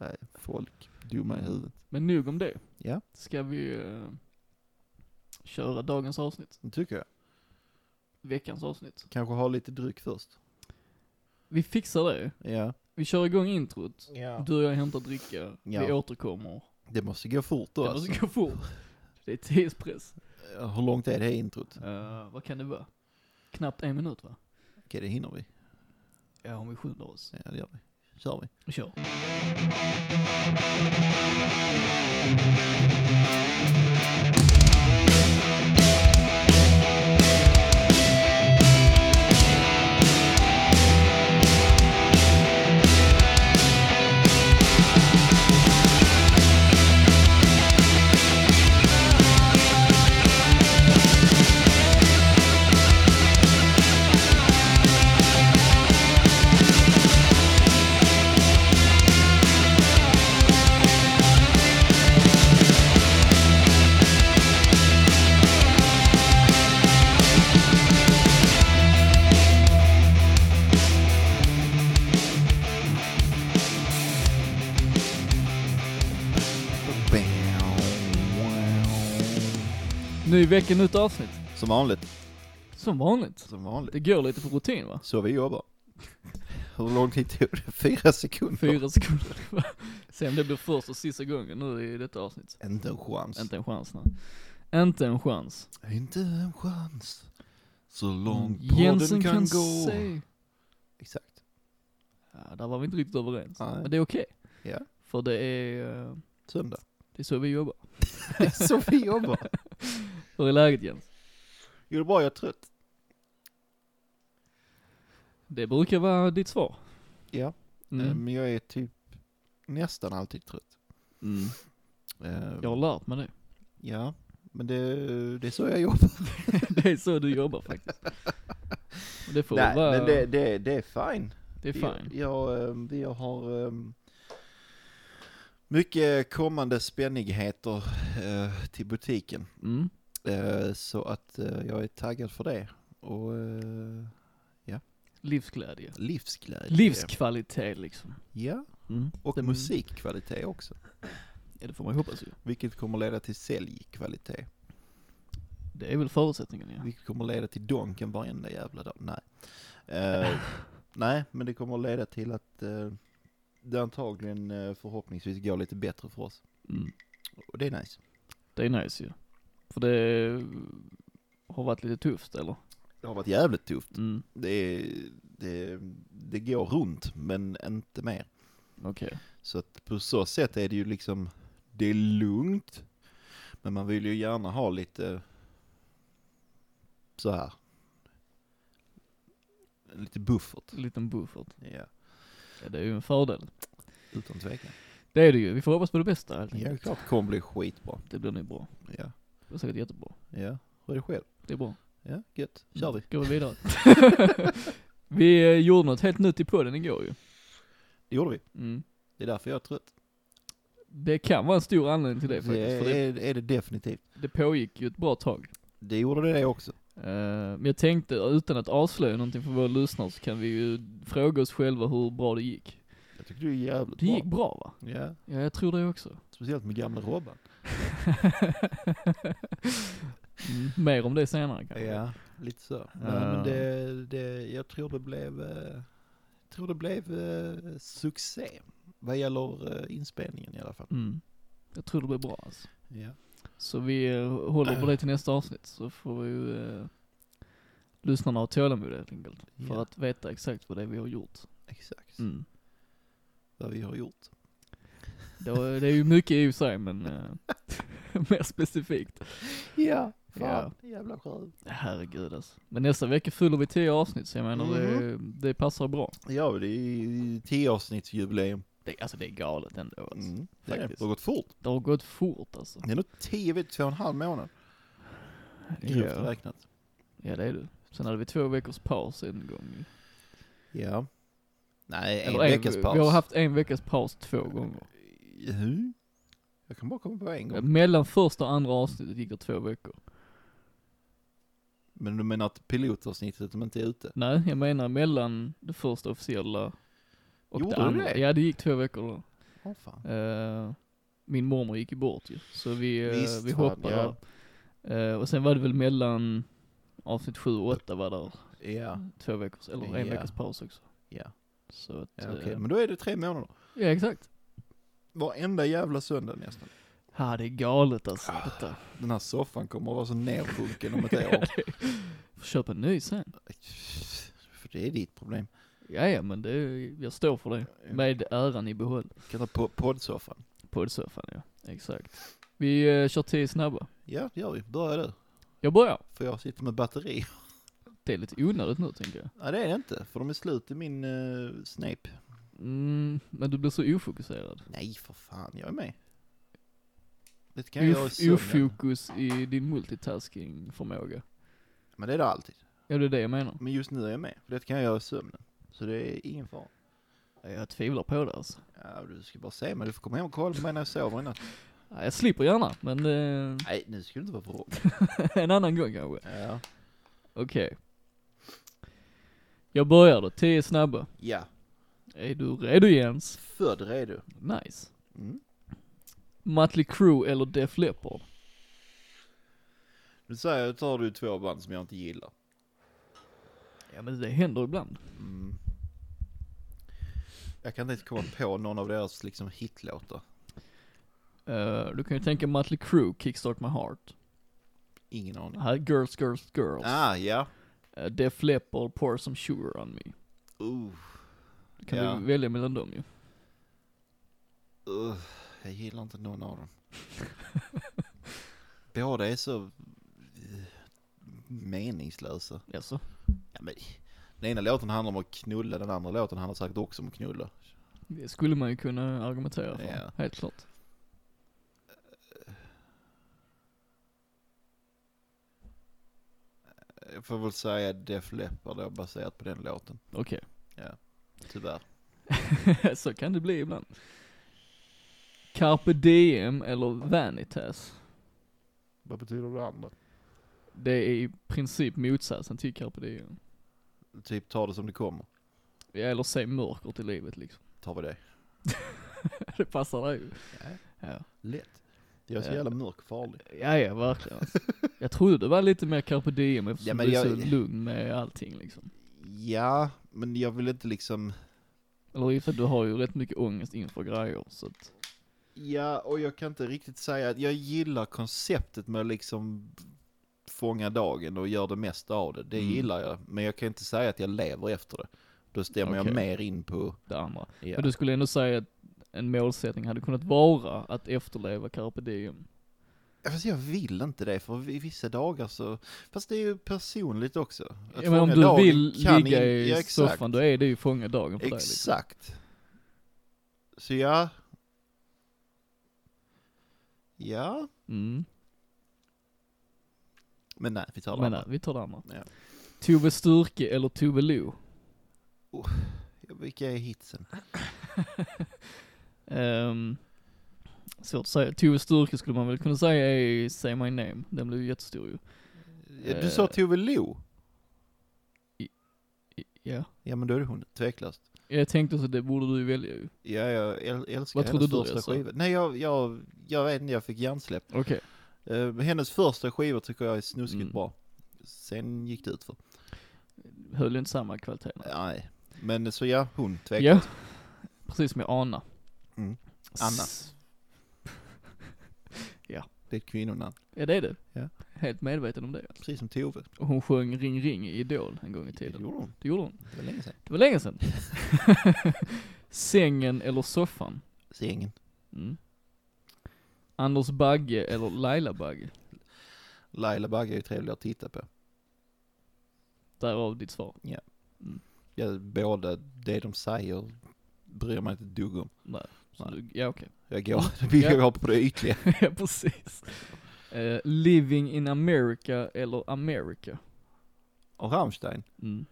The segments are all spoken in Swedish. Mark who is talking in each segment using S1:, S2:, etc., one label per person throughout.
S1: Nej, folk. Dumma i huvudet.
S2: Men nog om det.
S1: Ja.
S2: Ska vi eh, köra dagens avsnitt?
S1: Det tycker jag.
S2: Veckans avsnitt.
S1: Kanske ha lite dryck först.
S2: Vi fixar det.
S1: Ja.
S2: Vi kör igång introt.
S1: ja.
S2: Du och jag hämtar dricka. Vi
S1: Ja.
S2: återkommer.
S1: Det måste gå fort då
S2: Det
S1: alltså.
S2: måste gå fort. Det är tidspress.
S1: Hur långt är det här introt?
S2: Eh, vad kan det vara? Knappt en minut va?
S1: Okej, det hinner vi.
S2: Ja, om vi skyndar oss.
S1: Ja, det gör vi. Kör vi.
S2: Vi kör. Ny vecka, nytt avsnitt.
S1: Som vanligt.
S2: Som vanligt.
S1: Som vanligt.
S2: Det går lite på rutin va?
S1: Så vi jobbar. Hur lång tid tog det? Fyra sekunder?
S2: Fyra sekunder. va? Se om det blir första och sista gången nu i detta avsnitt.
S1: Inte en chans.
S2: Inte en chans nej. Inte en chans.
S1: Inte en chans. Så långt
S2: Mm. Jensen
S1: podden
S2: kan,
S1: Mm. kan, gå.
S2: se.
S1: Exakt.
S2: Ja, där var vi inte riktigt överens.
S1: Nej.
S2: Men det är okej.
S1: Ja.
S2: För det är, eh,
S1: Söndag.
S2: det är så vi jobbar.
S1: Det är så vi jobbar.
S2: Hur är läget Jens?
S1: Jo, det är bra. Jag är trött.
S2: Det brukar vara ditt svar.
S1: Ja.
S2: Mm.
S1: Eh, Men jag är typ nästan alltid trött.
S2: Mm.
S1: Eh,
S2: Jag har lärt mig det.
S1: Ja. Men det, det är så jag jobbar.
S2: det är så du jobbar faktiskt. Och det får
S1: Nej,
S2: vara,
S1: men det, det, det är fine.
S2: det är
S1: Jag,
S2: fine.
S1: jag, eh, vi har eh, mycket kommande spännigheter eh, till butiken.
S2: Mm.
S1: Eh, Så att eh, jag är taggad för det. Och eh,
S2: Livsglädje.
S1: livsglädje.
S2: Livskvalitet liksom.
S1: Ja,
S2: Mm.
S1: och
S2: Det-
S1: musikkvalitet också.
S2: Ja, det får man ju hoppas ju.
S1: Vilket kommer leda till säljkvalitet.
S2: Det är väl förutsättningen ja.
S1: Vilket kommer leda till donken varenda jävla dag. Nej. Eh, nej, men det kommer leda till att eh, det antagligen eh, förhoppningsvis går lite bättre för oss.
S2: Mm.
S1: Och det är nice.
S2: Det är nice ju. För det har varit lite tufft eller?
S1: Det har varit jävligt tufft.
S2: Mm.
S1: Det, det, det går runt, men inte mer.
S2: Okej.
S1: Så att på så sätt är det ju liksom, det är lugnt. Men man vill ju gärna ha lite så här. Lite buffert.
S2: En liten buffert.
S1: Ja,
S2: Ja, det är ju en fördel.
S1: utan tvekan.
S2: Det är det ju. Vi får hoppas på det bästa helt
S1: Ja,
S2: enkelt.
S1: klart det kommer bli skitbra.
S2: Det blir nog bra.
S1: Ja,
S2: Det blir säkert jättebra.
S1: ja. Hur är det själv?
S2: Det är bra.
S1: Ja, gött.
S2: Mm.
S1: Kör vi.
S2: Går vi vidare. vi eh, gjorde något helt nytt i podden igår ju.
S1: Det gjorde vi.
S2: Mm.
S1: Det är därför jag är trött.
S2: Det kan vara en stor anledning till det faktiskt. För det,
S1: är, är det definitivt.
S2: det pågick ju ett bra tag.
S1: Det gjorde det också.
S2: Eh, Men jag tänkte, utan att avslöja någonting för våra lyssnare, så kan vi ju fråga oss själva hur bra det gick.
S1: Jag tycker det är jävligt
S2: Det gick bra va?
S1: bra. Ja,
S2: Ja, jag tror det också.
S1: speciellt med gamla Robban.
S2: Mm, Mer om det senare kanske.
S1: Ja, lite så. Nej,
S2: Ja.
S1: men det, det, jag tror det blev, eh, tror det blev eh, succé vad gäller eh, inspelningen i alla fall.
S2: Mm. Jag tror det blir bra alltså.
S1: Ja.
S2: Så vi eh, håller på det till nästa avsnitt så får vi ju eh, lyssnarna ha tålamod helt enkelt. För
S1: Ja.
S2: att veta exakt vad det är vi har gjort.
S1: Exakt
S2: Mm.
S1: vad vi har gjort.
S2: Det, var, det är ju mycket i och för sig men eh, mer specifikt.
S1: Ja,
S2: fan,
S1: jävla skönt.
S2: Herregud alltså. Mhm. Men nästa vecka fyller vi 10 avsnitt så jag menar det, det passar bra.
S1: Ja, men det är ju tioavsnittsjubileum.
S2: Det, alltså det är galet ändå alltså.
S1: Mm, det är det.
S2: faktiskt.
S1: Det har gått fort.
S2: Det har gått fort alltså.
S1: Det är nog tio, vet, två och en halv månad. Grovt
S2: Ja.
S1: räknat.
S2: Ja det är du. Sen hade vi två veckors paus en gång.
S1: Ja. Nej, en
S2: Eller
S1: veckas paus.
S2: Vi har haft en veckas paus två gånger. Mm.
S1: Hur? Jag kan bara komma på en gång.
S2: Mellan första och andra avsnittet gick det två veckor.
S1: Men du menar att pilotavsnittet de inte är ute?
S2: Nej, jag menar mellan det första officiella och
S1: Gjorde
S2: det
S1: det
S2: andra.
S1: det?
S2: Ja det gick två veckor då.
S1: Åh fan.
S2: Eh, min mormor gick ju bort ju, så vi, eh,
S1: Visst,
S2: vi
S1: fan,
S2: hoppade
S1: ja.
S2: där. Eh, och sen var det väl mellan avsnitt sju och åtta var där
S1: Ja,
S2: två veckors, eller en
S1: Ja.
S2: veckas paus också.
S1: ja.
S2: Så att,
S1: ja
S2: eh,
S1: Okej, men då är det tre månader.
S2: ja exakt.
S1: Varenda jävla söndag nästan.
S2: Ja det är galet alltså
S1: Ah.
S2: detta.
S1: Den här soffan kommer att vara så nersjunken om ett år.
S2: Får köpa en ny sen.
S1: För det är ditt problem.
S2: Ja, ja men det, jag står för det. Med äran i behåll.
S1: Kan ta po- poddsoffan.
S2: Poddsoffan ja, exakt. Vi eh, kör tio snabba.
S1: Ja, det gör vi. Börja du.
S2: Jag börjar.
S1: För jag sitter med batteri.
S2: Det är lite onödigt nu tänker jag.
S1: Nej, det är det inte. För de är slut i min eh, Snape.
S2: Mm, men du blir så ofokuserad.
S1: Nej, för fan. Jag är med. Det kan jag göra i
S2: Of,
S1: sömnen.
S2: ofokus i din multitasking-förmåga.
S1: Men det är det alltid.
S2: Ja det är det jag menar.
S1: Men just nu är jag med. För det kan jag göra i sömnen. Så det är ingen fara.
S2: Jag tvivlar på det alltså.
S1: Ja, du ska bara se mig. Du får komma hem och kolla på mig när jag sover i natt.
S2: Ja, Jag slipper gärna, men eh,
S1: Nej, nu ska du inte vara på
S2: en annan gång kanske.
S1: Ja.
S2: Okej. Jag börjar då, 10 snabba.
S1: ja,
S2: Är du redo Jens?
S1: född redo.
S2: Nice.
S1: Mm.
S2: Mötley Crüe eller Def Leppard?
S1: Nu säger jag, tar du två band som jag inte gillar.
S2: Ja men det händer ibland.
S1: Mm. Jag kan inte ens komma på någon av deras liksom hitlåtar.
S2: Eh, du kan ju tänka Mötley Crüe, Kickstart My Heart.
S1: Ingen aning.
S2: Här, Girls, Girls, Girls.
S1: Ah, ja.
S2: Eh, Def Leppard, Pour Some Sugar On Me.
S1: Uh,
S2: Då kan
S1: Ja.
S2: du välja mellan dem ju.
S1: uh, jag gillar inte någon av dem. Båda är så eh, meningslösa.
S2: Jaså?
S1: Ja, men, den ena låten handlar om att knulla, den andra låten handlar säkert också om att knulla.
S2: Det skulle man ju kunna argumentera för,
S1: Ja.
S2: helt klart.
S1: Jag får väl säga Def Leppard då, baserat på den låten.
S2: Okej,
S1: Tyvärr.
S2: så kan det bli ibland. Carpe Diem eller Vanitas?
S1: Vad betyder det andra?
S2: Det är i princip motsatsen till Carpe Diem.
S1: Typ ta det som det kommer.
S2: Ja, eller se mörkret i livet liksom.
S1: Tar vi det.
S2: Det passar dig ju. Ja.
S1: Lätt. Jag är så
S2: Ja.
S1: jävla mörk och farlig.
S2: Ja, ja verkligen. alltså. Jag trodde det var lite mer carpe diem eftersom
S1: Ja, men
S2: du är
S1: jag-
S2: så lugn med allting liksom.
S1: Ja, men jag vill inte liksom...
S2: Eller i och för sig, du har ju rätt mycket ångest inför grejer så att,
S1: Ja, och jag kan inte riktigt säga att jag gillar konceptet med att liksom fånga dagen och göra det mesta av det. Det
S2: Mm.
S1: gillar jag, men jag kan inte säga att jag lever efter det. Då stämmer jag
S2: Okej.
S1: mer in på...
S2: det andra.
S1: Ja.
S2: Men du skulle ändå säga att en målsättning hade kunnat vara att efterleva carpe diem.
S1: Ja, Fast jag vill inte det, för i vissa dagar så... Fast det är ju personligt också. Att
S2: Ja, men om
S1: fånga
S2: du
S1: dagen
S2: vill
S1: kan
S2: ligga
S1: in-
S2: i
S1: Ja, exakt.
S2: soffan, då är det ju fånga dagen för dig liksom.
S1: Exakt. Så ja... Ja,
S2: Mm.
S1: men nej, vi tar det
S2: Men
S1: andra.
S2: nej, vi tar det andra.
S1: Ja.
S2: Tove Styrke eller Tove Lo?
S1: Vilka är hitsen?
S2: Ehm, svårt att säga. Tove Styrke skulle man väl kunna säga är Say My Name. Den blev ju jättestor ju.
S1: Du sa
S2: Eh.
S1: Tove Lo.
S2: Ja.
S1: Ja men då är det hon, tveklöst.
S2: Jag tänkte också det borde du ju välja ju.
S1: Ja jag äl- älskar
S2: Vad
S1: hennes
S2: trodde du,
S1: första
S2: alltså?
S1: skiva. Nej jag, jag, jag vet inte, jag fick hjärnsläpp.
S2: Okej.
S1: Eh, hennes första skiva tycker jag är snuskigt
S2: Mm.
S1: bra. Sen gick det ut för.
S2: Höll ju inte samma kvalitet.
S1: Nej. Men så ja, hon, tveklöst.
S2: Ja. Precis som jag anar.
S1: Mm. Anna.
S2: S-
S1: Det är ett kvinnonamn.
S2: Ja det är det.
S1: Ja.
S2: Helt medveten om det.
S1: Precis som Tove.
S2: Och hon sjöng Ring Ring i Idol en gång i
S1: Det
S2: tiden.
S1: gjorde hon.
S2: Det gjorde hon.
S1: Det var länge sedan.
S2: Det var länge sedan. Sängen eller soffan?
S1: Sängen.
S2: Mm. Anders Bagge eller Laila Bagge?
S1: Laila Bagge är ju trevlig att titta på.
S2: Därav ditt svar.
S1: Ja, båda, det de säger bryr man inte ett dugg om.
S2: Nej. Så du, ja okej.
S1: Jag går, vi
S2: Mm. Ja.
S1: går på det ytliga.
S2: ja precis. Eh, living in America eller America?
S1: Och Rammstein.
S2: Mm.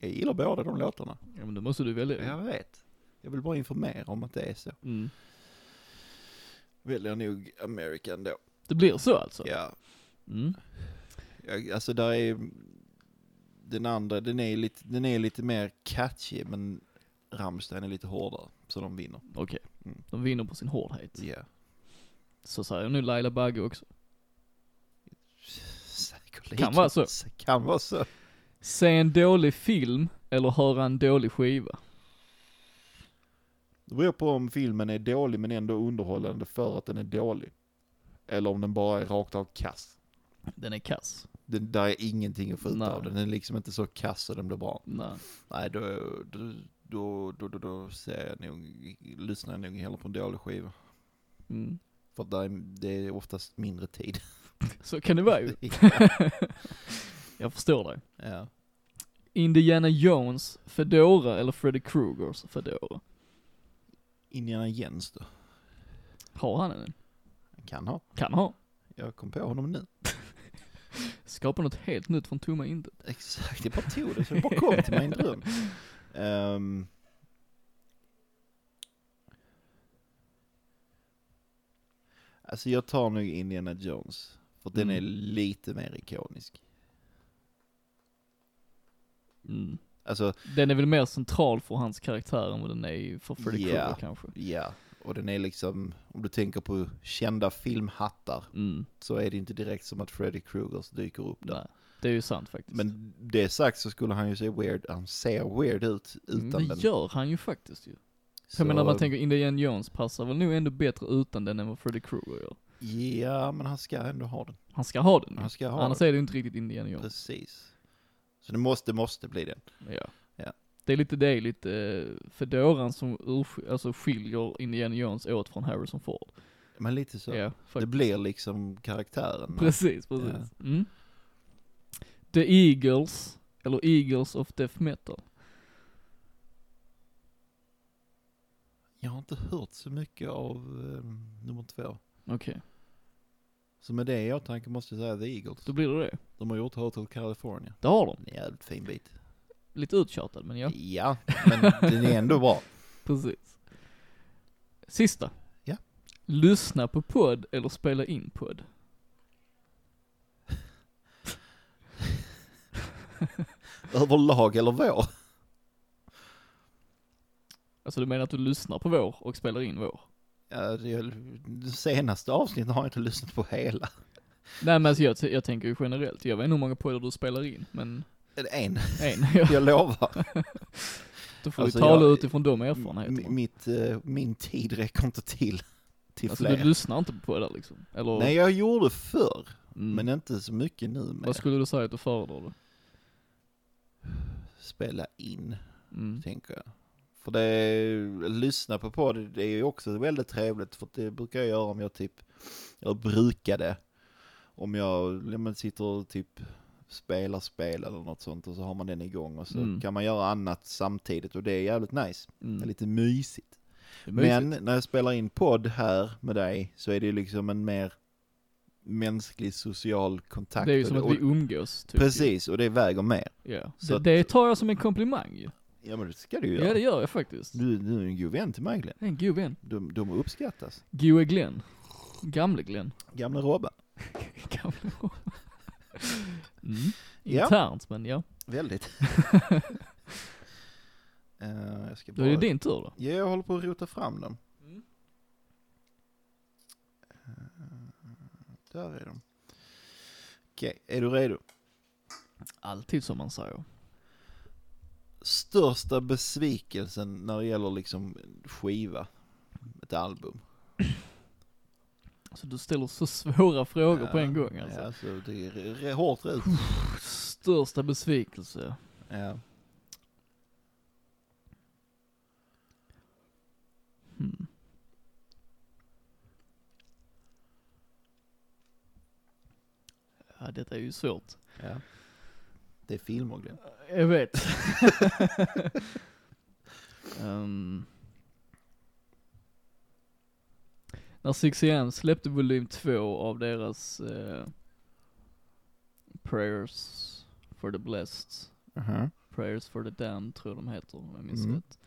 S1: Jag gillar båda de låtarna.
S2: Ja men då måste du välja.
S1: Jag vet. Jag vill bara informera om att det är så.
S2: Mm.
S1: Väljer nog American då.
S2: Det blir så alltså?
S1: Ja.
S2: Mm.
S1: Jag, alltså där är Den andra, den är lite, den är lite mer catchy, men Rammstein är lite hårdare, så de vinner.
S2: Okej.
S1: Mm.
S2: De vinner på sin hårdhet.
S1: Yeah.
S2: Så säger nu Laila Bagge också.
S1: Säkerligen.
S2: Kan vara så.
S1: Kan vara så.
S2: Se en dålig film eller höra en dålig skiva.
S1: Det beror på om filmen är dålig men ändå underhållande för att den är dålig. Eller om den bara är rakt av kass.
S2: Den är kass.
S1: Den, där är ingenting att få ut
S2: Nej.
S1: av den. Den är liksom inte så kass så den blir bra.
S2: Nej.
S1: Nej, då, då, då, då, då, då ser jag nog, lyssnar jag nog hellre på en dålig skiva.
S2: Mm.
S1: För där är, det är oftast mindre tid.
S2: Så kan det vara ju. Jag förstår dig.
S1: ja.
S2: Indiana Jones, Fedora eller Freddy Kruegers Fedora?
S1: Indiana Jens då?
S2: Har han en?
S1: Han kan ha.
S2: Kan ha.
S1: Jag kom på honom nu.
S2: Skapa något helt nytt från tomma intet.
S1: Exakt, jag bara tog det. Så det bara kom till mig i en dröm. Ehm. alltså jag tar nog Indiana Jones. För den
S2: Mm.
S1: är lite mer ikonisk.
S2: Mm.
S1: Alltså,
S2: Den är väl mer central för hans karaktär än vad den är för Freddy
S1: Ja.
S2: Krueger kanske.
S1: ja. Och den är liksom, om du tänker på kända filmhattar,
S2: Mm.
S1: så är det inte direkt som att Freddy Krueger dyker upp där.
S2: Nej. Det är ju sant faktiskt.
S1: Men det sagt så skulle han ju se weird, han ser weird ut utan
S2: Mm, det
S1: den.
S2: gör han ju faktiskt ju.
S1: Så-
S2: Jag menar man tänker Indiana Jones passar väl nog ändå bättre utan den än vad Freddy Krueger gör.
S1: Ja, men han ska ändå ha den.
S2: Han ska ha den ju.
S1: Han ska ha
S2: Annars
S1: den.
S2: är det ju inte riktigt Indiana Jones.
S1: Precis. Så det måste, måste bli den.
S2: Ja.
S1: Ja.
S2: Det är lite det, är lite eh, fedoran som ursk- alltså skiljer Indiana Jones åt från Harrison Ford.
S1: Men lite så.
S2: Ja,
S1: det
S2: faktiskt.
S1: blir liksom karaktären.
S2: Precis, precis. Mm. The Eagles, eller Eagles of Death Metal.
S1: Jag har inte hört så mycket av eh, nummer två.
S2: Okej,
S1: Så med det i åtanke måste jag säga The Eagles.
S2: då blir det det.
S1: De har gjort Hotel California.
S2: Det har de.
S1: En jävligt fin bit.
S2: Lite uttjatad, men ja.
S1: ja men den är ändå bra.
S2: Precis. Sista.
S1: Ja.
S2: Lyssna på podd eller spela in podd.
S1: Överlag eller vår.
S2: Alltså du menar att du lyssnar på vår och spelar in vår?
S1: Ja, det, det senaste avsnittet har jag inte lyssnat på hela.
S2: Nej men alltså jag, t- jag tänker ju generellt, jag vet inte hur många poddar du spelar in, men
S1: En,
S2: en. Ja,
S1: jag lovar.
S2: då får
S1: Alltså,
S2: vi tala
S1: jag-
S2: utifrån de
S1: M-
S2: erfarenheterna.
S1: mitt, eh, min tid räcker inte till, till
S2: Alltså
S1: fler.
S2: du lyssnar inte på poddar liksom? Eller?
S1: Nej, jag gjorde förr,
S2: mm.
S1: men inte så mycket nu
S2: Vad
S1: med
S2: skulle du säga att du föredrar då?
S1: spela in,
S2: Mm.
S1: tänker jag. För det, är- lyssna på podd, det är ju också väldigt trevligt, för det brukar jag göra om jag typ, jag brukade, om jag ja, men sitter och typ spelar spel eller något sånt och så har man den igång och så
S2: Mm.
S1: kan man göra annat samtidigt och det är jävligt nice, det är
S2: Mm.
S1: lite mysigt.
S2: Det är
S1: Men
S2: mysigt.
S1: när jag spelar in podd här med dig så är det ju liksom en mer mänsklig social kontakt.
S2: det är ju
S1: och
S2: som
S1: det-
S2: att vi
S1: och,
S2: umgås typ.
S1: Precis, och det väger mer.
S2: Ja.
S1: Så
S2: Så
S1: att-
S2: det, det tar jag som en komplimang ju.
S1: Ja men det ska du ju
S2: Ja.
S1: göra.
S2: det gör jag faktiskt.
S1: Du, du är en god vän till mig Glenn.
S2: Det är en god vän.
S1: De, de uppskattas.
S2: Goe Glenn. Gamle Glenn.
S1: Gamla Robban.
S2: Gamle mm.
S1: Ja.
S2: Internt men ja.
S1: Väldigt. Eh, jag ska
S2: Då är det
S1: bara...
S2: din tur då.
S1: Ja, jag håller på att rota fram dem.
S2: Mm.
S1: Eh, Där är de. Okej, är du redo?
S2: Alltid som man säger.
S1: största besvikelsen när det gäller liksom skiva, ett album?
S2: Alltså du ställer så svåra frågor på en gång alltså.
S1: Ja, alltså det är r- r- hårt ut.
S2: Största besvikelse.
S1: Ja.
S2: Hmm. Ja, detta är ju svårt.
S1: ja. Det är filmer Glenn.
S2: Jag vet. Ehm. när 6AM släppte volym 2 av deras eh, Prayers for the Blessed, Prayers for the Damned tror jag de heter om jag minns
S1: Mm.
S2: rätt.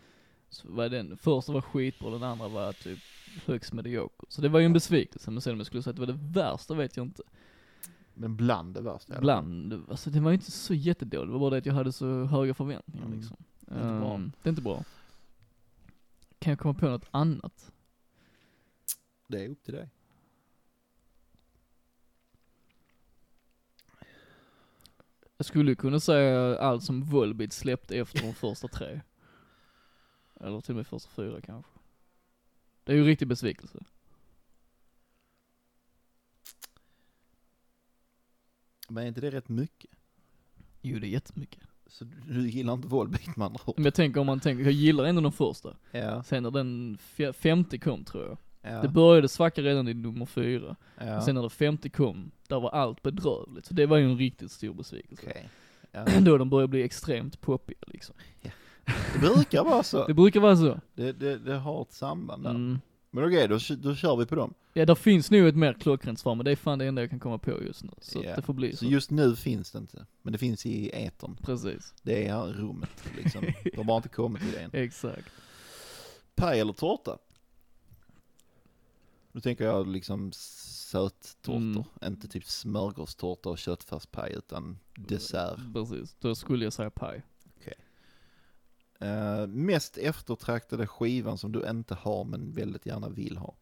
S2: Så var den första var skitbra, den andra var typ högst medioker. Så det var ju en besvikelse, men sen om jag skulle säga att det var det värsta vet jag inte.
S1: Men bland det värsta. i alla fall.
S2: Bland, alltså den var ju inte så jättedålig, det var bara det att jag hade så höga förväntningar
S1: Mm.
S2: liksom.
S1: Det är inte bra.
S2: Ehm, det är inte bra. Kan jag komma på något annat?
S1: Det är upp till dig.
S2: Jag skulle ju kunna säga allt som Volbeat släppte efter de första tre. Eller till och med första fyra kanske. Det är ju en riktig besvikelse.
S1: Men är inte det rätt mycket?
S2: Jo det är jättemycket.
S1: Så du- du gillar inte Volbeat med andra ord?
S2: Men jag tänker om man tänker, jag gillar ändå den första.
S1: Ja.
S2: Sen när den fe- femte kom tror jag.
S1: ja.
S2: Det började svacka redan i nummer fyra.
S1: ja.
S2: Sen när det femte kom, där var allt bedrövligt. Så det var ju en riktigt stor besvikelse.
S1: Okej. Ja.
S2: Då de börjar bli extremt poppiga liksom.
S1: Det brukar vara så.
S2: Det brukar vara så.
S1: Det, det, det har ett samband där.
S2: Mm.
S1: Men okej, då, kö- då kör vi på dem.
S2: Ja, där finns nog ett mer klockrent svar, men det är fan det enda jag kan komma på just nu. Så
S1: Ja.
S2: att det får bli
S1: Så
S2: så.
S1: just nu finns det inte, men det finns i etern.
S2: Precis.
S1: Det är här i rummet liksom. De har inte kommit till det än.
S2: Exakt.
S1: Paj eller tårta? Nu tänker jag liksom söttårtor,
S2: Mm.
S1: inte typ smörgåstårta och köttfärs paj utan dessert.
S2: Precis. Då skulle jag säga paj.
S1: Eh, mest eftertraktade skivan som du inte har men väldigt gärna vill ha.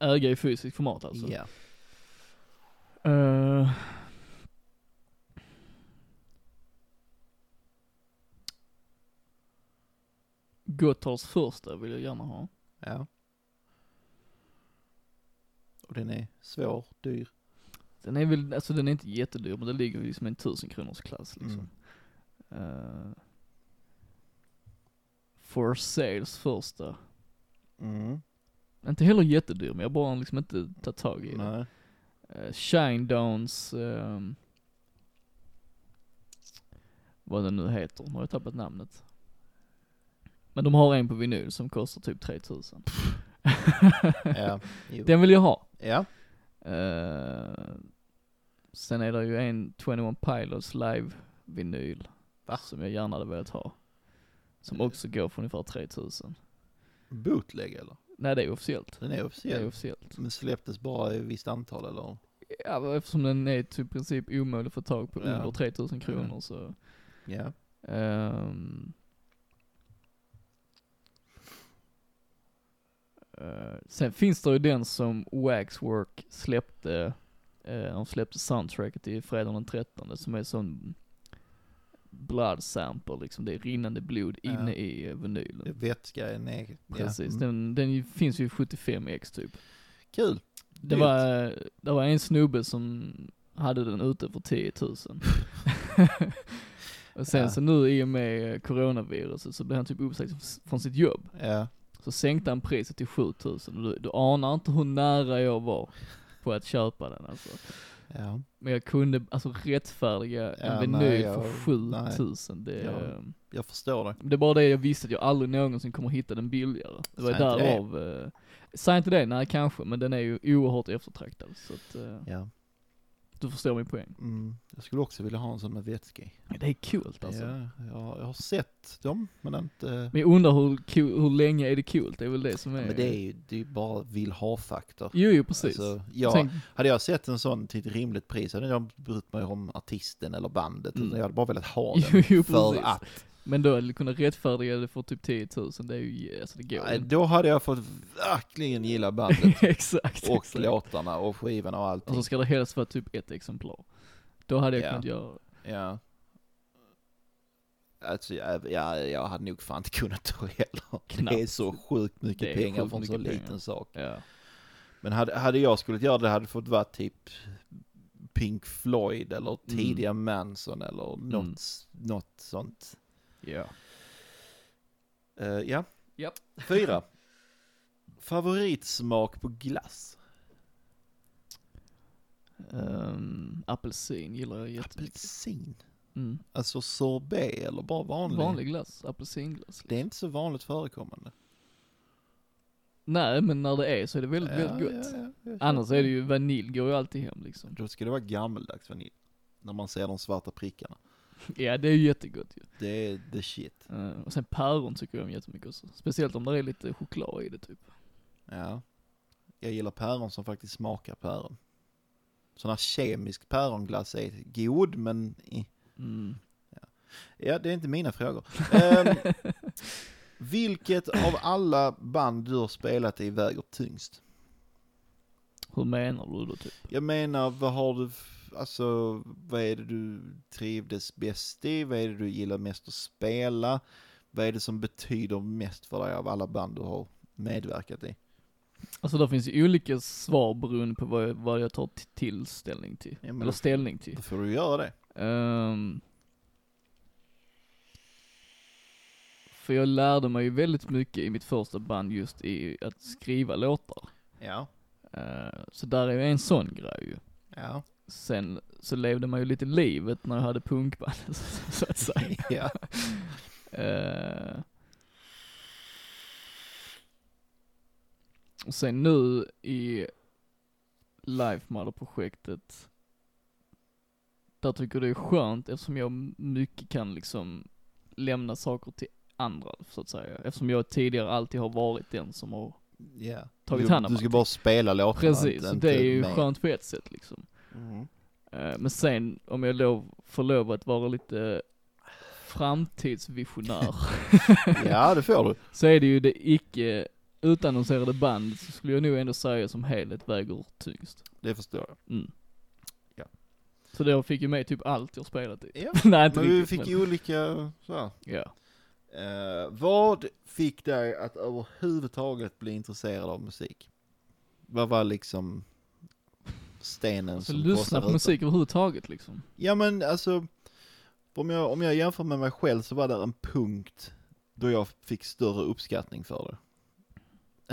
S2: Äga i fysiskt format alltså.
S1: Ja.
S2: Eh. Gotthards första vill jag gärna ha.
S1: ja. Och den är svår, dyr.
S2: Den är väl, alltså den är inte jättedyr men den ligger ju liksom i en tusen kronors klass liksom.
S1: Mm.
S2: Eh, for sales första.
S1: Mm.
S2: Inte heller jättedyr men jag har bara liksom inte tagit tag i det.
S1: Nej.
S2: Uh, Shinedowns, ehm, vad den nu heter, nu har jag tappat namnet. Men de har en på vinyl som kostar typ 3000.
S1: Ja. jo.
S2: Den vill jag ha.
S1: ja.
S2: Eh, sen är det ju en 21 Pilots live-vinyl.
S1: Va?
S2: Som jag gärna hade velat ha. Som
S1: Eh.
S2: också går för ungefär 3000.
S1: Bootleg eller?
S2: Nej det är officiellt.
S1: Den är
S2: Det är
S1: officiell.
S2: officiellt.
S1: Men släpptes bara i ett visst antal eller?
S2: Ja, men eftersom den är typ i princip omöjlig att få tag på
S1: Ja.
S2: under 3000 kronor
S1: Mm.
S2: så.
S1: Ja.
S2: ehm. Eh, sen finns det ju den som Waxwork släppte, eh, de släppte soundtracket i fredagen den 13 som är sån blood sample liksom, det är rinnande blod
S1: Ja.
S2: inne i eh,
S1: Det är
S2: vinylen.
S1: Vätska är en egen. Ja.
S2: Precis,
S1: Mm.
S2: den, den ju- finns ju i 75x typ.
S1: Kul.
S2: Det
S1: Dyrt.
S2: var, det var en snubbe som hade den ute för 10 000. och sen
S1: Ja.
S2: så nu i och med coronaviruset så blev han typ uppsagd från sitt jobb.
S1: Ja.
S2: Så sänkte han priset till 7 000 och du, du anar inte hur nära jag var på att köpa den alltså.
S1: Ja.
S2: Men jag kunde alltså rättfärdiga
S1: Ja,
S2: en vinyl
S1: nej,
S2: för
S1: jag-
S2: 7 000.
S1: nej.
S2: Det,
S1: Ja. Jag förstår det.
S2: det är bara det jag visste att jag aldrig någonsin kommer hitta den billigare. Det var
S1: Säg inte det.
S2: därav. eh, Säg inte det, nej kanske, men den är ju oerhört eftertraktad. Så att, eh,
S1: Ja.
S2: Du förstår min poäng.
S1: Mm. Jag skulle också vilja ha en sån med vätska i.
S2: Det är kul alltså.
S1: Ja, jag, jag har sett dem, men inte...
S2: Men jag undrar hur, kul, hur länge är det kul? Det är väl det som är...
S1: Men det är ju det är ju bara vill ha-faktor.
S2: Jo, jo eh, precis.
S1: Alltså, ja,
S2: Tänk,
S1: Hade jag sett en sån till ett rimligt pris hade jag inte brytt mig om artisten eller bandet.
S2: Mm.
S1: Utan jag hade bara velat ha
S2: Jo,
S1: den.
S2: jo,
S1: för
S2: precis.
S1: att.
S2: men då hade du kunnat rättfärdiga det för typ 10 000, det är ju, alltså det går
S1: Nej,
S2: inte.
S1: Då hade jag fått verkligen gilla bandet.
S2: Exakt.
S1: och
S2: exakt.
S1: låtarna och skivorna och
S2: Och
S1: allting.
S2: så ska det helst vara typ ett exemplar. Då hade jag
S1: Ja.
S2: kunnat göra
S1: Ja. Alltså jag, jag, jag hade nog fan inte kunnat då heller.
S2: Knappt.
S1: Det är så sjukt
S2: Det
S1: mycket
S2: är
S1: pengar
S2: sjukt
S1: för en så
S2: mycket pengar.
S1: liten sak.
S2: Ja.
S1: Men hade, hade jag skulle göra det hade det fått vara typ Pink Floyd eller tidiga Manson eller något,
S2: Mm.
S1: något sånt.
S2: Ja.
S1: Eh, ja.
S2: Japp.
S1: Fyra. Favoritsmak på glass?
S2: Ehm, apelsin gillar jag jättemycket.
S1: Apelsin?
S2: Mm.
S1: Alltså sorbet eller bara vanlig?
S2: Vanlig glass, apelsinglass.
S1: Det är inte så vanligt förekommande.
S2: Nej, men när det är så är det väldigt, väldigt gott.
S1: Ja, ja, ja,
S2: Annars är det ju, vanilj går ju alltid hem liksom.
S1: Då ska det vara gammeldags vanilj. När man ser de svarta prickarna.
S2: Ja, det är ju jättegott ju.
S1: Det är the shit.
S2: Eh, och sen päron tycker jag om jättemycket också. Speciellt om det är lite choklad i det typ.
S1: Ja. Jag gillar päron som faktiskt smakar päron. Sån här kemisk päronglass är god, men... eh.
S2: Mm.
S1: Ja, det är inte mina frågor. Ehm, vilket av alla band du har spelat i väger tyngst?
S2: Hur menar du då typ?
S1: Jag menar, vad har du... f- Alltså, vad är det du trivdes bäst i? Vad är det du gillar mest att spela? Vad är det som betyder mest för dig av alla band du har medverkat i?
S2: Alltså där finns ju olika svar beroende på vad jag, vad jag tar t- till ställning till.
S1: Ja, men
S2: Eller
S1: då-
S2: ställning till.
S1: Då får du göra det.
S2: Ehm. för jag lärde mig ju väldigt mycket i mitt första band just i att skriva låtar.
S1: Ja,
S2: Eh, så där är ju en sån grej ju.
S1: ja,
S2: Sen så levde man ju lite livet när jag hade punkband, så att säga.
S1: ja.
S2: Eh. Och sen nu i Life Mother-projektet, där tycker jag det är skönt eftersom jag mycket kan liksom lämna saker till andra, så att säga. Eftersom jag tidigare alltid har varit den som har
S1: ja.
S2: tagit
S1: du,
S2: hand om
S1: Du ska
S2: allt.
S1: bara spela låtarna.
S2: Precis,
S1: inte-
S2: och det är ju
S1: inte med.
S2: skönt på ett sätt liksom.
S1: Mm.
S2: Eh, Men sen, om jag lov, får lov att vara lite framtidsvisionär,
S1: Ja, det får du.
S2: så är det ju det icke utannonserade bandet, så skulle jag nog ändå säga som helhet väger tyngst.
S1: Det förstår jag.
S2: Mm.
S1: Ja.
S2: Så då fick ju med typ allt jag spelat i.
S1: Ja.
S2: Nej inte
S1: Men vi
S2: riktigt,
S1: fick ju olika så här.
S2: Ja.
S1: Eh, vad fick dig att överhuvudtaget bli intresserad av musik? Vad var liksom stenen
S2: Alltså
S1: som
S2: lyssna
S1: krossade
S2: på
S1: rutan?
S2: musik överhuvudtaget liksom.
S1: Ja men alltså, om jag, om jag jämför med mig själv så var det en punkt då jag fick större uppskattning för det.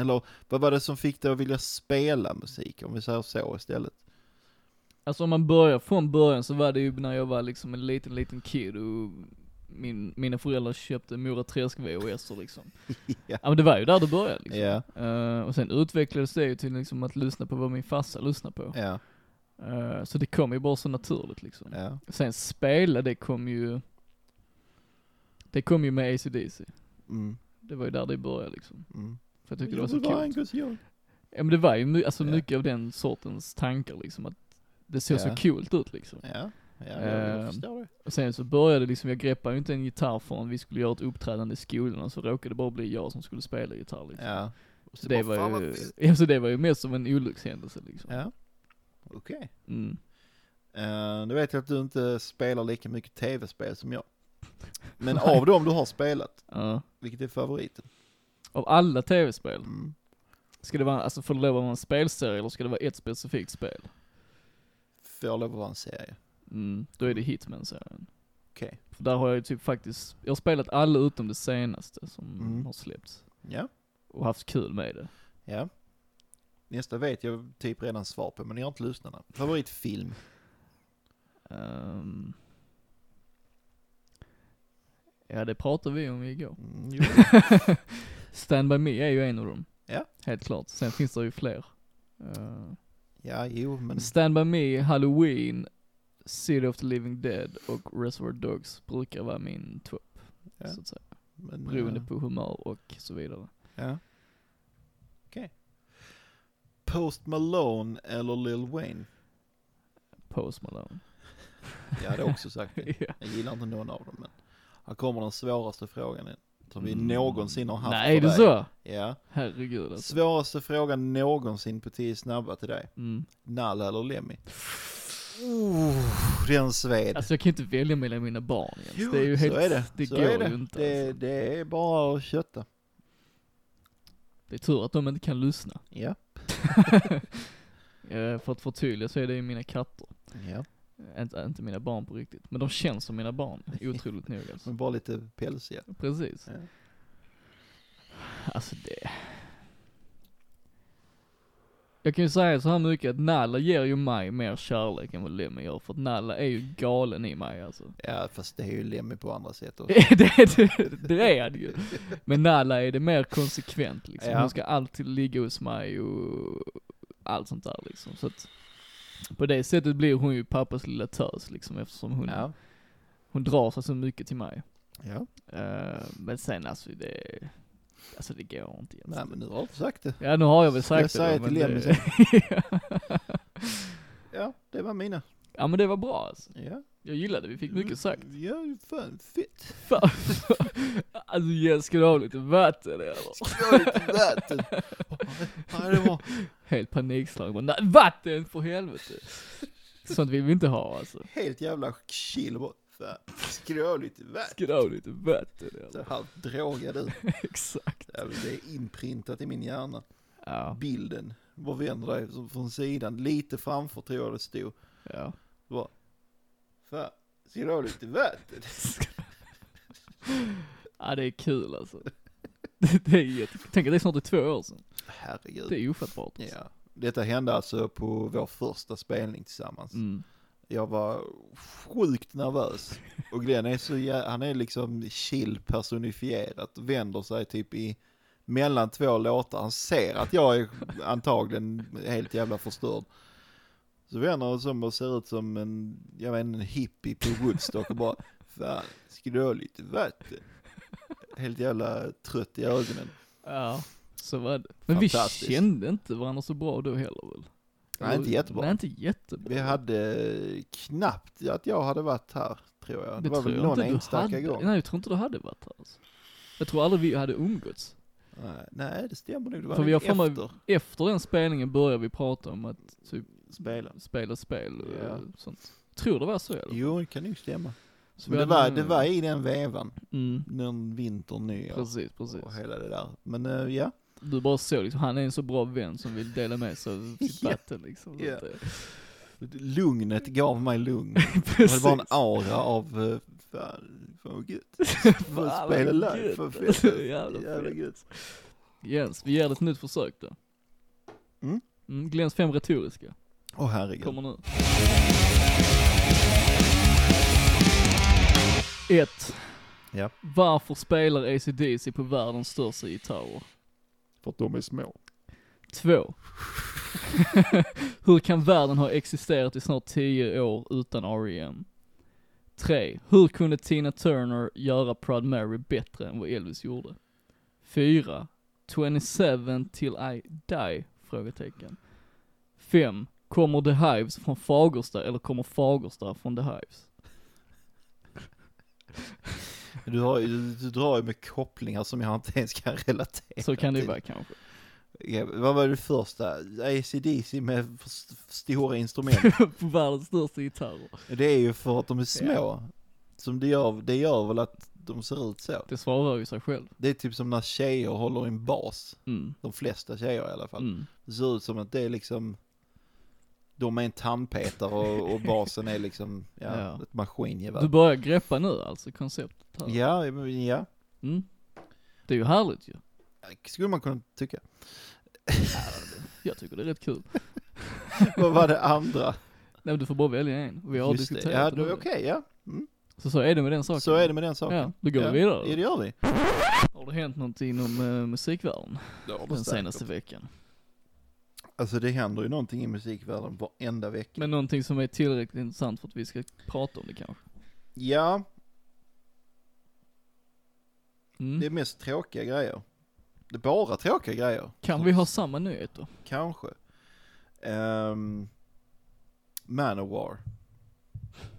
S1: Eller vad var det som fick dig att vilja spela musik, om vi säger så istället?
S2: Alltså om man börjar från början så var det ju när jag var liksom en liten, liten kid och min, mina föräldrar köpte Mora Träsk VHS liksom.
S1: Ja.
S2: ja men det var ju där det började liksom.
S1: Ja,
S2: Eh, och sen utvecklades det ju till liksom att lyssna på vad min farsa lyssnade på.
S1: ja,
S2: Eh, så det kom ju bara så naturligt liksom.
S1: ja.
S2: Sen spela, det kom ju, det kom ju med ACDC.
S1: Mm,
S2: Det var ju där det började liksom.
S1: mm.
S2: För jag tyckte det var så coolt.
S1: Angus Young.
S2: Ja men det var ju my- alltså,
S1: Ja.
S2: mycket av den sortens tankar liksom, att det såg
S1: Ja.
S2: så coolt ut liksom.
S1: Ja, ja jag,
S2: Eh,
S1: jag förstår det.
S2: Och sen så började liksom, jag greppade ju inte en gitarr förrän vi skulle göra ett uppträdande i skolan, och så råkade det bara bli jag som skulle spela gitarr liksom.
S1: Ja.
S2: Så det,
S1: Bara, "Fan,
S2: var ju,
S1: vad fett."
S2: ja, så det var ju mest som en olyckshändelse liksom.
S1: Ja, okej.
S2: Mm.
S1: Eh, Nu vet jag att du inte spelar lika mycket tv-spel som jag. Men av dem du har spelat,
S2: Ja.
S1: vilket är favoriten?
S2: Av alla tv-spel,
S1: Mm.
S2: ska det vara, alltså får det lov att vara en spelserie eller ska det vara ett specifikt spel?
S1: Får lov att vara en serie.
S2: Mm, då är det Hitman-serien.
S1: Okej.
S2: För där har jag ju typ faktiskt, jag har spelat alla utom det senaste som
S1: Mm.
S2: har släppts.
S1: Ja,
S2: Och haft kul med det.
S1: ja. Nästa vet jag typ redan svar på, men jag har inte lyssnat. än. Favoritfilm?
S2: Ehm. ja det pratade vi om igår.
S1: Mm, jo.
S2: Stand By Me är ju en av dem.
S1: Ja.
S2: Helt klart. Sen finns det ju fler. Eh,
S1: ja, jo, men...
S2: Stand By Me, Halloween, City of the Living Dead och Reservoir Dogs brukar vara min topp.
S1: Ja.
S2: Så att säga.
S1: men
S2: Beroende
S1: eh,
S2: på humör och så vidare.
S1: Ja. Okej. Post Malone eller Lil Wayne?
S2: Post Malone.
S1: Jag hade också sagt det.
S2: ja.
S1: Jag gillar inte någon av dem, men... Här kommer den svåraste frågan som vi
S2: Mm.
S1: någonsin har haft
S2: Nej, är
S1: för
S2: det
S1: dig.
S2: så?
S1: Ja.
S2: Herregud alltså.
S1: Svåraste frågan någonsin på 10 snabba till dig.
S2: Mm.
S1: Nalla eller Lemmy? Oh, den sved.
S2: Alltså jag kan ju inte välja mellan mina barn Jens. Det är ju
S1: så
S2: helt,
S1: är det.
S2: det
S1: så
S2: går
S1: är det.
S2: ju inte.
S1: Det,
S2: alltså.
S1: det är bara att kötta.
S2: det är tur att de inte kan lyssna.
S1: Ja.
S2: Eh, För att förtydliga så är det ju mina katter.
S1: ja.
S2: Eh, Inte, inte mina barn på riktigt. Men de känns som mina barn, otroligt nog alltså.
S1: Men bara lite pälsiga.
S2: Precis.
S1: Ja.
S2: Alltså det... Jag kan ju säga så här mycket att Nalla ger ju mig mer kärlek än vad Lemmy gör, för att Nalla är ju galen i mig alltså.
S1: ja, fast det är ju Lemmy på andra sätt också.
S2: det, det, det är han ju. Men Nalla är det mer konsekvent liksom.
S1: Ja.
S2: Hon ska alltid ligga hos mig och allt sånt där liksom. Så att på det sättet blir hon ju pappas lilla tös liksom eftersom hon,
S1: Ja.
S2: hon drar sig så mycket till mig.
S1: ja.
S2: Eh, men sen alltså det, alltså det går inte Jens.
S1: Nej, men nu har du sagt det.
S2: Ja nu har jag väl
S1: Ska jag
S2: sagt det.
S1: säga
S2: då, men
S1: till Emil
S2: det-
S1: Ja, ja, det var mina.
S2: Ja men det var bra alltså.
S1: Ja.
S2: Jag gillade det, vi fick
S1: Mm.
S2: mycket sagt.
S1: Ja, fan fett.
S2: Fan. alltså Jens, ska du ha lite vatten eller?
S1: Jag är lite vatten. Ja, det var
S2: Helt panikslagen bara, "Nej, vatten för helvete. Sånt vill vi inte ha alltså.
S1: helt jävla kilo bara. fan, Ska du ha lite vatten?
S2: Ska du ha lite vatten eller?
S1: Så halvt drogad ut.
S2: Exakt.
S1: Ja, men Det är inprintat i min hjärna.
S2: Ja,
S1: Bilden. Bara vänder dig så från sidan, lite framför tror jag det stod.
S2: ja.
S1: Bara, fan, ska du ha lite vatten?
S2: Ja det är kul alltså. Det, det är jätte... Tänk att det är snart två år sedan.
S1: Herregud.
S2: Det är ofattbart. Alltså.
S1: Ja. Detta hände alltså på vår första spelning tillsammans.
S2: Mm.
S1: Jag var sjukt nervös. Och Glenn är så jä- han är liksom chill personifierat. Vänder sig typ i mellan två låtar. Han ser att jag är antagligen helt jävla förstörd. Så vänder han sig om och ser ut som en, jag vet inte, en hippie på Woodstock och bara, fan, ska du ha lite vatten? Helt jävla trött i ögonen.
S2: Ja, så var det. Men vi
S1: Fantastiskt.
S2: kände inte varandra så bra då heller väl?
S1: Nej, inte jättebra.
S2: Nej, inte jättebra.
S1: Vi hade knappt att jag hade varit här, tror jag. Det, var
S2: tror
S1: väl
S2: jag
S1: någon
S2: inte du
S1: enstaka
S2: hade.
S1: gång.
S2: Nej, jag tror inte du hade varit här alltså. Jag tror aldrig vi hade umgåtts.
S1: Nej, nej, det stämmer nog. Det var
S2: För vi har
S1: nog
S2: för mig-
S1: efter
S2: Efter den spelningen började vi prata om att typ
S1: spelen.
S2: spela spel och
S1: Ja.
S2: sånt. Tror det var så eller?
S1: Jo, det kan ju stämma.
S2: Så vi
S1: Men det,
S2: hade
S1: var,
S2: en-
S1: det var i den vevan,
S2: Mm,
S1: den vintern, nyår
S2: precis, precis.
S1: och hela det där. Men eh, ja,
S2: Du bara såg liksom, han är en så bra vän som vill dela med sig av sitt
S1: Ja.
S2: vatten liksom. Så
S1: Ja.
S2: att det-
S1: lugnet gav mig lugn. Det
S2: Precis.
S1: var bara en aura av, eh, fan, fan vad gött.
S2: Fan,
S1: Fan,
S2: vad
S1: spela live,
S2: gött.
S1: fan fett.
S2: Jävla
S1: Jävla
S2: fett.
S1: gött.
S2: Jens, vi ger det ett nytt försök då.
S1: Mm.
S2: Mm, Glens fem retoriska.
S1: Åh herregud.
S2: Kommer nu. Ett.
S1: Ja.
S2: Varför spelar ACDC på världens största gitarrer?
S1: För att de är små.
S2: Två. Hur kan världen ha existerat i snart 10 år utan R.E.M.? Tre. Hur kunde Tina Turner göra Proud Mary bättre än vad Elvis gjorde? Fyra. 27 till I die? Frågetecken. Fem. Kommer The Hives från Fagersta eller kommer Fagersta från The Hives?
S1: Du, har, ju- du, du drar ju med kopplingar som jag inte ens kan relatera
S2: Så kan det ju
S1: till.
S2: vara kanske.
S1: Ja, vad var det första? ACDC med för st- för stora instrument.
S2: på världens största gitarrer.
S1: Det är ju för att de är små. Som det gör, det gör väl att de ser ut så.
S2: Det svarar ju sig själv.
S1: Det är typ som när tjejer håller i en bas.
S2: Mm.
S1: De flesta tjejer i alla fall.
S2: Mm.
S1: Det ser ut som att det är liksom, de är en tandpetare och, och basen är liksom, ja,
S2: Ja.
S1: ett maskingevär.
S2: Du börjar greppa nu alltså konceptet här.
S1: Ja, men ja.
S2: Mm. Det är ju härligt ju.
S1: Skulle man kunna tycka.
S2: Jag tycker det är rätt kul.
S1: Vad var det andra?
S2: Nej men du får bara välja en. Vi har
S1: Just det.
S2: diskuterat
S1: Ja,
S2: det
S1: då-
S2: nu.
S1: okej, ja. Mm.
S2: Så så är det med den saken.
S1: Så är det med den saken.
S2: Ja, då går
S1: Ja.
S2: vi vidare.
S1: Ja, det gör vi.
S2: Har det hänt något inom uh, musikvärlden den senaste veckan?
S1: Alltså det händer ju någonting i musikvärlden varenda vecka.
S2: Men någonting som är tillräckligt intressant för att vi ska prata om det kanske?
S1: Ja,
S2: Mm.
S1: det är mest tråkiga grejer. Det är bara tråkiga grejer.
S2: Kan vi ha samma nyhet då?
S1: Kanske. Um, Manowar.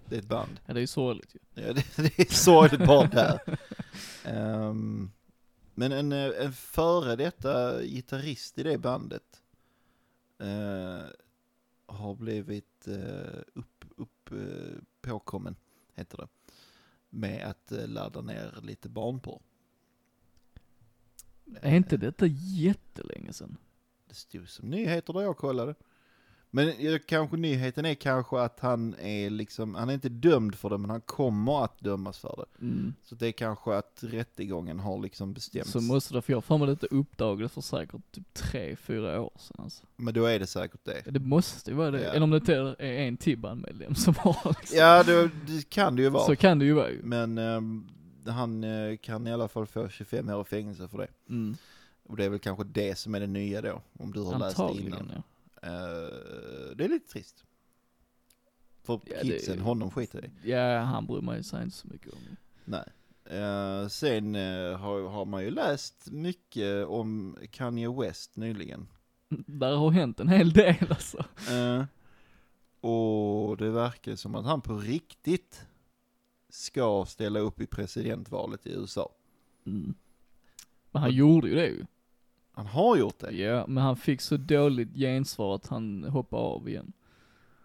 S1: Det är ett band.
S2: Ja det är ju sorgligt ju.
S1: Ja, det, det är sorgligt bara där. Ehm, men en, eh, en före detta gitarrist i det bandet eh, har blivit eh, upp, upp, eh, påkommen, heter det, med att eh, ladda ner lite barnporr.
S2: Är inte detta jättelänge
S1: Eh,
S2: sedan?
S1: Det stod som nyheter där jag kollade. Men jag, kanske nyheten är kanske att han är liksom, han är inte dömd för det men han kommer att dömas för det.
S2: Mm.
S1: Så det är kanske att rättegången har liksom bestämts.
S2: Så måste det, för jag har för mig detta uppdagades för säkert typ tre, fyra år sedan alltså.
S1: Men då är det säkert det.
S2: Det måste ju vara det.
S1: Ja.
S2: Eller om det inte är en Tibban-medlem som har liksom.
S1: Ja, det, det kan det ju vara.
S2: Så kan det ju vara ju.
S1: Men ehm, han eh, kan i alla fall få 25 år i fängelse för det.
S2: Mm.
S1: Och det är väl kanske det som är det nya då, om du har läst det innan.
S2: Antagligen ja.
S1: Eh, det är lite trist. För
S2: Ja, det
S1: kidsen,
S2: är-
S1: honom skiter i.
S2: Ja, han bryr mig sig inte så mycket om.
S1: Nej. Eh, sen eh, har, har man ju läst mycket om Kanye West nyligen.
S2: Där har hänt en hel del alltså.
S1: Eh, Och det verkar som att han på riktigt ska ställa upp i presidentvalet i USA.
S2: Mm. Men han gjorde ju det ju.
S1: Han har gjort det.
S2: Ja, men han fick så dåligt gensvar att han hoppade av igen.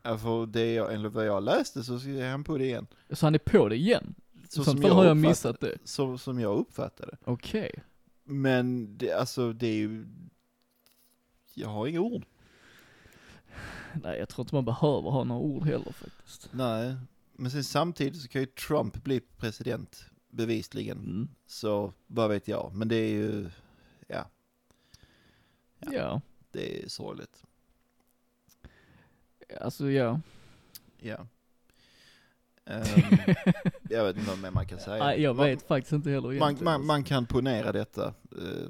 S1: Ja, För det jag, enligt vad jag läste så är han på det igen.
S2: Så han är på det igen?
S1: Så
S2: I så fall har jag
S1: uppfatt-
S2: missat det.
S1: Så, som jag uppfattade det.
S2: Okej.
S1: Men det, alltså det är ju... Jag har inga ord.
S2: Nej, jag tror inte man behöver ha några ord heller faktiskt.
S1: Nej. Men sen samtidigt så kan ju Trump bli president. Bevisligen.
S2: Mm.
S1: Så vad vet jag. Men det är ju... Ja,
S2: Ja.
S1: Ja. det är sorgligt.
S2: alltså
S1: Mm.
S2: ja.
S1: Ja. Ehm, jag vet inte vad mer man kan säga.
S2: Nej, jag
S1: man,
S2: vet faktiskt inte heller
S1: man,
S2: egentligen.
S1: man, man kan ponera detta. eh,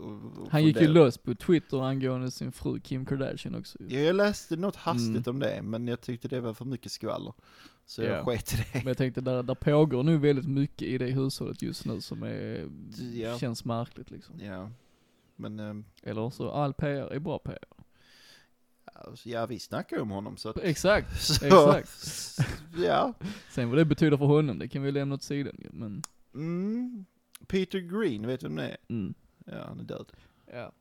S1: och- och
S2: Han gick ju
S1: fundera.
S2: lös på Twitter angående sin fru Kim Kardashian också ju.
S1: Ja, jag läste något hastigt om det, men jag tyckte det var för mycket skvaller. Så jag
S2: Mm. Ja.
S1: sket i det.
S2: Men jag tänkte, där, där pågår nu väldigt mycket i det hushållet just nu som är,
S1: Ja.
S2: känns märkligt liksom.
S1: Ja. Men, ehm,
S2: Eller så, all PR är bra PR.
S1: alltså, ja vi snackar ju om honom så att...
S2: Exakt.
S1: Så,
S2: exakt.
S1: Ja.
S2: Sen vad det betyder för honom, det kan vi lämna åt sidan ju, men,
S1: Mm. Peter Green, vet du vem det är?
S2: mm.
S1: Ja, han är död.
S2: ja.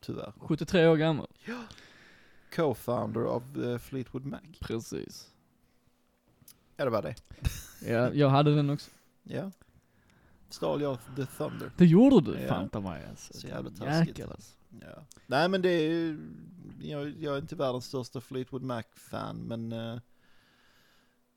S1: Tyvärr.
S2: 73 år gammal.
S1: Co-founder av eh, Fleetwood Mac.
S2: Precis.
S1: Ja, det var det.
S2: Ja, jag hade den också.
S1: Ja. Stal jag The Thunder.
S2: Det gjorde du,
S1: Ja.
S2: fan ta mig alltså.
S1: Så jävla
S2: Jäklar,
S1: taskigt.
S2: alltså.
S1: Ja. Nej men det är ju, jag, jag är inte världens största Fleetwood Mac-fan men eh,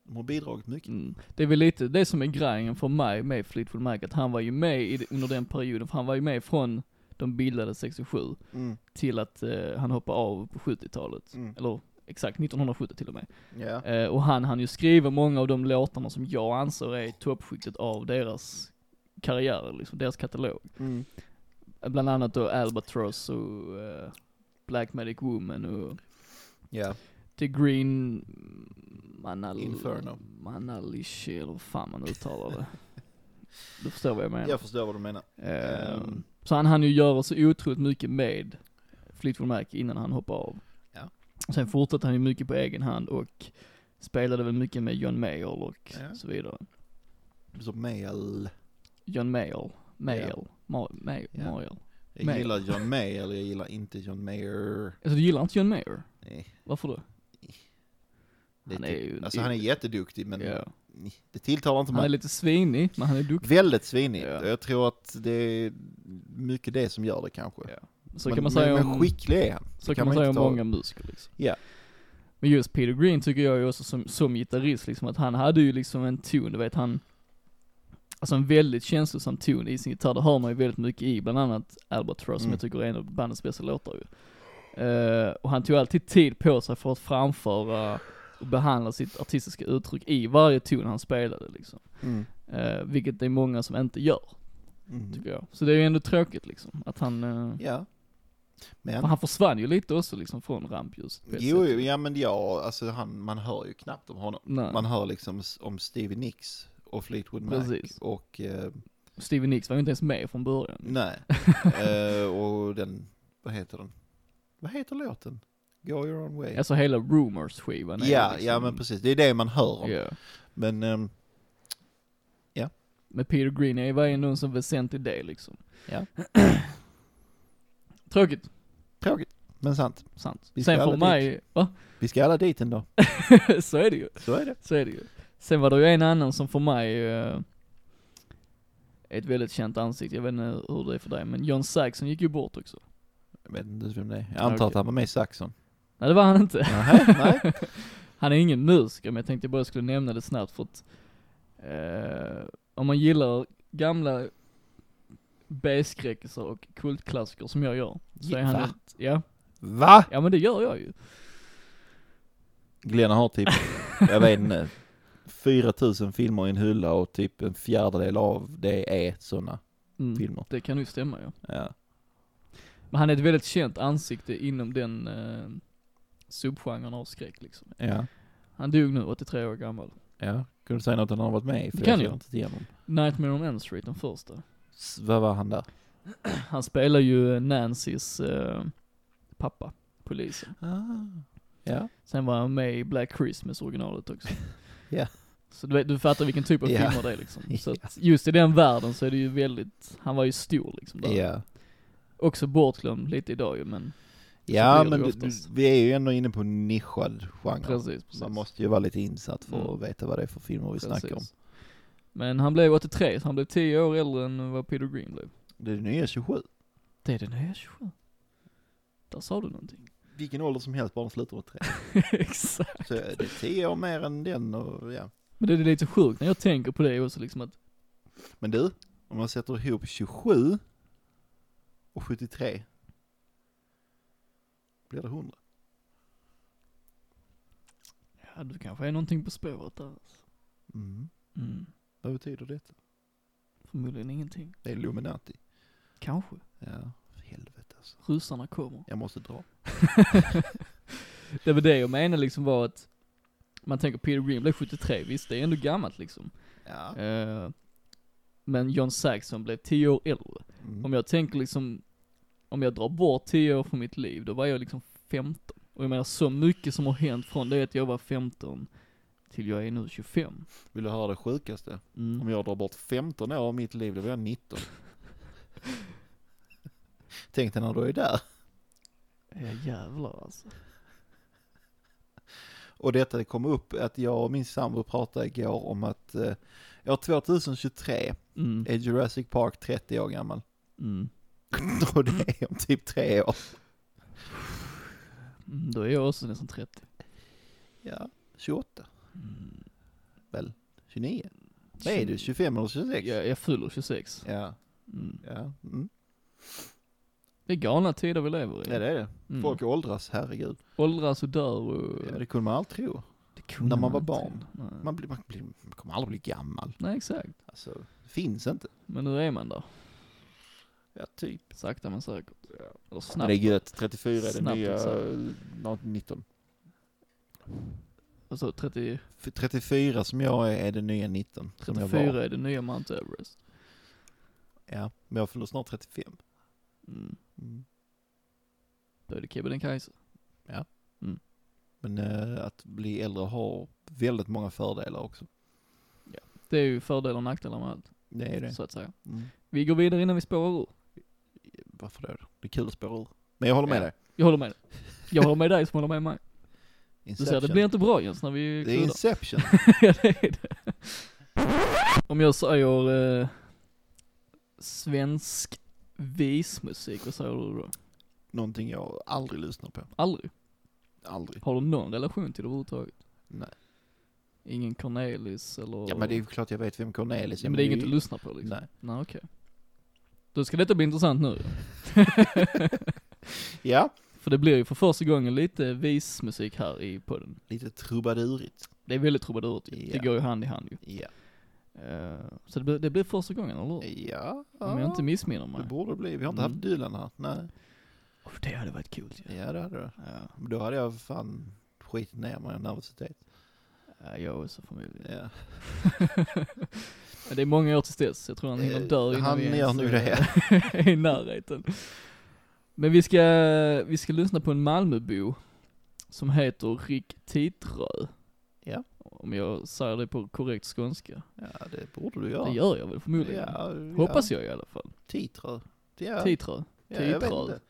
S1: de har bidragit mycket.
S2: Mm. Det är väl lite det som är grejen för mig med Fleetwood Mac, att han var ju med i, det- under den perioden, för han var ju med från de bildade 67
S1: Mm.
S2: till att eh, han hoppade av på 70-talet.
S1: Mm.
S2: Eller exakt, 1970 till och med.
S1: Ja.
S2: Eh, och han hann ju skriva många av de låtarna som jag anser är i toppskiktet av deras karriärer, liksom deras katalog.
S1: Mm.
S2: Eh, Bland annat då Albatross och eh, Black Magic Woman och
S1: Ja.
S2: The Green Manal...
S1: Inferno.
S2: Manalish, eller hur fan man uttalar det. du förstår vad jag menar.
S1: Jag förstår vad du menar.
S2: Ehm,
S1: ehm.
S2: så han hann ju göra så otroligt mycket med Fleetwood Mac innan han hoppade av.
S1: Ja.
S2: Sen fortsatte han ju mycket på egen hand och spelade väl mycket med John Mayer och
S1: Ja.
S2: så vidare.
S1: Som Mael.
S2: John Mayer, Mayer,
S1: Ja.
S2: Ma- Mayer,
S1: Ja.
S2: Mayer.
S1: Jag
S2: Mael.
S1: gillar John Mael, jag gillar inte John Mayer.
S2: Alltså du gillar inte John Mayer?
S1: Nej.
S2: Varför då?
S1: Det
S2: Han är
S1: till-
S2: ju-
S1: alltså han är jätteduktig men
S2: Ja.
S1: det tilltalar inte
S2: Han är
S1: mig.
S2: lite svinig, men han är duktig.
S1: Väldigt svinigt.
S2: Ja.
S1: och Jag tror att det är mycket det som gör det kanske.
S2: Ja. Så
S1: men,
S2: kan man säga
S1: men,
S2: om,
S1: men skicklig är han.
S2: så
S1: det
S2: kan
S1: kan
S2: man
S1: man
S2: säga om
S1: inte ta-
S2: många musiker liksom.
S1: Ja.
S2: Men just Peter Green tycker jag ju också som, som gitarrist liksom, att han hade ju liksom en ton, du vet han, alltså en väldigt känslosam ton i sin gitarr, det hör man ju väldigt mycket i, bland annat Albatross som
S1: Mm.
S2: jag tycker är en av bandets bästa låtar ju. Eh, och han tog alltid tid på sig för att framföra och behandla sitt artistiska uttryck i varje ton han spelade liksom.
S1: Mm.
S2: Eh, vilket det är många som inte gör,
S1: Mm.
S2: tycker jag. Så det är ju ändå tråkigt liksom, att han eh,
S1: Ja. Men
S2: För han försvann ju lite också liksom från rampljuset. på ett
S1: Jo,
S2: sätt.
S1: jo, ja men ja, alltså han, man hör ju knappt om honom.
S2: Nej.
S1: Man hör liksom s- om Stevie Nicks och Fleetwood Mac
S2: Precis. Mm.
S1: och, eh,
S2: Stevie Nicks var ju inte ens med från början.
S1: nej, eh, och den, vad heter den? Vad heter låten? Go your own way.
S2: Alltså hela Rumors-skivan är ju
S1: ja,
S2: liksom,
S1: ja men precis, det är det man hör om.
S2: ja.
S1: Men, ehm,
S2: Men Peter Green är- var ju ändå en sån väsentlig del liksom.
S1: Ja.
S2: Tråkigt,
S1: tråkigt, men sant.
S2: sant.
S1: Vi ska
S2: Sen för
S1: alla
S2: mig, va?
S1: Vi ska alla dit ändå,
S2: så är det ju.
S1: så är det.
S2: Så är det ju. Sen var det ju en annan som för mig eh, är ett väldigt känt ansikte, jag vet inte hur det är för dig, men John Saxon gick ju bort också.
S1: Jag vet inte vem det är. Jag antar att
S2: Okej.
S1: han var med i Saxon.
S2: Nej det var han inte.
S1: Nej, nej.
S2: Han är ingen musiker, men jag tänkte bara jag skulle nämna det snabbt för att eh, om man gillar gamla B-skräckisar och kultklassiker som jag gör, så är han
S1: Va?
S2: ett, ja,
S1: Va?
S2: ja men det gör jag ju.
S1: Glenn har typ, jag vet inte, 4000 filmer i en hylla och typ en fjärdedel av det är sådana
S2: Mm,
S1: filmer.
S2: det kan ju stämma ja.
S1: Ja.
S2: Men han är ett väldigt känt ansikte inom den eh, subgenren av skräck liksom.
S1: Ja.
S2: Han dog nu, 83 år gammal.
S1: ja. Kan du säga något om han har varit med i? För
S2: Det kan
S1: känner
S2: jag.
S1: Inte till honom.
S2: Nightmare on Elm Street, den första.
S1: S- vad var han där?
S2: Han spelar ju Nancys eh, pappa, polisen.
S1: Ah. Ja.
S2: Sen var han med i Black Christmas originalet också.
S1: Ja.
S2: Så du, vet, du fattar vilken typ av
S1: Ja.
S2: filmer det är liksom. Så att just i den världen så är det ju väldigt, han var ju stor liksom där.
S1: Ja,
S2: Också bortglömd lite idag ju men
S1: ja
S2: blir det
S1: men du,
S2: oftast.
S1: du- vi är ju ändå inne på en nischad genre.
S2: precis, precis.
S1: Man måste ju vara lite insatt för
S2: Mm.
S1: att veta vad det är för filmer vi snackar om.
S2: Men han blev 83, så han blev 10 år äldre än vad Peter Green blev.
S1: Det är nya 27.
S2: Det är den nya 27. Där sa du någonting.
S1: Vilken ålder som helst, bara de slutar med tre.
S2: Exakt.
S1: Så det är tio år mer än den och ja.
S2: Men det är lite sjukt när jag tänker på det också liksom att,
S1: Men du, om man sätter ihop 27 och 73 blir det 100.
S2: ja du kanske är någonting på spåret där.
S1: Mm.
S2: Mm.
S1: Vad betyder detta?
S2: Förmodligen ingenting.
S1: Det är Illuminati.
S2: Kanske.
S1: Ja, för helvete alltså.
S2: Ryssarna kommer.
S1: Jag måste dra.
S2: det var det jag menade liksom var att man tänker Peter Green blev 73, visst det är ändå gammalt liksom.
S1: Ja.
S2: Eh, men John Saxon blev 10 år äldre. Om
S1: Mm.
S2: jag tänker liksom, om jag drar bort 10 år från mitt liv, då var jag liksom 15. Och jag menar så mycket som har hänt från det att jag var 15 till jag är nu 25.
S1: Vill du höra det sjukaste? Om
S2: Mm.
S1: jag drar bort 15 år av mitt liv, då blir jag 19. Tänk dig när du är där.
S2: Ja jävlar alltså.
S1: Och detta kom upp att jag och min sambo pratade igår om att eh, år 2023
S2: Mm.
S1: är Jurassic Park 30 år gammal.
S2: Mm.
S1: Och det är om typ tre år.
S2: Mm, Då är jag också nästan 30.
S1: Ja, 28,
S2: Mm.
S1: väl? 29? Vad är du, 25 eller 26?
S2: Jag, jag fyller 26.
S1: Ja,
S2: Mm.
S1: ja. Mm.
S2: Det är galna tider vi lever i.
S1: ja det är det.
S2: Mm.
S1: Folk åldras, herregud.
S2: åldras och dör och...
S1: Ja, det kunde man aldrig tro.
S2: det kunde
S1: när man var
S2: inte.
S1: barn.
S2: Nej.
S1: Man, blir, man, blir, man kommer aldrig bli gammal.
S2: Nej, exakt.
S1: Alltså, det finns inte.
S2: Men nu är man där.
S1: Ja, typ.
S2: Sakta men säkert. Eller
S1: Men
S2: snabbt.
S1: det är gött, 34 är det
S2: Snabbt
S1: nya,
S2: också.
S1: nå- 19.
S2: Alltså 30,
S1: F- 34 som jag är, är det nya 19. Som jag var.
S2: 34 är det nya Mount Everest.
S1: Ja, men jag fyller snart 35.
S2: Mm.
S1: Mm.
S2: Då är det Kebnekaise.
S1: Men eh, att bli äldre har väldigt många fördelar också.
S2: Det är ju fördelar och nackdelar med allt,
S1: Det är det.
S2: så att säga.
S1: Mm.
S2: Vi går vidare innan vi spårar ur.
S1: Varför då? Det är kul att spåra ur. Men jag håller med
S2: Ja.
S1: dig.
S2: Jag håller med dig. Jag håller med dig som håller med mig. Du ser,
S1: Inception.
S2: det blir inte bra Jens när vi
S1: det är
S2: kludar.
S1: Inception.
S2: Ja, det är det. Om jag säger eh, svensk vismusik, vad säger du då?
S1: Någonting jag aldrig lyssnar på.
S2: Aldrig.
S1: Aldrig.
S2: Har du någon relation till det överhuvudtaget?
S1: Nej.
S2: Ingen Cornelis eller?
S1: Ja men det är ju klart jag vet vem Cornelis är.
S2: Ja, men det är inget
S1: ju-
S2: du lyssnar på liksom?
S1: Nej.
S2: Nej okej. Då ska detta bli intressant nu
S1: Ja,
S2: För det blir ju för första gången lite vismusik här i podden.
S1: lite trubadurigt.
S2: Det är väldigt trubadurt ju.
S1: Ja.
S2: Det går ju hand i hand ju.
S1: Ja.
S2: Eh, så det blir, det blir första gången, eller hur?
S1: Ja.
S2: Om jag inte missminner
S1: Det
S2: mig.
S1: borde det bli. Vi har inte
S2: Mm.
S1: haft Dylan här. Nej.
S2: Oh, det hade varit kul ju.
S1: Ja det hade du.
S2: Ja.
S1: Men Då hade jag fan skitit ner mig i nervositet.
S2: Ja, jag också förmodligen.
S1: Ja.
S2: Men det är många år tills dess. Jag tror han hinner
S1: Eh,
S2: dö innan
S1: han
S2: vi
S1: gör
S2: ens eh,
S1: nu det.
S2: är i närheten. Men vi ska, vi ska lyssna på en Malmöbo som heter Rick Titrö.
S1: Ja.
S2: Om jag säger det på korrekt skånska.
S1: ja, det borde du göra.
S2: Det gör jag väl förmodligen.
S1: Ja,
S2: Hoppas jag i alla fall.
S1: jag. Titrö. Ja,
S2: Titrö.
S1: ja, jag vet
S2: Titrö.
S1: inte.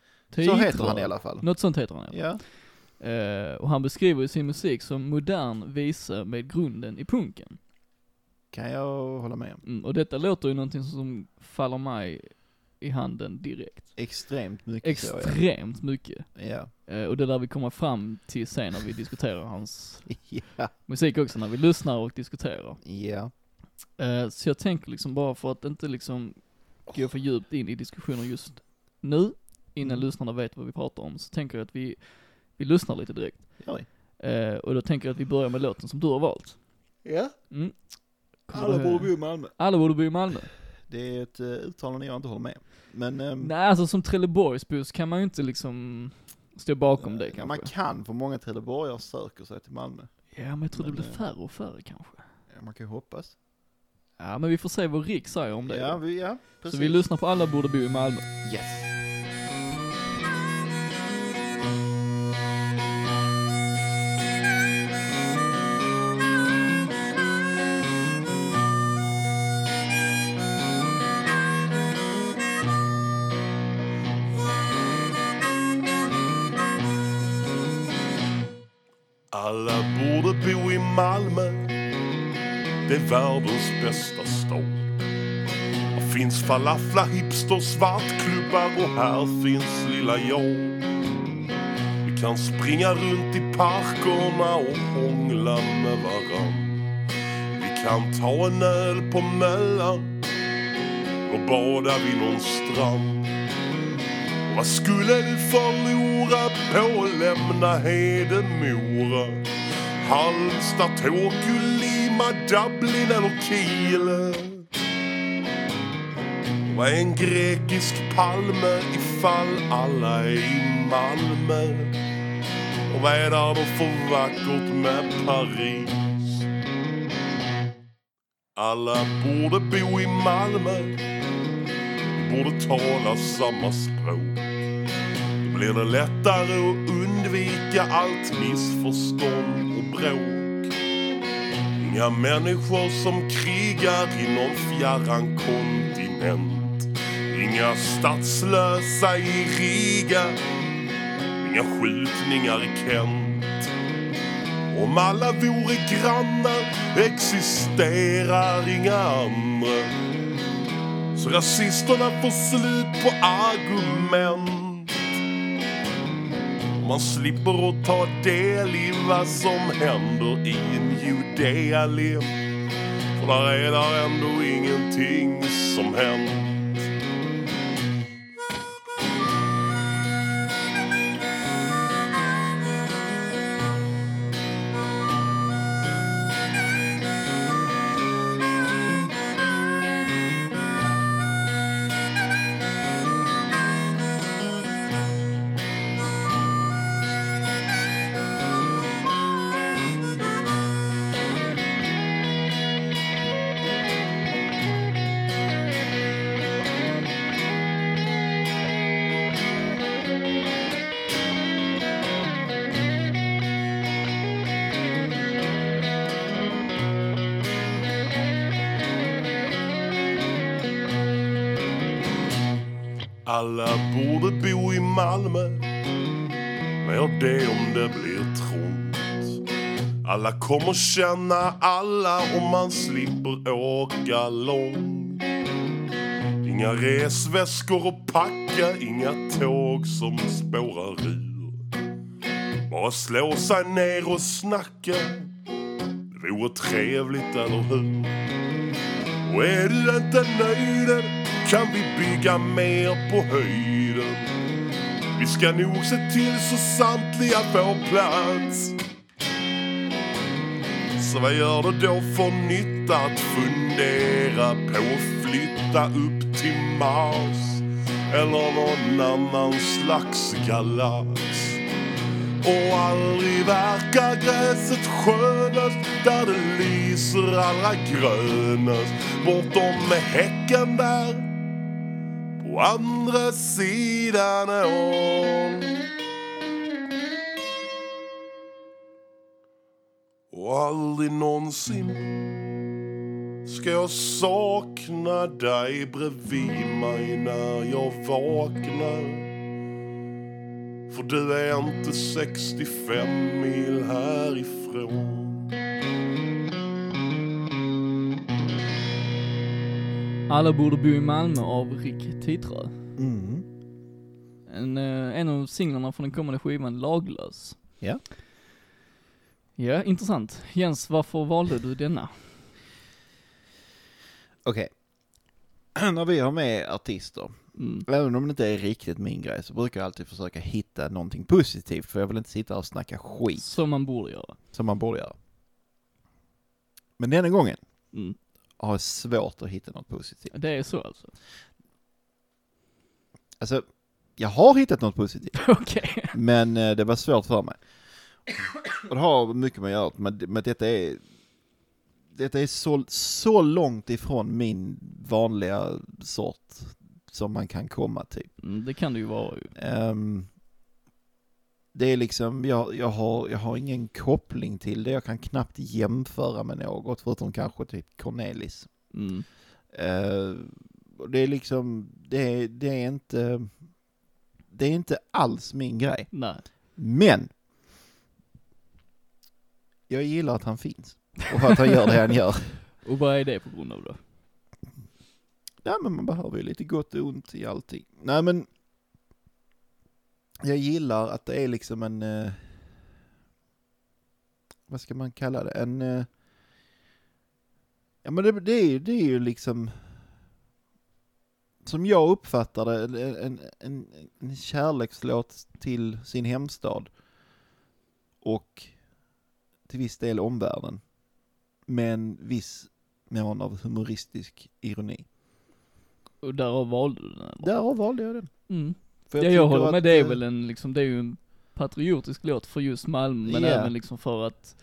S1: Så heter han i alla fall.
S2: Något sånt heter han ja.
S1: Ja.
S2: Eh, och han beskriver ju sin musik som modern visa med grunden i punken.
S1: Kan jag hålla med om.
S2: Mm, och detta låter ju någonting som faller mig i handen direkt.
S1: Extremt mycket så ja.
S2: Extremt mycket.
S1: Ja.
S2: Eh, och det där vi kommer fram till sen när vi diskuterar hans
S1: Ja.
S2: musik också, när vi lyssnar och diskuterar.
S1: Ja.
S2: Eh, så jag tänker liksom bara för att inte liksom gå för djupt in i diskussioner just nu, innan
S1: Mm.
S2: lyssnarna vet vad vi pratar om, så tänker jag att vi, vi lyssnar lite direkt.
S1: Gör vi.
S2: Eh, och då tänker jag att vi börjar med låten som du har valt.
S1: Ja.
S2: Mm. Kommer
S1: Alla
S2: du ihåg-
S1: borde bo i Malmö.
S2: Alla borde bo i Malmö.
S1: Det är ett eh, uttalande jag inte håller med om. Men... ehm,
S2: Nej, alltså som Trelleborgsbuss kan man ju inte liksom stå bakom det
S1: eh,
S2: kanske.
S1: Man kan, för många trelleborgare söker sig till Malmö.
S2: Ja, men jag tror det
S1: Men,
S2: blir
S1: eh,
S2: färre och färre kanske.
S1: Ja, Man kan ju hoppas.
S2: Ja, men vi får se vad Rick säger om det.
S1: Ja, vi, ja precis.
S2: Så vi lyssnar på Alla borde bo i Malmö.
S1: Yes.
S3: Alla borde bo i Malmö Det är världens bästa stad Här finns falafla, hipster, svartklubbar och här finns lilla jag Vi kan springa runt i parkerna och hångla med varann Vi kan ta en öl på Möllan och bada vid någon strand vad skulle du förlora på att lämna Hedemora? Halmstad, Tokyo, Lima, Dublin eller Kiel? Vad är en grekisk palme ifall alla är i Malmö? Och vad är det då för vackert med Paris? Alla borde bo i Malmö borde tala samma språk. Då blir det lättare att undvika allt missförstånd och bråk. Inga människor som krigar i någon fjärran kontinent. Inga statslösa i Riga. Inga skjutningar i Kent. Om alla vore grannar existerar inga andra. Så rasisterna får slut på argument Man slipper att ta del i vad som händer i New Delhi För där är där ändå ingenting som händer Alla borde bo i Malmö Men gör det om det blir trångt Alla kommer känna alla om man slipper åka långt Inga resväskor att packa, inga tåg som spårar ur Bara slå sig ner och snacka Det vore trevligt, eller hur? Och är du inte nöjd kan vi bygga mer på höjden. Vi ska nog se till så samtliga får plats. Så vad gör det då för nytta att fundera på att flytta upp till Mars? Eller någon annan slags galax? Och aldrig verkar gräset skönast där det lyser allra grönast bortom häcken där på andra sidan ån. Och aldrig någonsin ska jag sakna dig bredvid mig när jag vaknar. För du är inte 65 mil härifrån.
S2: Alla borde bo i Malmö av Rick Titrö.
S1: Mm.
S2: En, eh, en av singlarna från den kommande skivan Laglös.
S1: Ja.
S2: Ja, intressant. Jens, varför valde du denna?
S1: Okej. När vi har med artister,
S2: Mm.
S1: även om det inte är riktigt min grej, så brukar jag alltid försöka hitta någonting positivt, för jag vill inte sitta och snacka skit,
S2: Som man borde göra.
S1: som man borde göra. Men denna gången
S2: Mm.
S1: har jag svårt att hitta något positivt.
S2: Det är så alltså?
S1: Alltså, jag har hittat något positivt,
S2: Okej.
S1: men eh, det var svårt för mig. Och det har mycket med att göra, men, men detta är... Detta är så, så långt ifrån min vanliga sort som man kan komma till.
S2: Mm, det kan det ju vara ju.
S1: Ehm, det är liksom, jag, jag, har, jag har ingen koppling till det, jag kan knappt jämföra med något förutom kanske typ Cornelis.
S2: Mm.
S1: Ehm, och det är liksom, det är, det är inte, det är inte alls min grej.
S2: Nej.
S1: Men! jag gillar att han finns. Och att han gör det han gör.
S2: Och vad är det på grund av då?
S1: Nej men man behöver ju lite gott och ont i allting. Nej men, jag gillar att det är liksom en, eh, vad ska man kalla det, en, eh, ja men det, det, är, ju- det är ju liksom, som jag uppfattar det, en, en, en, en kärlekslåt till sin hemstad och till viss del omvärlden. Med en viss mån av humoristisk ironi.
S2: Och därav valde du den här låten.
S1: Därav valde jag den.
S2: Mm.
S1: För
S2: Ja, jag
S1: tycker
S2: håller
S1: att,
S2: med, det är
S1: eh,
S2: väl en, liksom, det är ju en patriotisk låt för just Malmö, men
S1: Ja.
S2: även liksom för att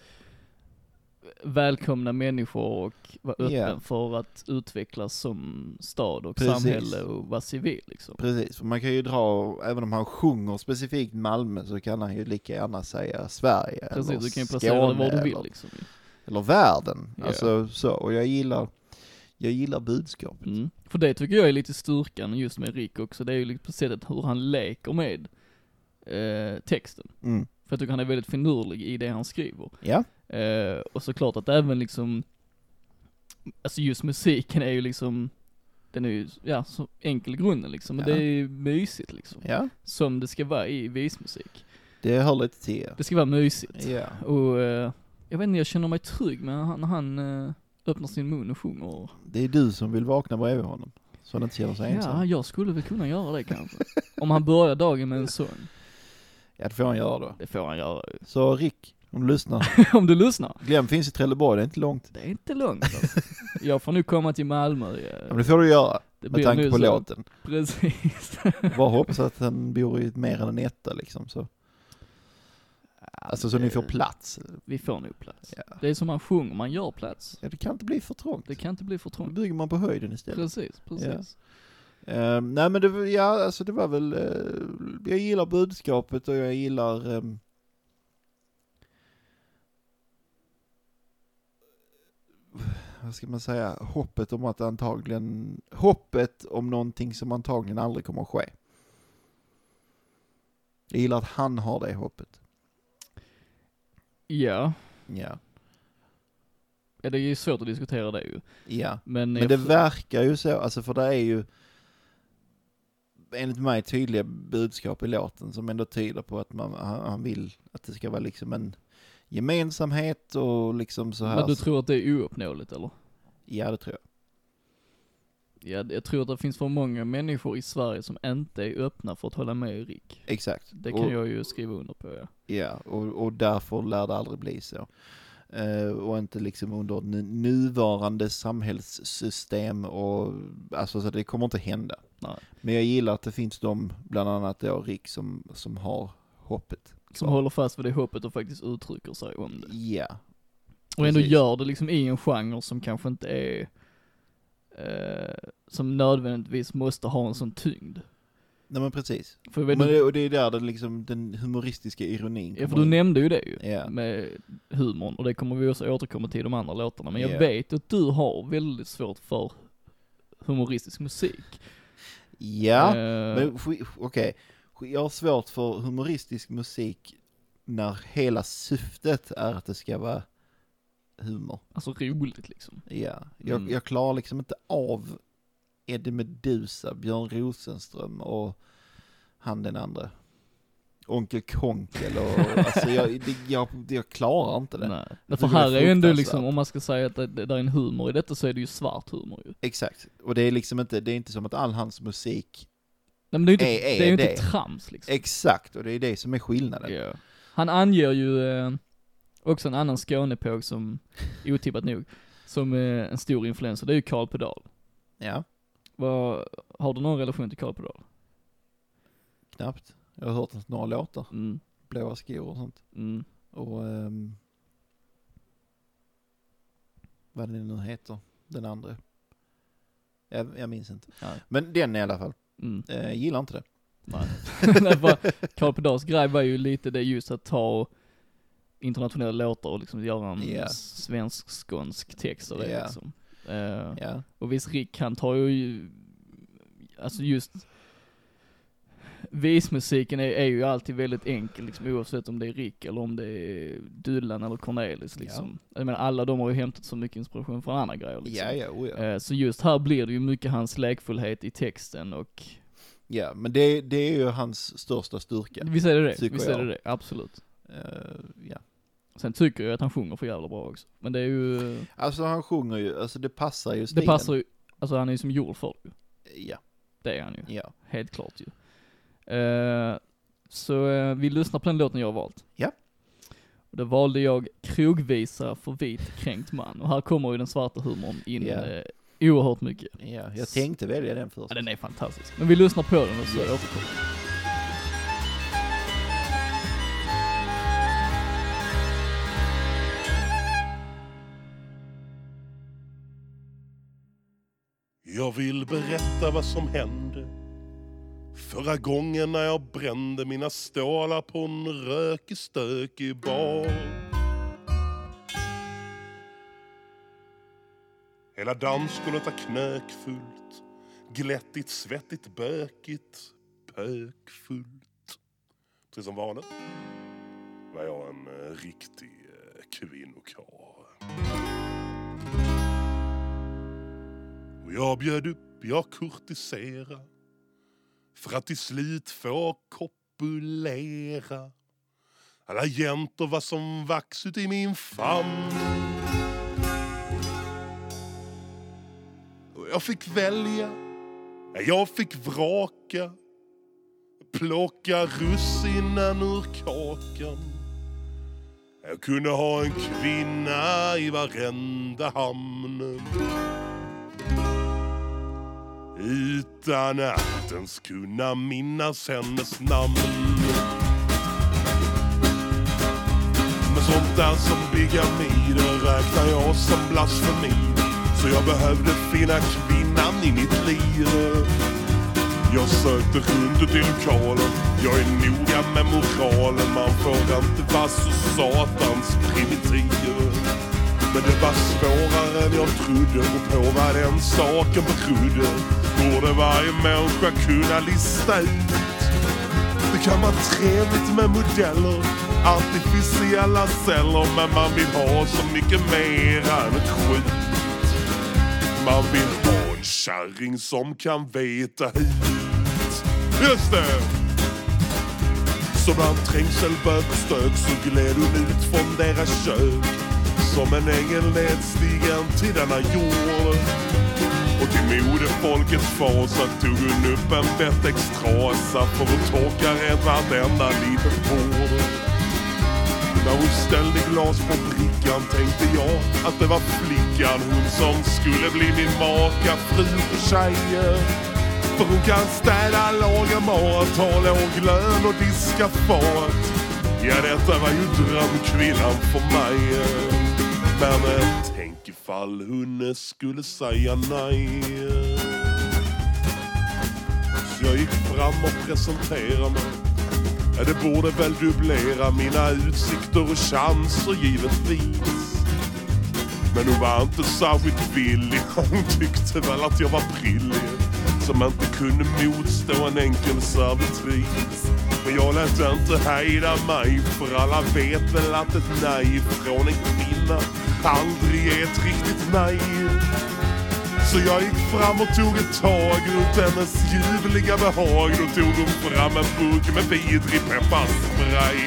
S2: välkomna människor och vara öppen
S1: Ja.
S2: för att utvecklas som stad och
S1: Precis.
S2: samhälle och vara civil liksom.
S1: Precis, för man kan ju dra, även om han sjunger specifikt Malmö så kan han ju lika gärna säga Sverige eller
S2: Precis, du kan ju placera
S1: Skåne
S2: det var du vill
S1: eller,
S2: liksom.
S1: eller världen.
S2: Ja.
S1: Alltså så, och jag gillar, jag gillar budskapet.
S2: Mm. För det tycker jag är lite styrkan just med Rick också, det är ju lite på sättet hur han leker med eh, texten.
S1: Mm.
S2: För jag tycker han är väldigt finurlig i det han skriver.
S1: Ja,
S2: Eh, och såklart att även liksom, alltså just musiken är ju liksom, den är ju, ja, så enkel i grunden liksom. Men
S1: Ja.
S2: det är ju mysigt liksom.
S1: ja,
S2: Som det ska vara i vismusik.
S1: det hör lite till er.
S2: Det ska vara mysigt.
S1: Ja,
S2: Och eh, jag vet inte, jag känner mig trygg med han, när han eh, öppnar sin mun och sjunger.
S1: det är du som vill vakna bredvid honom. Så han inte känner sig
S2: Ja,
S1: ensam.
S2: jag skulle väl kunna göra det kanske. Om han börjar dagen med en sång.
S1: Ja, det får han göra då.
S2: Det får han göra
S1: Så Rick, om du lyssnar.
S2: Om du lyssnar.
S1: Glenn finns i Trelleborg, det är inte långt.
S2: Det är inte långt alltså. Jag får nu komma till Malmö. eh,
S1: Ja, men det får du göra,
S2: Det
S1: med
S2: blir
S1: tanke
S2: nu
S1: på
S2: så-
S1: låten.
S2: Precis.
S1: Bara hoppas att han bor i mer än en etta liksom. Så. Alltså så ni får plats.
S2: Vi får nog plats.
S1: Ja.
S2: Det är som man sjunger, man gör plats.
S1: Ja, det kan inte bli för trångt.
S2: Det kan inte bli för
S1: Då
S2: trångt.
S1: bygger man på höjden istället.
S2: Precis, precis.
S1: Ehm, nej men det, var- ja, alltså det var väl, eh, jag gillar budskapet och jag gillar ehm, vad ska man säga, hoppet om att antagligen, hoppet om någonting som antagligen aldrig kommer att ske. Jag gillar att han har det hoppet.
S2: Ja.
S1: Ja.
S2: ja, det är ju svårt att diskutera det ju.
S1: Ja.
S2: Men,
S1: Men det verkar ju så, alltså för det är ju enligt mig tydliga budskap i låten som ändå tyder på att man, han, han vill att det ska vara liksom en gemensamhet och liksom så här.
S2: men du tror att det är ouppnåeligt eller?
S1: Ja, det tror jag.
S2: Ja, jag tror att det finns för många människor i Sverige som inte är öppna för att hålla med Rick.
S1: Exakt.
S2: Det kan
S1: och,
S2: jag ju skriva under på ja.
S1: Ja, och, och därför lär det aldrig bli så. Eh, och inte liksom under nu- nuvarande samhällssystem och alltså så det kommer inte hända.
S2: Nej.
S1: Men jag gillar att det finns de, bland annat då Rick, som, som har hoppet.
S2: Som
S1: kvar.
S2: håller fast vid det hoppet och faktiskt uttrycker sig om det.
S1: Ja,
S2: Och ändå
S1: Precis.
S2: gör det liksom i en genre som kanske inte är, eh, som nödvändigtvis måste ha en sån tyngd.
S1: nej men precis.
S2: För jag vet
S1: Men
S2: inte-
S1: det, och det är där den, liksom, den humoristiska ironin
S2: Ja,
S1: kommer
S2: för du Mm.
S1: in.
S2: nämnde ju det ju.
S1: Ja.
S2: Med humorn, och det kommer vi också återkomma till i de andra låtarna. Men jag
S1: Ja.
S2: vet att du har väldigt svårt för humoristisk musik.
S1: Ja,
S2: Eh,
S1: men sk- okej. Jag har svårt för humoristisk musik när hela syftet är att det ska vara humor.
S2: Alltså roligt liksom.
S1: Ja, jag,
S2: Mm.
S1: jag klarar liksom inte av Eddie Meduza, Björn Rosenström och han den andra. Onkel Konkel och alltså jag, det, jag, jag klarar inte det.
S2: Nej.
S1: Jag
S2: För
S1: tycker det
S2: här
S1: är
S2: är ju ändå
S1: fruktansvärt.
S2: liksom, om man ska säga att det, det, där är en humor i detta så är det ju svart humor ju.
S1: Exakt, och det är liksom inte, det är inte som att all hans musik
S2: Nej men det är ju inte,
S1: Är- är
S2: det är ju
S1: det?
S2: inte trams liksom.
S1: Exakt, och det är det som är skillnaden.
S2: Ja. Han anger ju eh, också en annan Skånepåg som, otippat nog, som eh, en stor influencer, det är ju Karl Pedal.
S1: Ja,
S2: Vad, har du någon relation till Karl Pedal?
S1: knappt. Jag har hört några låtar,
S2: Mm.
S1: Blåa skor och sånt.
S2: Mm.
S1: Och ehm, vad det nu heter, den andra. Jag, jag minns inte.
S2: Nej.
S1: Men den i alla fall,
S2: Mm.
S1: eh, gillar inte det.
S2: Nej. Nej, för Carl Pedals grej var ju lite det just att ta internationella låtar och liksom göra en
S1: Ja.
S2: svensk-skånsk text av det
S1: Ja.
S2: liksom. Eh,
S1: Ja,
S2: Och visst Rick han tar ju, alltså just vismusiken är, är ju alltid väldigt enkel liksom, oavsett om det är Rick eller om det är Dylan eller Cornelis liksom. Jag menar alla de har ju hämtat så mycket inspiration från andra grejer liksom.
S1: Ja, ja, oh, ja.
S2: Eh, Så just här blir det ju mycket hans lekfullhet i texten och,
S1: ja, men det, det är ju hans största styrka.
S2: visst är det det?
S1: Tycker
S2: Visst är det
S1: jag.
S2: det? Absolut.
S1: Eh, ja.
S2: Sen tycker jag att han sjunger för jävla bra också. Men det är ju,
S1: Alltså han sjunger ju, alltså det passar ju
S2: det
S1: stilen.
S2: passar ju, alltså han är ju som gjord för det ju.
S1: Ja,
S2: Det är han ju.
S1: ja.
S2: Helt klart ju. Eh, så eh, vi lyssnar på den låten jag har valt.
S1: Ja.
S2: Och då valde jag Krogvisa för vit kränkt man. Och här kommer ju den svarta humorn in
S1: Ja.
S2: eh, oerhört mycket.
S1: ja. Jag tänkte välja den först.
S2: Ja, den är fantastisk. Men vi lyssnar på den och så
S1: Yes.
S2: återkommer vi.
S3: Jag vill berätta vad som hände Förra gången när jag brände mina stålar på en rökig stökig bar Hela dansgolvet är knökfullt Glättigt, svettigt, bökigt, pökfullt Precis som vanligt var jag en eh, riktig eh, kvinnokarl Och jag bjöd upp, jag kurtisera För att till slut få kopulera Alla jäntor var som vax ut i min famn Och jag fick välja, ja, jag fick vraka Plocka russinen ur kakan Jag kunde ha en kvinna i varenda hamn utan att ens kunna minnas hennes namn. Men sånt där som bigami, det räknar jag som blasfemi. Så jag behövde finna kvinnan i mitt liv. Jag sökte runt ut i lokalen, jag är noga med moralen. Man får inte vara så satans primitiv. Men det var svårare än jag trodde och på vad den saken betrodde borde varje människa kunna lista ut. Det kan vara trevligt med modeller, artificiella celler men man vill ha så mycket mer än ett skit. Man vill ha en kärring som kan veta hit. Just det! Så bland trängsel, bök och stök så gled hon ut från deras kök Som en ängel led stigen till denna jord Och till modefolkets fasa tog hon upp en bettextrasa för att torka rent vartenda litet bord När hon ställde glas på brickan tänkte jag att det var flickan hon som skulle bli min maka, fru och tjej för hon kan städa, laga mat, ha låg lön och diska fat. Ja, detta var ju drömkvinnan för mig. Men eh, tänk ifall hon skulle säga nej. Så jag gick fram och presenterade mig. Ja, det borde väl dubblera mina utsikter och chanser givetvis. Men hon var inte särskilt villig. Hon tyckte väl att jag var prillig. Som inte kunde motstå en enkel servitris. Men jag lät inte hejda mig. För alla vet väl att ett nej från en kvinna aldrig är ett riktigt nej. Så jag gick fram och tog ett tag runt hennes ljuvliga behag. Då tog hon fram en burk med vidrig pepparspray.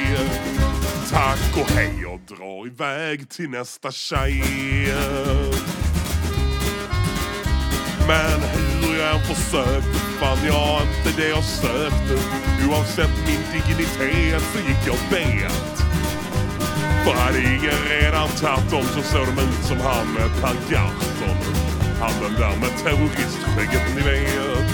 S3: Tack och hej, jag drar iväg till nästa tjej. Men hur jag än försökte fann jag inte det jag sökte. Oavsett min dignitet så gick jag bet. För hade ingen redan tagit dem så såg de ut som han med Per Gahrton. Han den där med terroristskägget ni vet.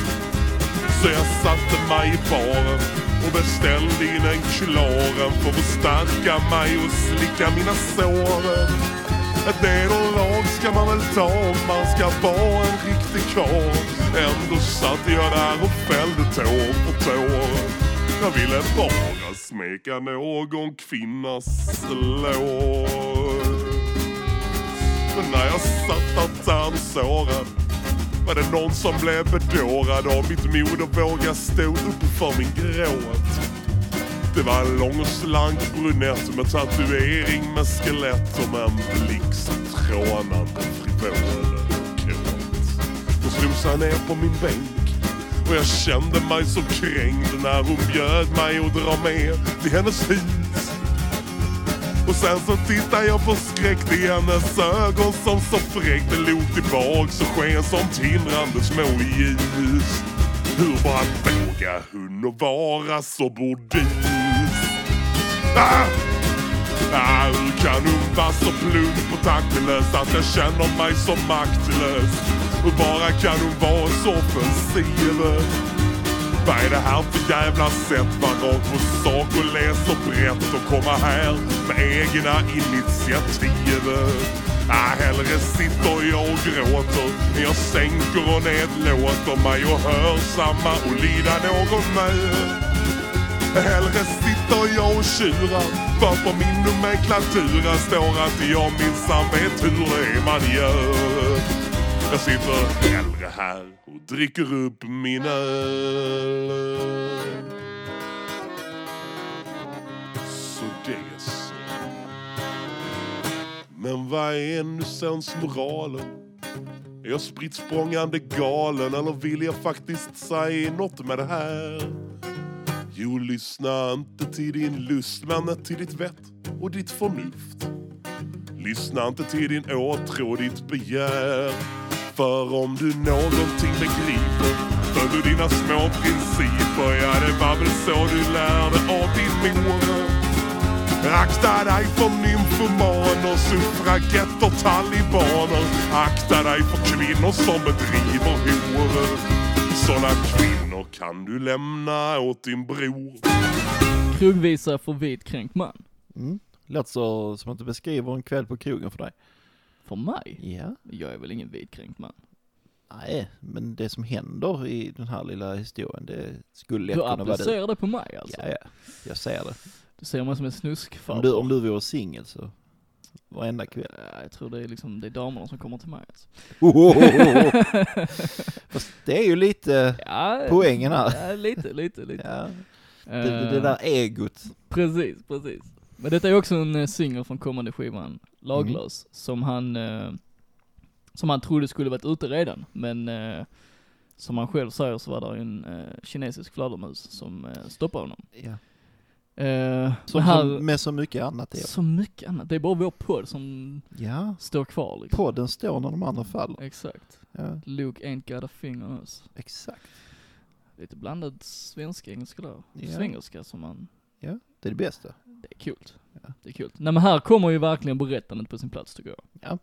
S3: Så jag satte mig i baren och beställde in en klaren för att stärka mig och slicka mina sår. Ett nederlag ska man väl ta om man ska vara en riktig karl. Ändå satt jag där och fällde tår på tår. Jag ville bara smeka någon kvinnas lår. Men när jag satt där tan sårad Var det någon som blev bedårad av mitt mod och våga stå upp för min gråt? Det var en lång och slank brunett med tatuering med skelett och med en blick som trånande frivol och kåt. Hon slog sig ner på min bänk och jag kände mig så kränkt när hon bjöd mig att dra med till hennes hus. Och sen så tittar jag förskräckt i hennes ögon som så fräckt log tillbaks och sken som tindrande små ljus. Hur bara vågar hon att vara så burdus? Ah! Ah, hur kan hon vara så plump och taktlös att jag känner mig så maktlös? Hur bara kan hon vara så offensiv? Vad är det här för jävla sätt? Var rakt på sak och läser brett och komma här med egna initiativ. Ah, hellre sitter jag och gråter än jag sänker och nedlåter mig och hörsamma och lida någon med. Hellre sitter jag och tjurar för på min nomenklatura står att jag minsann vet hur det är man gör. Jag sitter hellre här och dricker upp min öl. Så det så. Men vad är nu sensmoralen? Är jag spritt språngande galen eller vill jag faktiskt säga något med det här? Jo, lyssna inte till din lust, men till ditt vett och ditt förnuft. Lyssna inte till din åtrå och ditt begär. För om du någonting begriper, följ du dina små principer. Ja, det var väl så du lärde av din mor. Akta dig för nymfomaner, suffragetter, talibaner. Akta dig för kvinnor som bedriver horor. Såna kvinnor kan du lämna åt din bror.
S2: Krogvisa för vitkränkt man.
S1: Låter så, som att du beskriver en kväll på krogen för dig.
S2: För mig?
S1: Ja.
S2: Jag är väl ingen vitkränkt man.
S1: Nej, eh, men det som händer i den här lilla historien, det skulle lätt
S2: Du
S1: kunna vara du.
S2: applicerar det på mig alltså?
S1: Ja, ja. Jag ser det.
S2: Du ser mig som
S1: Om
S2: en snuskfarbror.
S1: du, om du vore singel så, varenda kväll.
S2: Ja, Jag tror det är liksom, det är damerna som kommer till mig alltså.
S1: Fast det är ju lite
S2: Ja,
S1: poängen här.
S2: Ja, lite, lite, lite.
S1: Ja. Det, det, det
S2: Eh,
S1: där egot.
S2: Precis, precis. Men detta är också en eh, singel från kommande skivan, Laglös,
S1: Mm.
S2: som han, eh, som han trodde skulle varit ute redan, men eh, som han själv säger så var det en eh, kinesisk fladdermus som eh, stoppade honom.
S1: Ja.
S2: Eh,
S1: Som,
S2: men här,
S1: som, med så mycket annat i.
S2: så mycket annat, det är bara vår podd som
S1: Ja.
S2: står kvar liksom.
S1: Podden står när de andra faller.
S2: Exakt.
S1: Ja,
S2: Luke ain't got a finger on us.
S1: exakt.
S2: Lite blandad svenska-engelska där.
S1: Ja.
S2: Svengelska som man
S1: Det är det bästa.
S2: Det är kul.
S1: Ja.
S2: Det är kul. Nej men här kommer ju verkligen berättandet på sin plats tycker jag.
S1: Ja.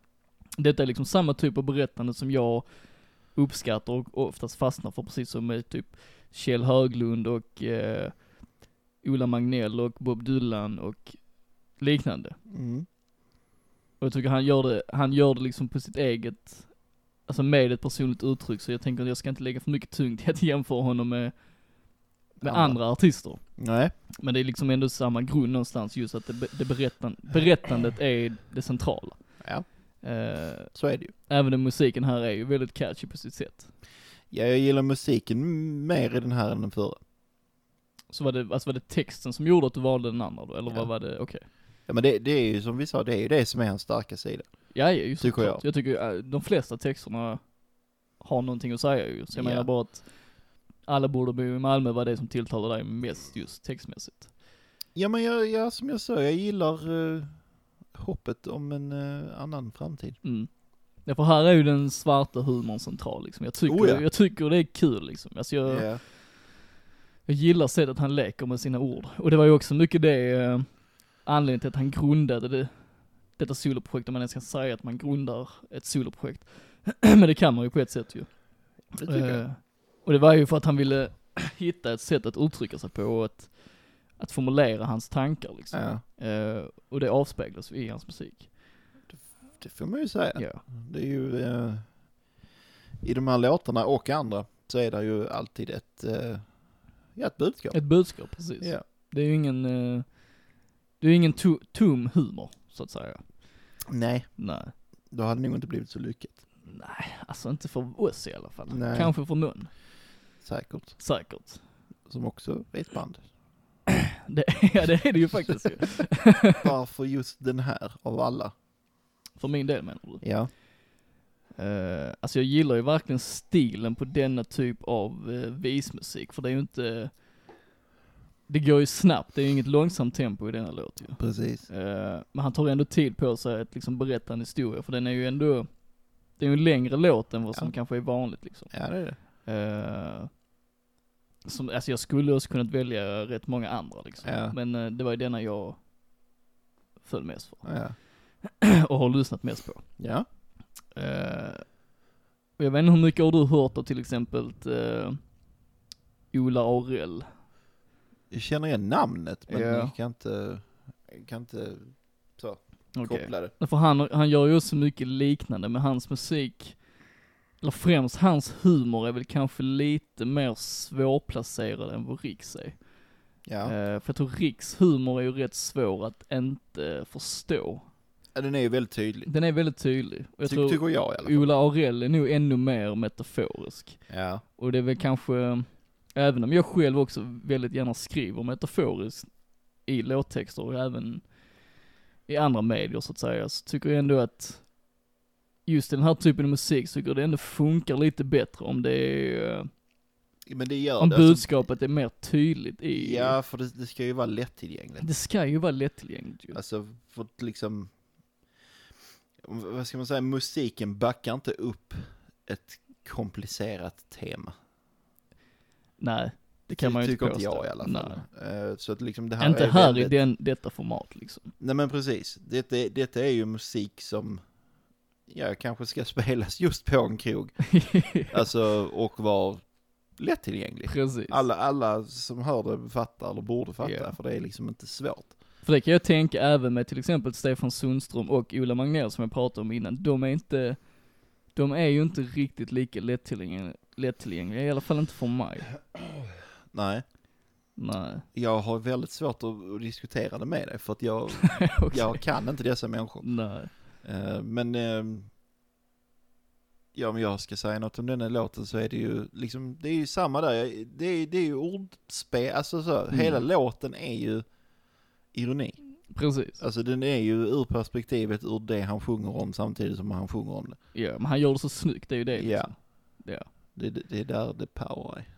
S2: Detta är liksom samma typ av berättande som jag uppskattar och oftast fastnar för, precis som med typ Kjell Höglund och eh, Ola Magnell och Bob Dylan och liknande.
S1: Mm.
S2: Och jag tycker han gör det, han gör det liksom på sitt eget, alltså med ett personligt uttryck, så jag tänker att jag ska inte lägga för mycket tyngd i att jämföra honom med, med
S1: Andra.
S2: andra artister.
S1: Nej.
S2: Men det är liksom ändå samma grund någonstans, just att det, be- det berättan, berättandet är det centrala.
S1: Ja,
S2: Eh,
S1: så är det ju.
S2: även om musiken här är ju väldigt catchy på sitt sätt.
S1: Ja, jag gillar musiken m- mer i den här än den förra.
S2: Så var det, alltså var det texten som gjorde att du valde den andra då, eller
S1: Ja.
S2: vad var det, okej?
S1: Ja, men det, det är ju som vi sa, det är ju det som är hans starka sida.
S2: Ja, ja, just
S1: Tycker
S2: det.
S1: jag.
S2: Jag tycker eh, de flesta texterna har någonting att säga ju, så jag
S1: Ja.
S2: menar bara att alla borde bo i Malmö var det som tilltalade dig mest just textmässigt.
S1: Ja, men jag, jag, som jag sa, jag gillar eh, hoppet om en eh, annan framtid.
S2: Mm. Ja, för här är ju den svarta humorn central liksom. Jag tycker,
S1: Oh, ja.
S2: jag tycker det är kul liksom. Alltså jag,
S1: Ja.
S2: Jag gillar sättet han leker med sina ord. Och det var ju också mycket det eh, anledningen till att han grundade det, detta soloprojekt, om man ens kan säga att man grundar ett soloprojekt. Men det kan man ju på ett sätt ju.
S1: Det tycker jag.
S2: Eh, Och det var ju för att han ville hitta ett sätt att uttrycka sig på och att, att formulera hans tankar liksom.
S1: Ja,
S2: Eh, och det avspeglas i hans musik.
S1: det får man ju säga.
S2: Ja.
S1: Det är ju, eh, i de här låtarna och andra, så är det ju alltid ett, eh, ja, ett budskap.
S2: Ett budskap, precis.
S1: Ja.
S2: Det är ju ingen, eh, det är ju ingen to- tom humor, så att säga.
S1: Nej,
S2: Nej.
S1: då hade det nog inte blivit så lyckat.
S2: Nej, alltså inte för oss i alla fall.
S1: Nej.
S2: Kanske för någon,
S1: Säkert.
S2: säkert.
S1: Som också är ett band.
S2: Det, ja, det är det ju faktiskt ju.
S1: Varför just den här av alla?
S2: För min del menar du?
S1: Ja.
S2: Uh, alltså jag gillar ju verkligen stilen på denna typ av eh, vismusik, för det är ju inte... Det går ju snabbt, det är ju inget långsamt tempo i denna låt ju.
S1: Precis.
S2: Eh, men han tar ändå tid på sig att liksom berätta en historia, för den är ju ändå... Det är ju en längre låt än vad som
S1: Ja.
S2: kanske är vanligt liksom.
S1: Ja, det är det.
S2: Eh, som, alltså jag skulle också kunnat välja rätt många andra liksom.
S1: Ja.
S2: Men eh, det var ju denna jag föll mest för.
S1: Ja.
S2: Och har lyssnat mest på.
S1: Ja.
S2: Eh, och jag vet inte hur mycket har du hört av till exempel eh, Ola Aurell?
S1: Jag känner igen namnet, men
S2: Ja.
S1: jag kan inte, jag kan inte så,
S2: Okej.
S1: koppla det.
S2: För han, han gör ju så mycket liknande med hans musik. Eller främst hans humor är väl kanske lite mer svårplacerad än vad Riks är.
S1: Ja.
S2: Eh, för jag tror Riks humor är ju rätt svår att inte förstå.
S1: Ja, Den är ju väldigt tydlig.
S2: Den är väldigt tydlig. Och jag
S1: Ty-
S2: tror
S1: Tycker jag i alla fall.
S2: Ola Aurell är nog ännu mer metaforisk.
S1: Ja.
S2: Och det är
S1: Mm.
S2: väl kanske, även om jag själv också väldigt gärna skriver metaforiskt i låttexter och även i andra medier så att säga, så tycker jag ändå att just den här typen av musik så tycker jag det ändå funkar lite bättre om det är, eh,
S1: Men det gör
S2: om
S1: det. alltså.
S2: budskapet är mer tydligt i,
S1: Ja, för det, det ska ju vara lättillgängligt.
S2: det ska ju vara lättillgängligt ju.
S1: Alltså, för att liksom... Vad ska man säga? Musiken backar inte upp ett komplicerat tema.
S2: Nej, det kan man ju inte
S1: Tycker
S2: påstå.
S1: inte jag i alla fall. Eh, Så att liksom det här
S2: Nej. Inte
S1: är
S2: här
S1: väldigt...
S2: i den, detta format liksom.
S1: Nej men precis. Detta, är- detta är ju musik som ja, kanske ska spelas just på en krog. Alltså, och vara lättillgänglig.
S2: Precis.
S1: Alla, alla som hör det fattar, eller borde fatta,
S2: Ja.
S1: för det är liksom inte svårt.
S2: För det kan jag tänka även med till exempel Stefan Sundström och Ola Magnell som jag pratade om innan. De är inte, de är ju inte riktigt lika lättillgängliga, lättillgängliga i alla fall inte för mig.
S1: Nej,
S2: Nej,
S1: jag har väldigt svårt att diskutera det med dig, för att jag,
S2: okej.
S1: jag kan inte dessa människor.
S2: Nej.
S1: Eh, men eh, ja, om jag ska säga något om den här låten så är det ju liksom, det är ju samma där. Jag- Det är, det är ju ordspel, alltså så,
S2: Mm.
S1: hela låten är ju ironi.
S2: Precis.
S1: Alltså den är ju ur perspektivet ur det han sjunger om samtidigt som han sjunger om det.
S2: Ja, men han gör det så snyggt, det är ju
S1: Ja.
S2: det liksom. Ja.
S1: Det, det, det är där det power är.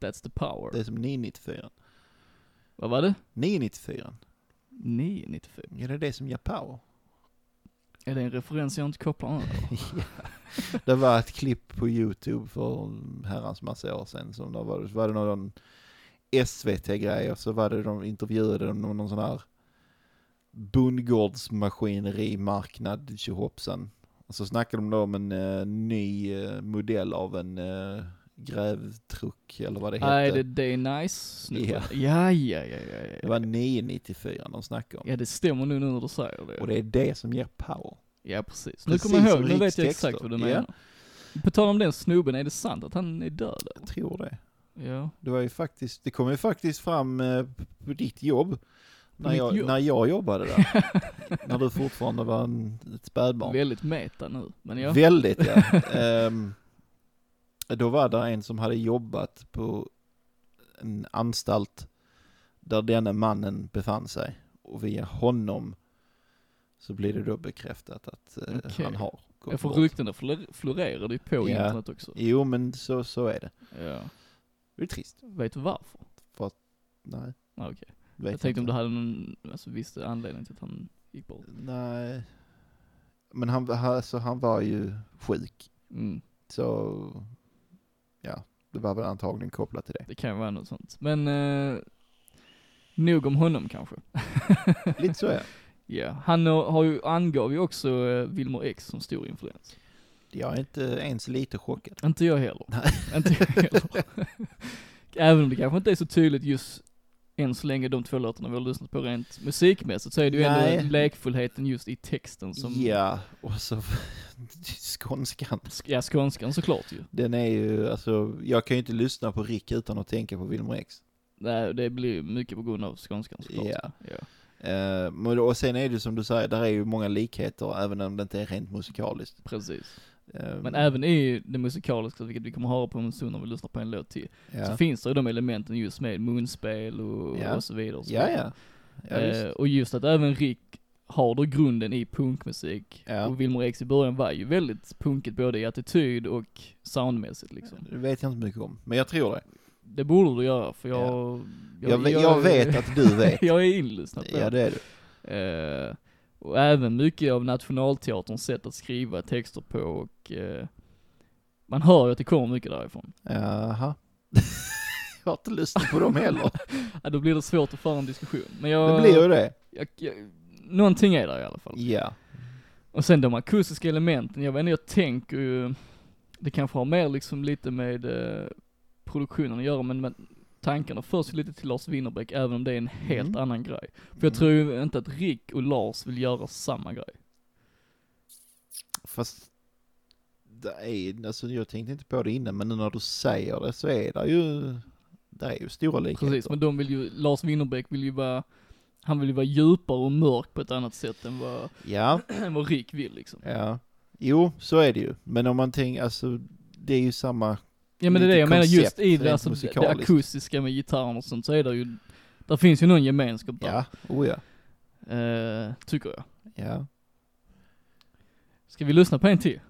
S2: That's the power.
S1: Det är som 994.
S2: Vad var det?
S1: 994,
S2: 995.
S1: ja det är det som ger power.
S2: Är det en referens jag inte kopplar nu?
S1: Det var ett klipp på YouTube för en herrans massa år sedan som det var, var det någon SVT-grej och så var det de intervjuade dem om någon sån här bondgårdsmaskinerimarknad tjohoppsan. Och så snackade de då om en eh, ny eh, modell av en eh, grävtruck eller vad det hette.
S2: Nej, det är Day Nice
S1: Ja.
S2: ja, ja, ja, ja,
S1: Det
S2: ja.
S1: var 994 de snackade om.
S2: Ja, det stämmer nu när du säger det.
S1: Och det är det som ger power.
S2: Ja precis. Nu
S1: Precis
S2: kommer jag
S1: som
S2: ihåg, nu vet jag
S1: rikstexter.
S2: exakt vad du
S1: Ja.
S2: menar. På tal om den snubben, är det sant att han är död eller?
S1: Jag tror det.
S2: Ja.
S1: Det var ju faktiskt, det kom ju faktiskt fram eh, på ditt jobb. När
S2: mitt
S1: jag,
S2: jobb?
S1: när jag jobbade där. när du fortfarande var en, ett spädbarn.
S2: Väldigt meta nu, men ja.
S1: Väldigt ja. Ehm, då var det en som hade jobbat på en anstalt där denne mannen befann sig. Och via honom så blir det då bekräftat att eh,
S2: Okej.
S1: han har gått
S2: Jag får
S1: bort.
S2: ryktena flor- florerar ju på
S1: Ja.
S2: internet också.
S1: Jo men så, så är det.
S2: Ja.
S1: Det är trist.
S2: Vet du varför?
S1: Nej.
S2: Ah, okej.
S1: vet
S2: Jag tänkte om
S1: inte.
S2: du hade någon, alltså visste anledning till att han gick bort.
S1: Nej. Men han, han- alltså, han var ju sjuk.
S2: Mm.
S1: Så ja, det var väl antagligen kopplat till det.
S2: Det kan ju vara något sånt. Men, eh, nog om honom kanske.
S1: Lite så ja.
S2: Ja. Han har har ju, angav ju också eh, Wilmer X som stor influens.
S1: Jag är inte ens lite chockad.
S2: Inte jag heller. Inte jag heller. Även om det kanske inte är så tydligt just än så länge de två låtarna vi har lyssnat på rent musikmässigt så är det ju
S1: Nej.
S2: ändå lekfullheten just i texten som,
S1: Ja, och så skånskan.
S2: Sk- ja skånskan såklart ju.
S1: Den är ju, alltså, jag kan ju inte lyssna på Rick utan att tänka på Wilmer X.
S2: Nej, det blir ju mycket på grund av skånskan såklart.
S1: Ja.
S2: ja.
S1: Eh, men- och sen är det ju som du säger, där är ju många likheter även om det inte är rent musikaliskt.
S2: Precis.
S1: Ehm,
S2: Men även i det musikaliska, vilket vi kommer höra på en stund om vi lyssnar på en låt till, så
S1: ja.
S2: finns det ju de elementen just med munspel och,
S1: Ja.
S2: och så vidare. Och, så
S1: ja,
S2: vidare.
S1: ja. Ja,
S2: Eh,
S1: visst.
S2: och just att även Rick har då grunden i punkmusik.
S1: Ja.
S2: Och Wilmer X i början var ju väldigt punkigt både i attityd och soundmässigt liksom.
S1: Det vet jag inte mycket om, men jag tror det.
S2: Det borde du göra för jag...
S1: Jag, ve- jag vet att du vet.
S2: jag är inlyssnad på
S1: ja,
S2: det.
S1: det är du.
S2: Eh, och även mycket av Nationalteaterns sätt att skriva texter på och eh, man hör ju att det kommer mycket därifrån.
S1: Jaha. jag har inte lyssnat på dem heller.
S2: Ja, då blir det svårt att föra en diskussion. Men jag,
S1: Det blir ju det.
S2: jag, jag, någonting är där i alla fall.
S1: Ja.
S2: Och sen de akustiska elementen, jag vet inte, jag tänker ju, det kanske har mer liksom lite med eh, produktionen att göra, men, men tankarna förs ju lite till Lars Winnerbäck, även om det är en helt
S1: Mm.
S2: annan grej. För jag tror ju inte att Rick och Lars vill göra samma grej.
S1: Fast, det är, alltså, jag tänkte inte på det innan, men nu när du säger det så är det ju, det är ju stora likheter.
S2: Precis, men de vill ju, Lars Winnerbäck vill ju vara, han vill ju vara djupare och mörk på ett annat sätt än vad,
S1: Ja,
S2: än vad Rick vill liksom.
S1: ja. Jo, så är det ju. Men om man tänker, alltså, det är ju samma,
S2: Ja men det är
S1: Lite
S2: det jag menar, just
S1: koncept,
S2: i det,
S1: rent
S2: alltså, det det
S1: musikaliskt.
S2: akustiska med gitarren och sånt så är det ju, där finns ju någon gemenskap där,
S1: ja, oh ja,
S2: eh, tycker jag.
S1: ja.
S2: Ska vi lyssna på en till?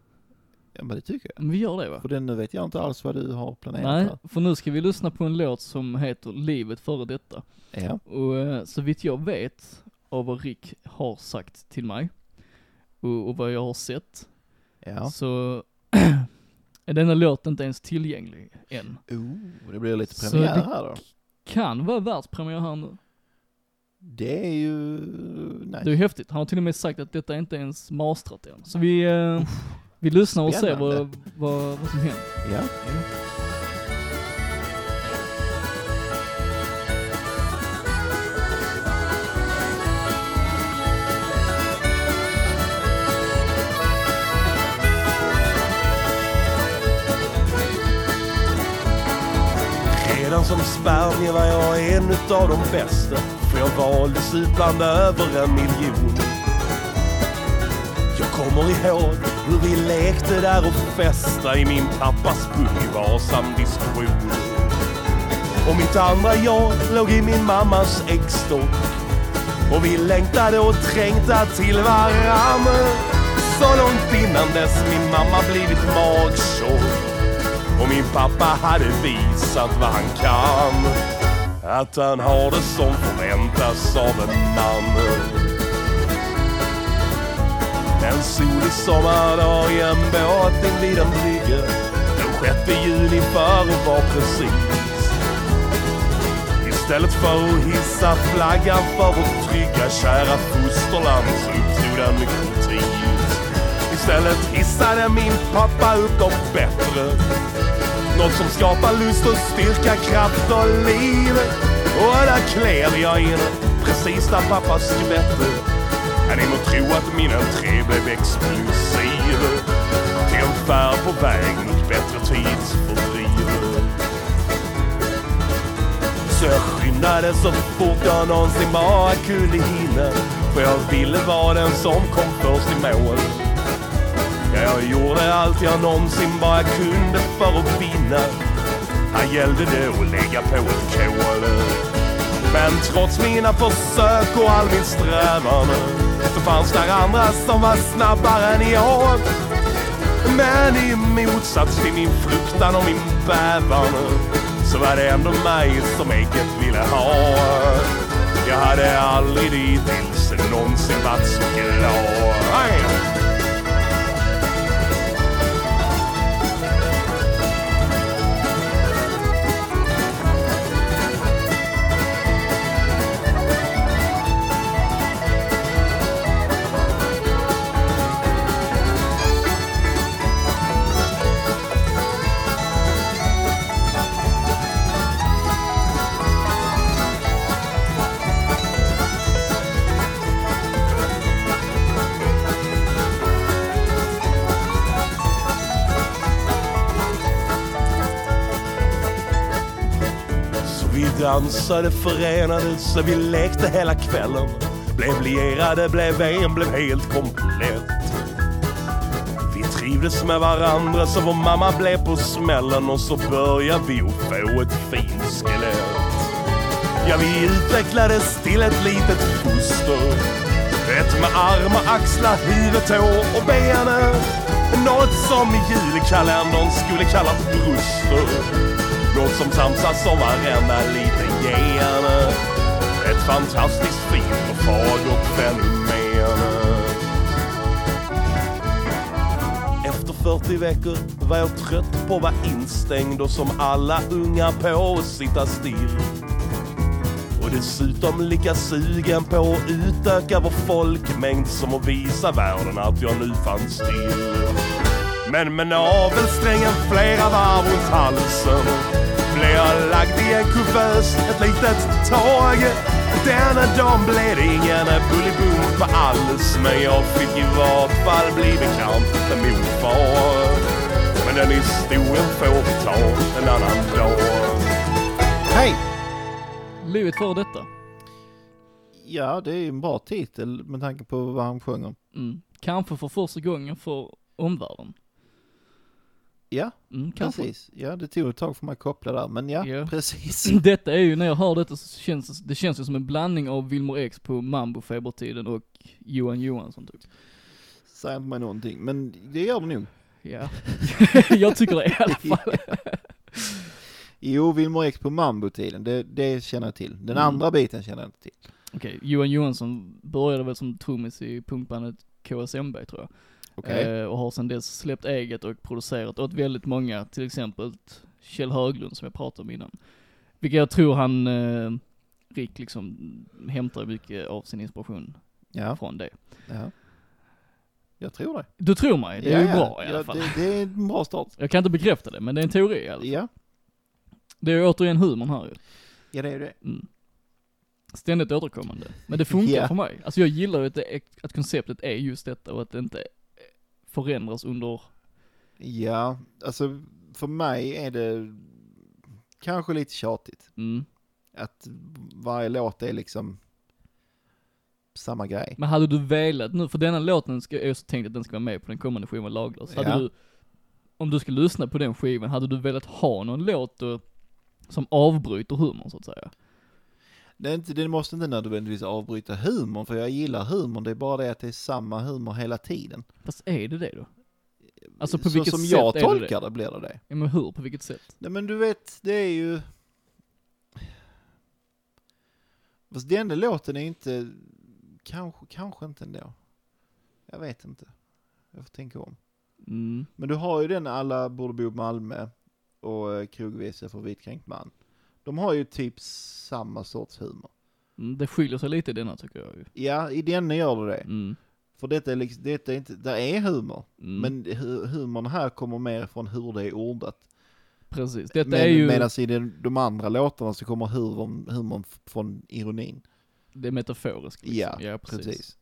S1: Ja, men det tycker
S2: Men vi gör det va?
S1: jag. För den nu vet jag inte alls vad du har planerat
S2: Nej,
S1: här.
S2: för nu ska vi lyssna på en låt som heter Livet före detta.
S1: Ja,
S2: Och eh, så vitt jag vet av vad Rick har sagt till mig och, och vad jag har sett
S1: ja.
S2: så är denna låt inte ens tillgänglig än.
S1: Oh, det blir lite
S2: Så
S1: premiär
S2: det-
S1: här då.
S2: Kan vara världspremiär här nu.
S1: Det är ju, nej.
S2: Det är ju häftigt. Han har till och med sagt att detta är inte ens mastrat än. Så vi, eh, vi lyssnar och ser
S1: spännande.
S2: vad, vad, vad som händer. Mm.
S1: Ja.
S3: Redan som spermie var jag en utav de bästa För jag valdes ut bland över en miljon Jag kommer ihåg hur vi lekte där och festa i min pappas pung i varsam diskretion Och mitt andra jag låg i min mammas äggstock Och vi längtade och trängta till varann Så långt innan dess min mamma blivit magsjuk och min pappa hade visat vad han kan Att han har det som förväntas av en man En solig sommardag i en båt invid en brygga Den 6 juni före var precis Istället för att hissa flaggan för vårt trygga kära fosterland så uppstod en konflikt Istället hissade min pappa upp dem bättre något som skapar lust och styrka, kraft och liv Och där klev jag in precis där pappa skvätte Ja, Ni må tro att minnen tre blev explosiv Till en färd på väg mot bättre tidsfördriv så jag skyndade så fort jag någonsin bara kunde hinna För jag ville vara den som kom först i mål Ja, jag gjorde allt jag någonsin bara kunde för att vinna. Här gällde det att lägga på ett kol. Men trots mina försök och all min strävan så fanns där andra som var snabbare än jag. Men i motsats till min fruktan och min bävan så var det ändå mig som ägget ville ha. Jag hade aldrig dittills någonsin varit så glad. Hey! Så vi dansade, förenades, så vi lekte hela kvällen. Blev lierade, blev en, blev helt komplett. Vi trivdes med varandra så vår mamma blev på smällen och så började vi att få ett fint skelett. Ja, vi utvecklades till ett litet foster. Ett med armar, axlar, huvud, tår och benen. Något som i julkalendern skulle kallas bruster. Något som samsas om varenda liten gene. Ett fantastiskt fint och fagert fenomen. Efter 40 veckor var jag trött på att vara instängd och som alla unga på att sitta still. Och dessutom lika sugen på att utöka vår folkmängd som att visa världen att jag nu fanns till. Men med navelsträngen flera varv runt halsen blev jag lagd i en kuvös ett litet tag. Denna dagen blev det ingen bullybumpa alls men jag fick i vart fall bli bekant med min far. Men den historien får vi ta en annan dag.
S1: Hej!
S2: Livet för detta.
S1: Ja, det är ju en bra titel med tanke på vad han sjöng om.
S2: Mm. Kanske för första gången för omvärlden.
S1: Ja,
S2: Mm, kanske.
S1: precis. Ja, det tog ett tag för mig att koppla där, men ja,
S2: Ja.
S1: precis.
S2: Detta är ju, när jag hör detta så känns det, det känns ju som en blandning av Wilmer X på Mambo-febertiden och Johan Johansson typ.
S1: Säger inte mig någonting, men det gör det nog.
S2: Ja. jag tycker det i alla fall.
S1: Jo, Wilmer X på Mambo-tiden, det, det känner jag till. Den
S2: Mm.
S1: andra biten känner jag inte till.
S2: Okej, Johan Johansson började väl som trummis i punkbandet KSMB tror jag.
S1: Okej.
S2: Eh, och har sedan dess släppt eget och producerat åt väldigt många, till exempel Kjell Höglund som jag pratade om innan. Vilket jag tror han, eh, Rick liksom, hämtar mycket av sin inspiration
S1: Ja,
S2: från det.
S1: ja. Jag tror det.
S2: Du tror mig, det är
S1: ja,
S2: ju
S1: ja.
S2: bra i alla
S1: ja,
S2: fall.
S1: Det, det är en bra start.
S2: Jag kan inte bekräfta det, men det är en teori i alla fall.
S1: Ja,
S2: Det är ju återigen humorn här ju.
S1: ja det är det.
S2: Mm. Ständigt återkommande. Men det funkar
S1: Ja.
S2: för mig. Alltså jag gillar ju att, det är, att konceptet är just detta och att det inte förändras under,
S1: Ja, alltså för mig är det kanske lite tjatigt.
S2: mm.
S1: Att varje låt är liksom samma grej.
S2: Men hade du velat nu, för denna låten ska, jag tänkt att den ska vara med på den kommande skivan Laglös. Hade
S1: Ja.
S2: du, om du skulle lyssna på den skivan, hade du velat ha någon låt då, som avbryter humorn så att säga?
S1: Det, är inte, det måste inte nödvändigtvis avbryta humorn, för jag gillar humorn. Det är bara det att det är samma humor hela tiden.
S2: Fast är det det då? Alltså på
S1: Så
S2: vilket
S1: som
S2: sätt
S1: jag
S2: är det
S1: tolkar
S2: det?
S1: det blir det det.
S2: Ja men hur, på vilket sätt?
S1: Nej men du vet, det är ju... Fast den där låten är inte... Kanske, kanske inte ändå. Jag vet inte. Jag får tänka om.
S2: Mm.
S1: Men du har ju den alla borde bo i Malmö och eh, krogvisa för vitkränkt man. De har ju typ samma sorts humor.
S2: Mm, Det skiljer sig lite i denna tycker jag ju.
S1: Ja, i denna gör du det.
S2: Mm.
S1: För detta är liksom, detta är inte, där är humor.
S2: Mm.
S1: Men hu- humorn här kommer mer från hur det är ordat.
S2: Precis, detta
S1: Men,
S2: är ju
S1: Medan i den, de andra låtarna så kommer humorn, humorn f- från ironin.
S2: det metaforiskt liksom.
S1: Ja, precis.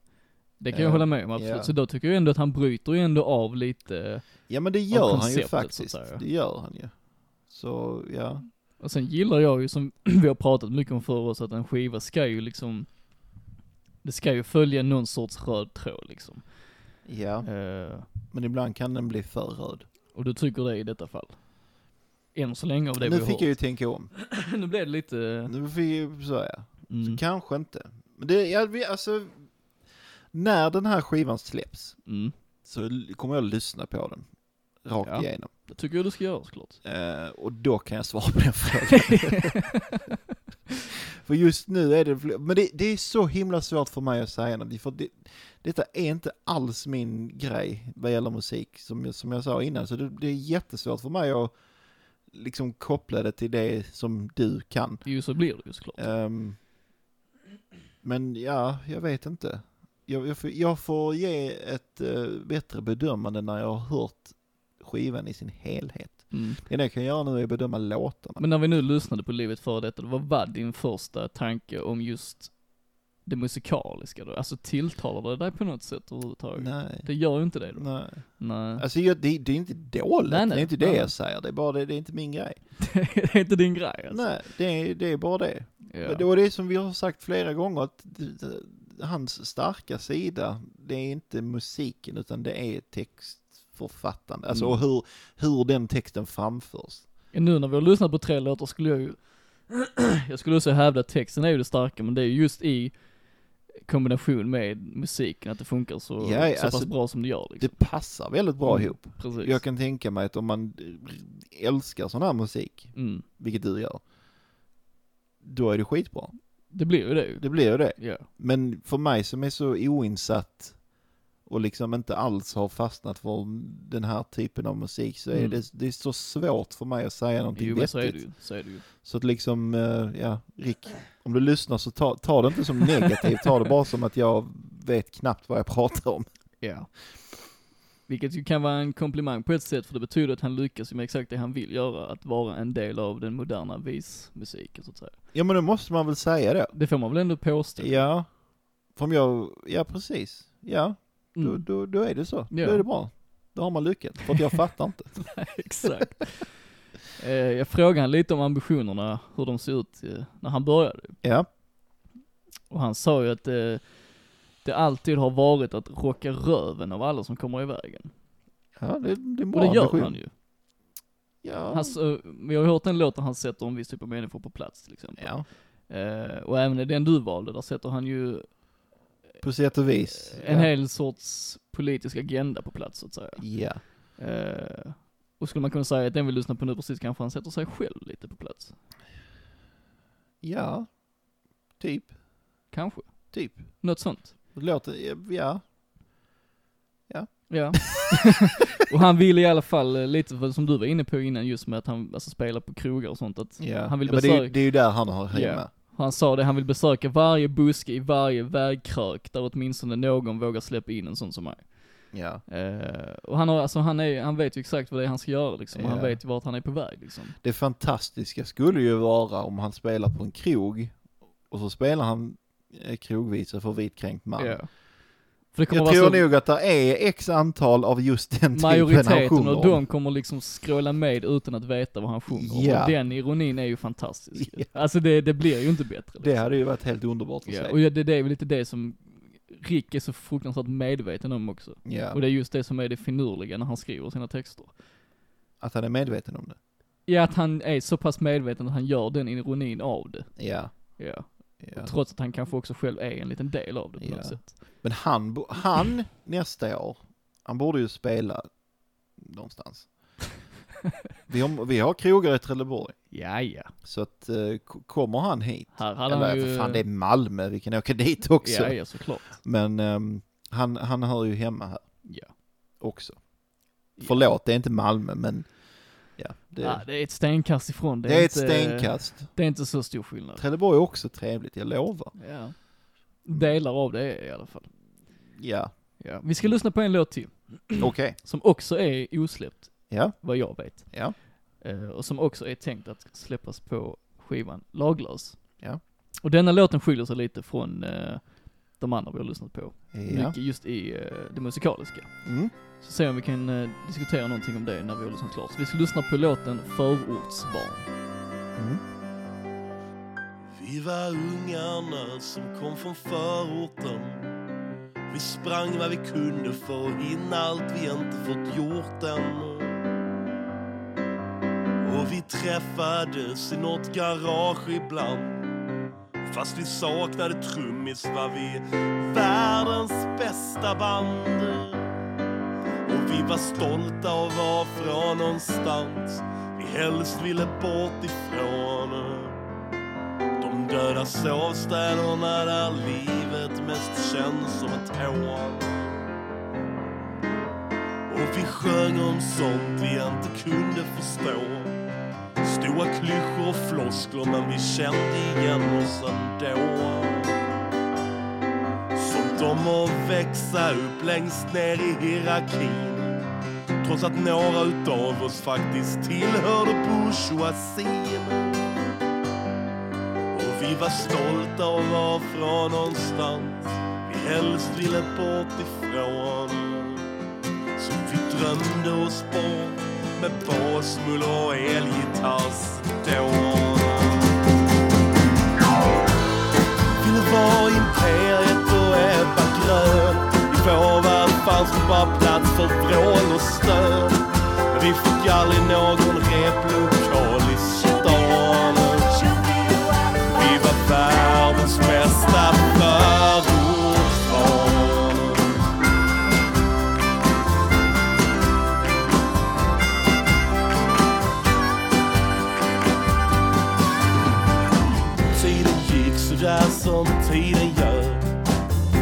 S2: Det kan jag
S1: Eh,
S2: hålla med om absolut.
S1: ja.
S2: Så då tycker jag ändå att han bryter ju ändå av lite.
S1: Ja men det gör han ju
S2: konceptet, så att
S1: faktiskt.
S2: säga.
S1: Det gör han ju. Så ja,
S2: Och sen gillar jag ju som vi har pratat mycket om förr oss att en skiva ska ju liksom, det ska ju följa någon sorts röd tråd liksom.
S1: ja.
S2: Eh,
S1: Men ibland kan den bli för röd.
S2: och du tycker det i detta fall? Än så länge av det vi
S1: Nu
S2: har
S1: fick jag ju tänka om.
S2: hört. nu blev det lite,
S1: Nu fick jag ju säga.
S2: mm,
S1: Så kanske inte. Men det, ja, vi, alltså, när den här skivan släpps
S2: mm.
S1: så l- kommer jag lyssna på den. Rakt
S2: Ja.
S1: igenom.
S2: Det tycker jag du ska göra såklart.
S1: Eh, och då kan jag svara på den frågan. för just nu är det, fl- men det, det är så himla svårt för mig att säga något, för det, detta är inte alls min grej vad gäller musik, som jag, som jag sa innan, så det, det är jättesvårt för mig att liksom koppla det till det som du kan.
S2: Jo så blir det ju såklart.
S1: Ehm, men ja, jag vet inte. Jag, jag, får, jag får ge ett eh, bättre bedömande när jag har hört skivan i sin helhet.
S2: Mm.
S1: Det enda jag kan göra nu är att bedöma låtarna.
S2: Men när vi nu lyssnade på Livet före detta, vad var din första tanke om just det musikaliska då? Alltså tilltalar det dig på något sätt överhuvudtaget?
S1: nej.
S2: Det gör ju inte det då. Nej.
S1: nej. Alltså jag, det, det är inte dåligt,
S2: Nej, nej.
S1: det är inte det
S2: Nej.
S1: jag säger, det är bara det, det är inte min grej.
S2: det är inte din grej alltså.
S1: Nej, det är, det är bara det.
S2: Ja.
S1: Men det var det som vi har sagt flera gånger, att d- d- hans starka sida, det är inte musiken utan det är text, författande. Alltså
S2: Mm.
S1: och hur, hur den texten framförs.
S2: Nu när vi har lyssnat på tre låtar skulle jag ju, jag skulle också hävda att texten är ju det starka, men det är ju just i kombination med musiken, att det funkar så,
S1: Ja, ja,
S2: så pass
S1: alltså,
S2: bra som det gör liksom.
S1: Det passar väldigt bra
S2: Mm.
S1: ihop.
S2: Precis.
S1: Jag kan tänka mig att om man älskar sån här musik,
S2: mm.
S1: vilket du gör, då är det skitbra.
S2: Det blir ju det ju.
S1: Det blir ju det.
S2: Ja.
S1: Men för mig som är så oinsatt och liksom inte alls har fastnat för den här typen av musik så är
S2: Mm.
S1: det, det är så svårt för mig att säga någonting
S2: Jo men så är det
S1: vettigt.
S2: ju, så är det ju.
S1: Så att liksom, eh, ja, Rick, om du lyssnar så ta, ta det inte som negativt, ta det bara som att jag vet knappt vad jag pratar om.
S2: Ja. Vilket ju kan vara en komplimang på ett sätt, för det betyder att han lyckas ju med exakt det han vill göra, att vara en del av den moderna vismusiken så att säga.
S1: Ja men då måste man väl säga det.
S2: Det får man väl ändå påstå?
S1: Ja, för om jag, ja precis, ja, då,
S2: Mm.
S1: då, då är det så.
S2: Ja.
S1: Då är det bra. Då har man lyckats, för att jag fattar inte.
S2: Exakt. Eh, jag frågade han lite om ambitionerna, hur de ser ut eh, när han började.
S1: Ja,
S2: Och han sa ju att eh, det alltid har varit att rocka röven av alla som kommer i vägen.
S1: ja det, det är en
S2: Och
S1: bra
S2: det gör
S1: ambition.
S2: han ju.
S1: Ja.
S2: Han, s- eh, vi har ju hört en låt där han sätter en viss typ av människor på plats till exempel.
S1: ja.
S2: Eh, och även i den du valde, där sätter han ju
S1: På sätt och vis.
S2: Eh, en
S1: ja.
S2: hel sorts politisk agenda på plats så att säga.
S1: Ja.
S2: Eh, och skulle man kunna säga att den vi lyssnar på nu precis kanske han sätter sig själv lite på plats.
S1: Ja. Typ.
S2: Kanske.
S1: Typ.
S2: Något sånt.
S1: Det låter, ja.
S2: Ja. och han vill i alla fall eh, lite för- som du var inne på innan just med att han alltså, spelar på krogar och sånt. Att
S1: ja.
S2: Han vill
S1: ja, men det, är ju,
S2: besöka-
S1: det är ju där han har hemma.
S2: Ja. han sa det, han vill besöka varje buske i varje vägkrök där åtminstone någon vågar släppa in en sån som mig.
S1: Ja.
S2: Eh, och han har, alltså han är, han vet ju exakt vad det är han ska göra liksom. Och han
S1: Ja.
S2: vet ju vart han är på väg liksom.
S1: Det fantastiska skulle ju vara om han spelar på en krog och så spelar han eh, krogvisa för vitkränkt man.
S2: Ja. För det kommer
S1: Jag
S2: vara
S1: tror
S2: så,
S1: nog att det är x antal av just den typen han
S2: majoriteten
S1: sjunger
S2: och
S1: om.
S2: de kommer liksom skråla med utan att veta vad han sjunger om.
S1: Ja.
S2: Och den ironin är ju fantastisk. ju. Alltså det, det blir ju inte bättre.
S1: Det hade ju varit helt underbart att
S2: Ja,
S1: se.
S2: och ja, det, det är väl lite det som Rick är så fruktansvärt medveten om också.
S1: Ja.
S2: Och det är just det som är det finurliga när han skriver sina texter.
S1: Att han är medveten om det.
S2: Ja, att han är så pass medveten att han gör den ironin av det.
S1: Ja.
S2: Ja.
S1: ja.
S2: Trots att han kanske också själv är en liten del av det på
S1: Ja.
S2: något sätt.
S1: Men han, bo- han nästa år, han borde ju spela någonstans. Vi har, vi har krogar i Trelleborg,
S2: Ja, ja.
S1: så att eh, k- kommer han hit,
S2: Här hade
S1: eller
S2: han ju...
S1: för fan det är Malmö, vi kan åka dit också.
S2: Ja, ja, såklart.
S1: Men ehm, han, han hör ju hemma här
S2: Ja.
S1: också. Förlåt, det är inte Malmö, men ja, det,
S2: Det... Ja, det är ett stenkast ifrån.
S1: det är ett
S2: inte,
S1: stenkast.
S2: Det är inte så stor skillnad.
S1: Trelleborg är också trevligt, jag lovar.
S2: Ja. Delar av det är i alla fall.
S1: Ja,
S2: Ja. Vi ska lyssna på en låt till,
S1: okej.
S2: som också är osläppt,
S1: Ja,
S2: vad jag vet.
S1: ja,
S2: Eh, och som också är tänkt att släppas på skivan Laglös.
S1: Ja.
S2: Och denna låten skiljer sig lite från eh, de andra vi har lyssnat på.
S1: ja.
S2: Mycket just i eh, det musikaliska.
S1: Mm.
S2: Så ser vi om vi kan eh, diskutera någonting om det när vi har lyssnat klart. Så vi ska lyssna på låten Förortsbarn.
S1: Mm.
S3: Vi var ungarna som kom från förorten Vi sprang vad vi kunde för att hinna allt vi inte fått gjort än Och vi träffades i något garage ibland Fast vi saknade trummis var vi världens bästa band Och vi var stolta att vara från någonstans Vi helst ville bort ifrån de döda sovstäderna där livet mest känns som ett hån. Och vi sjöng om sånt vi inte kunde förstå. Stora klyschor och floskler men vi kände igen oss ändå. Sånt om att växa upp längst ner i hierarkin. Trots att några utav oss faktiskt tillhörde bourgeoisien. Och vi var stolta och var från någonstans vi helst ville bort ifrån. Så vi drömde oss bort med basmull och elgitarrstån. Ville vara imperiet och Ebba Grön. I vår värld fanns det bara plats för vrål och stör. Vi fick aldrig någon replokal i stan. Vi var världens bästa förortsbarn. Tiden gick sådär som tiden gör.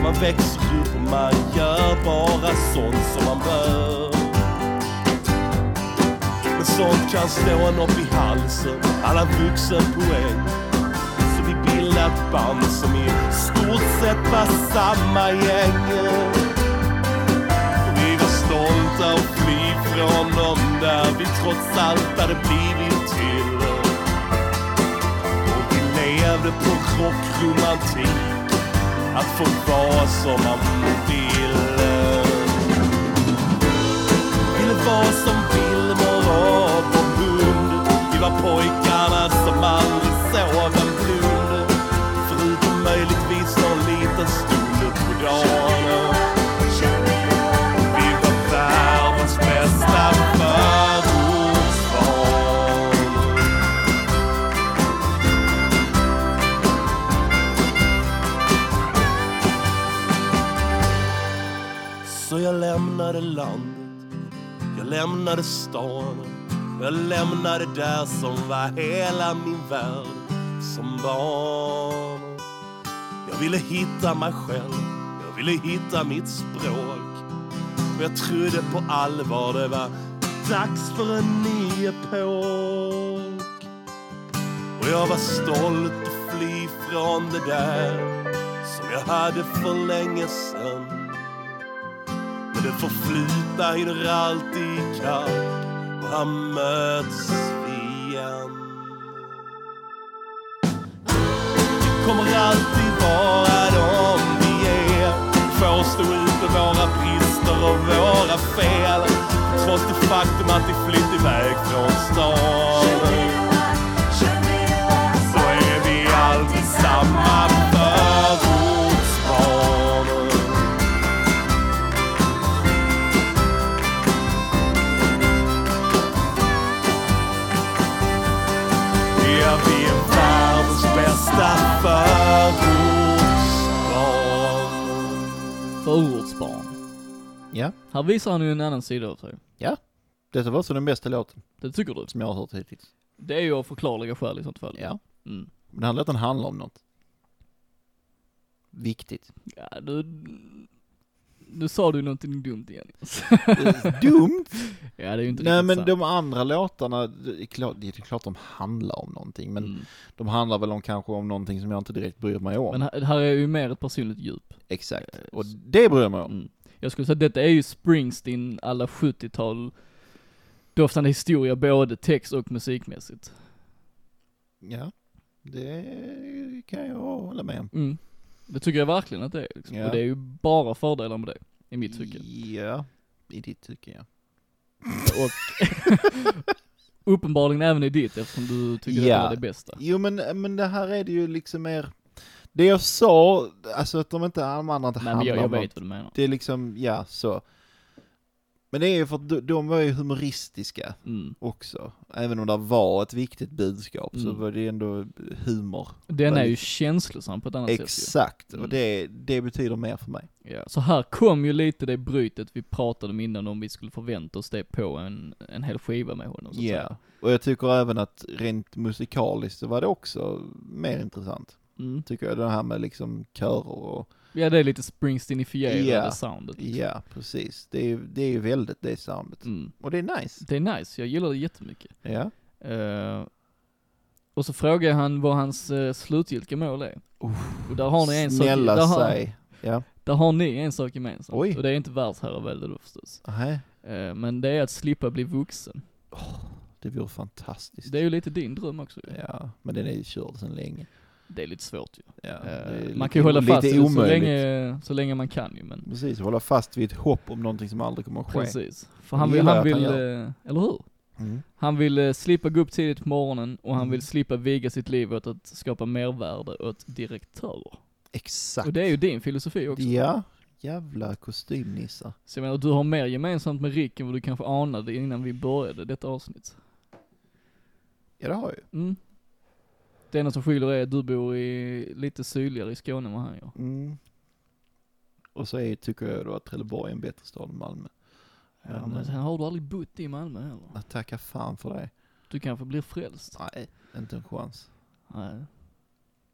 S3: Man växer upp och man gör bara sånt som man bör. Men sånt kan slå en upp i halsen, alla vuxenpoäng. Så vi bildade ett band som i stort sett var samma gäng. Vi var stolta och fly från dem där vi trots allt hade blivit till. Och vi levde på krockromantik Att få vara som man ville Ville vara som Wilmer och vår hund Vi var pojkarna som aldrig sov en blund Förutom möjligtvis någon liten stund på dagen Vi var världens bästa förortsbarn Så jag lämnade landet, jag lämnade stan och jag lämnade där som var hela min värld som barn. Jag ville hitta mig själv, jag ville hitta mitt språk och jag trodde på allvar det var dags för en ny epok. Och jag var stolt att fly från det där som jag hade för länge sedan. Men det förflutna hinner alltid ikapp och här möts vi igen. Vi kommer alltid vara de vi är. Vi får stå ut med våra brister och våra fel. Trots det faktum att vi flytt iväg från stan. Så är vi alltid samma förortsbarn. Ja, vi är världens bästa förortsbarn.
S2: Förortsbarn.
S3: Ja,
S2: Här visar han ju en annan sida av sig.
S3: ja. Detta var alltså den bästa låten
S2: Det tycker du?
S3: som jag har hört hittills.
S2: Det är ju av förklarliga skäl i sånt fall.
S3: Ja.
S2: Mm.
S3: Men den här låten handlar om något. Viktigt.
S2: Ja, du... Nu sa du någonting dumt igen.
S3: Dumt?
S2: ja, det är ju inte
S3: Nej
S2: riktigt
S3: men
S2: sant.
S3: de andra låtarna, det är klart, det är klart de handlar om någonting, men
S2: Mm.
S3: de handlar väl om kanske om någonting som jag inte direkt bryr mig om.
S2: Men här, här är ju mer ett personligt djup.
S3: Exakt. Och det bryr jag mig om.
S2: Mm. Jag skulle säga att detta är ju Springsteen alla 70-tal doftande historia både text och musikmässigt.
S3: Ja. Det kan jag hålla med om.
S2: Mm. Det tycker jag verkligen att det är liksom.
S3: Ja.
S2: Och det är ju bara fördelar med det, i mitt tycke.
S3: Ja. I ditt tycke ja.
S2: Och uppenbarligen även i ditt eftersom du tycker
S3: Ja.
S2: det var det bästa.
S3: Jo men, men det här är det ju liksom mer, det jag sa, alltså att de inte, de andra inte
S2: Nej men jag,
S3: handlar
S2: jag
S3: om något.
S2: vet vad du menar.
S3: Det är liksom, ja så. Men det är ju för att de, de var ju humoristiska
S2: Mm.
S3: också. Även om det var ett viktigt budskap så
S2: Mm.
S3: var det ändå humor.
S2: Den är ju
S3: Väldigt-
S2: känslosam på ett annat sätt
S3: Exakt,
S2: ju. Mm.
S3: och det, det betyder mer för mig.
S2: ju. ja. Så här kom ju lite det brytet vi pratade om innan om vi skulle förvänta oss det på en, en hel skiva med honom så
S3: Ja,
S2: att säga.
S3: och jag tycker även att rent musikaliskt så var det också mer intressant.
S2: Mm.
S3: Tycker jag, det här med liksom körer och,
S2: Ja det är lite Springsteenifierade
S3: Ja.
S2: soundet. liksom.
S3: ja precis. Det är ju det är ju väldigt det soundet.
S2: Mm.
S3: Och det är nice.
S2: Det är nice, jag gillar det jättemycket.
S3: Ja.
S2: Eh, och så frågar han vad hans eh, slutgiltiga mål är. och där har ni en sak,
S3: Snälla
S2: där har,
S3: säg. Ja.
S2: där har ni en sak gemensamt.
S3: Oj.
S2: Och det är inte världsherravälde då förstås.
S3: Nej,
S2: Eh, men det är att slippa bli vuxen.
S3: det vore fantastiskt.
S2: Det är ju lite din dröm också ju.
S3: Ja, men den är ju körd sedan länge.
S2: Det är lite svårt ju.
S3: Ja, det
S2: Eh, man
S3: är lite-
S2: kan ju hålla fast
S3: lite
S2: vid det så
S3: omöjligt.
S2: länge, så länge man kan ju men.
S3: Precis, hålla fast vid ett hopp om någonting som aldrig kommer att ske.
S2: Precis. För
S3: Jag
S2: han vill,
S3: gillar
S2: han
S3: att han
S2: vill, eh, eller hur?
S3: Mm.
S2: Han vill eh, slippa gå upp tidigt på morgonen och han
S3: Mm.
S2: vill slippa viga sitt liv åt att skapa mervärde åt direktörer.
S3: Exakt.
S2: Och det är ju din filosofi också.
S3: Ja,
S1: jävla kostymnissar.
S2: Så jag menar, du har mer gemensamt med Rick än vad du kanske anade innan vi började detta avsnitt.
S1: Ja, det har jag ju.
S2: Mm. Det enda som skiljer är att du bor i, lite sydligare i Skåne än vad han gör.
S1: Mm. Och så är, tycker jag då att Trelleborg är en bättre stad än Malmö.
S2: Ja,
S1: Men,
S2: men
S1: eh,
S2: sen har du aldrig bott i Malmö heller.
S1: jag tackar fan för det.
S2: Du kanske blir frälst.
S1: Nej, inte en chans.
S2: Nej.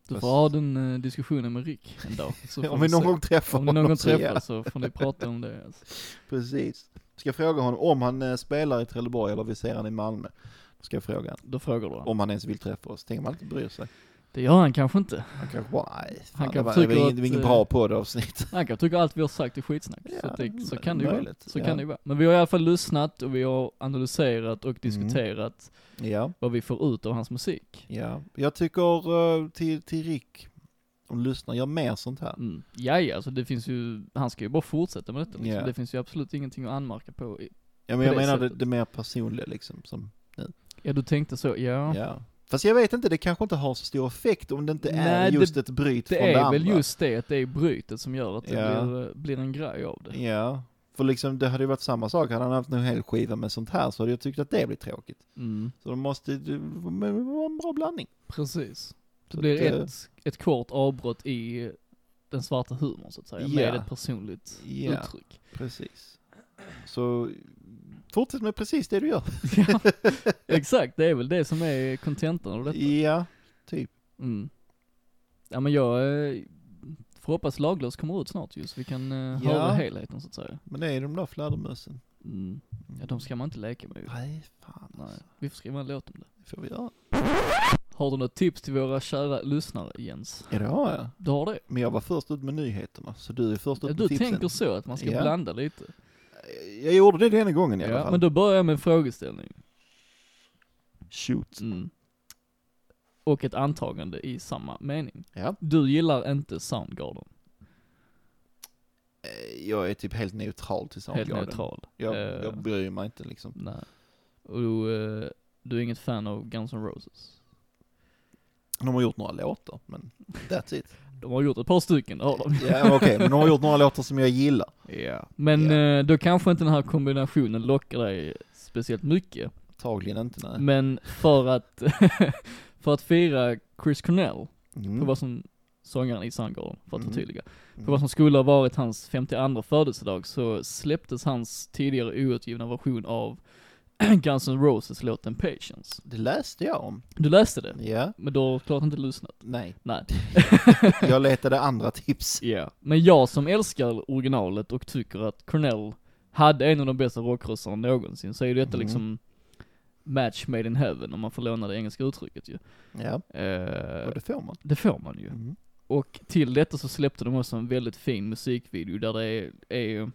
S2: Du
S1: Fast-
S2: får ha den eh, diskussionen med Rick en dag. Så får
S1: Om vi någon
S2: se.
S1: gång träffar
S2: om ni någon gång
S1: så ja.
S2: träffas så får ni prata om det. Alltså.
S1: Precis. Ska jag fråga honom om han eh, spelar i Trelleborg eller vi ser han i Malmö? Då ska jag fråga honom.
S2: Då frågar du honom.
S1: Om han ens vill träffa oss. Tänk om han inte bryr sig.
S2: Det gör han kanske inte.
S1: Han kanske bara, nej, fan,
S2: kanske
S1: det, var, det, var
S2: tycker
S1: ingen, det var ingen
S2: att, eh,
S1: bra poddavsnitt.
S2: Han kanske tycker allt vi har sagt är skitsnack. så,
S1: Ja,
S2: att det, så
S1: m-
S2: kan det ju vara.
S1: möjligt,
S2: Så
S1: ja.
S2: kan det ju vara. Men vi har i alla fall lyssnat och vi har analyserat
S1: Mm.
S2: och diskuterat
S1: Ja,
S2: vad vi får ut av hans musik.
S1: ja. Jag tycker eh, till, till Rick, om du lyssnar, gör mer sånt här.
S2: Mm. Jaja, alltså det finns ju, han ska ju bara fortsätta med detta liksom.
S1: Ja.
S2: Det finns ju absolut ingenting att anmärka på. i-
S1: Ja,
S2: På
S1: men jag
S2: det
S1: menar det,
S2: sättet.
S1: det mer personliga liksom. Som,
S2: Ja du tänkte så, ja.
S1: ja. Fast jag vet inte, det kanske inte har så stor effekt om det inte är
S2: Nej,
S1: just ett bryt
S2: Det
S1: från det
S2: är
S1: andra.
S2: väl just det, att det är brytet som gör att det
S1: Ja.
S2: blir, eh, blir en grej av det.
S1: Ja, för liksom det hade ju varit samma sak. Hade han haft en hel skiva med sånt här så hade jag tyckt att det blir tråkigt.
S2: Mm.
S1: Så de måste, det men det var en bra blandning.
S2: Precis. Det
S1: Så
S2: blir
S1: att, eh,
S2: ett, ett kort avbrott i den svarta humorn så att säga,
S1: Ja.
S2: med ett personligt
S1: eh, Ja.
S2: uttryck.
S1: Precis. Så fortsätt med precis det du gör.
S2: ja, exakt, det är väl det som är kontentan av detta.
S1: Ja,
S2: Mm. Ja men jag eh, får hoppas Laglös kommer ut snart ju, så vi kan eh, höra helheten så att säga.
S1: men det är de där fladdermössen.
S2: Mm. Ja de ska man inte leka med ju.
S1: Nej, fan
S2: Nej.
S1: alltså.
S2: Vi får skriva en låt om det.
S1: Det får vi göra.
S2: Har du något tips till våra kära lyssnare Jens?
S1: Ja, det har jag.
S2: Du har det?
S1: Men jag var först ut med nyheterna, så du är först ut
S2: Ja,
S1: med
S2: Du
S1: tipsen.
S2: tänker så att man ska
S1: Ja.
S2: blanda lite?
S1: Jag gjorde det denna gången i alla
S2: Ja,
S1: fall.
S2: men då börjar jag med en frågeställning.
S1: Shoot.
S2: Mm. Och ett antagande i samma mening.
S1: Ja.
S2: Du gillar inte Soundgarden,
S1: Eh, Jag är typ helt neutral till
S2: helt
S1: Soundgarden.
S2: neutral.
S1: Jag,
S2: Eh,
S1: jag bryr mig inte liksom.
S2: Nej. Och du, eh, du är inget fan av Guns N' Roses?
S1: De har gjort några låtar, men that's it.
S2: De har gjort ett par stycken, det har de.
S1: Ja, okej, men de har gjort några låtar som jag gillar.
S2: Ja. Men
S1: Ja.
S2: eh, då kanske inte den här kombinationen lockar dig speciellt mycket.
S1: Antagligen inte, nej.
S2: Men för att, för att fira Chris Cornell, på
S1: Mm.
S2: vad som, sångaren i Soundgarden, för att
S1: Mm.
S2: förtydliga,
S1: Mm.
S2: på vad som skulle ha varit hans 52 födelsedag så släpptes hans tidigare outgivna version av Guns N' Roses låten Patience.
S1: Det läste jag om.
S2: Du läste det?
S1: Ja,
S2: Men då har du klart inte lyssnat.
S1: nej.
S2: Nej.
S1: Jag letade andra tips.
S2: Ja. Men jag som älskar originalet och tycker att Cornell hade en av de bästa rockrösterna någonsin så är ju detta
S1: Mm.
S2: liksom match made in heaven om man får låna det engelska uttrycket ju.
S1: Ja,
S2: Eh,
S1: och det får man.
S2: Det får man ju.
S1: Mm.
S2: Och till detta så släppte de också en väldigt fin musikvideo där det är, är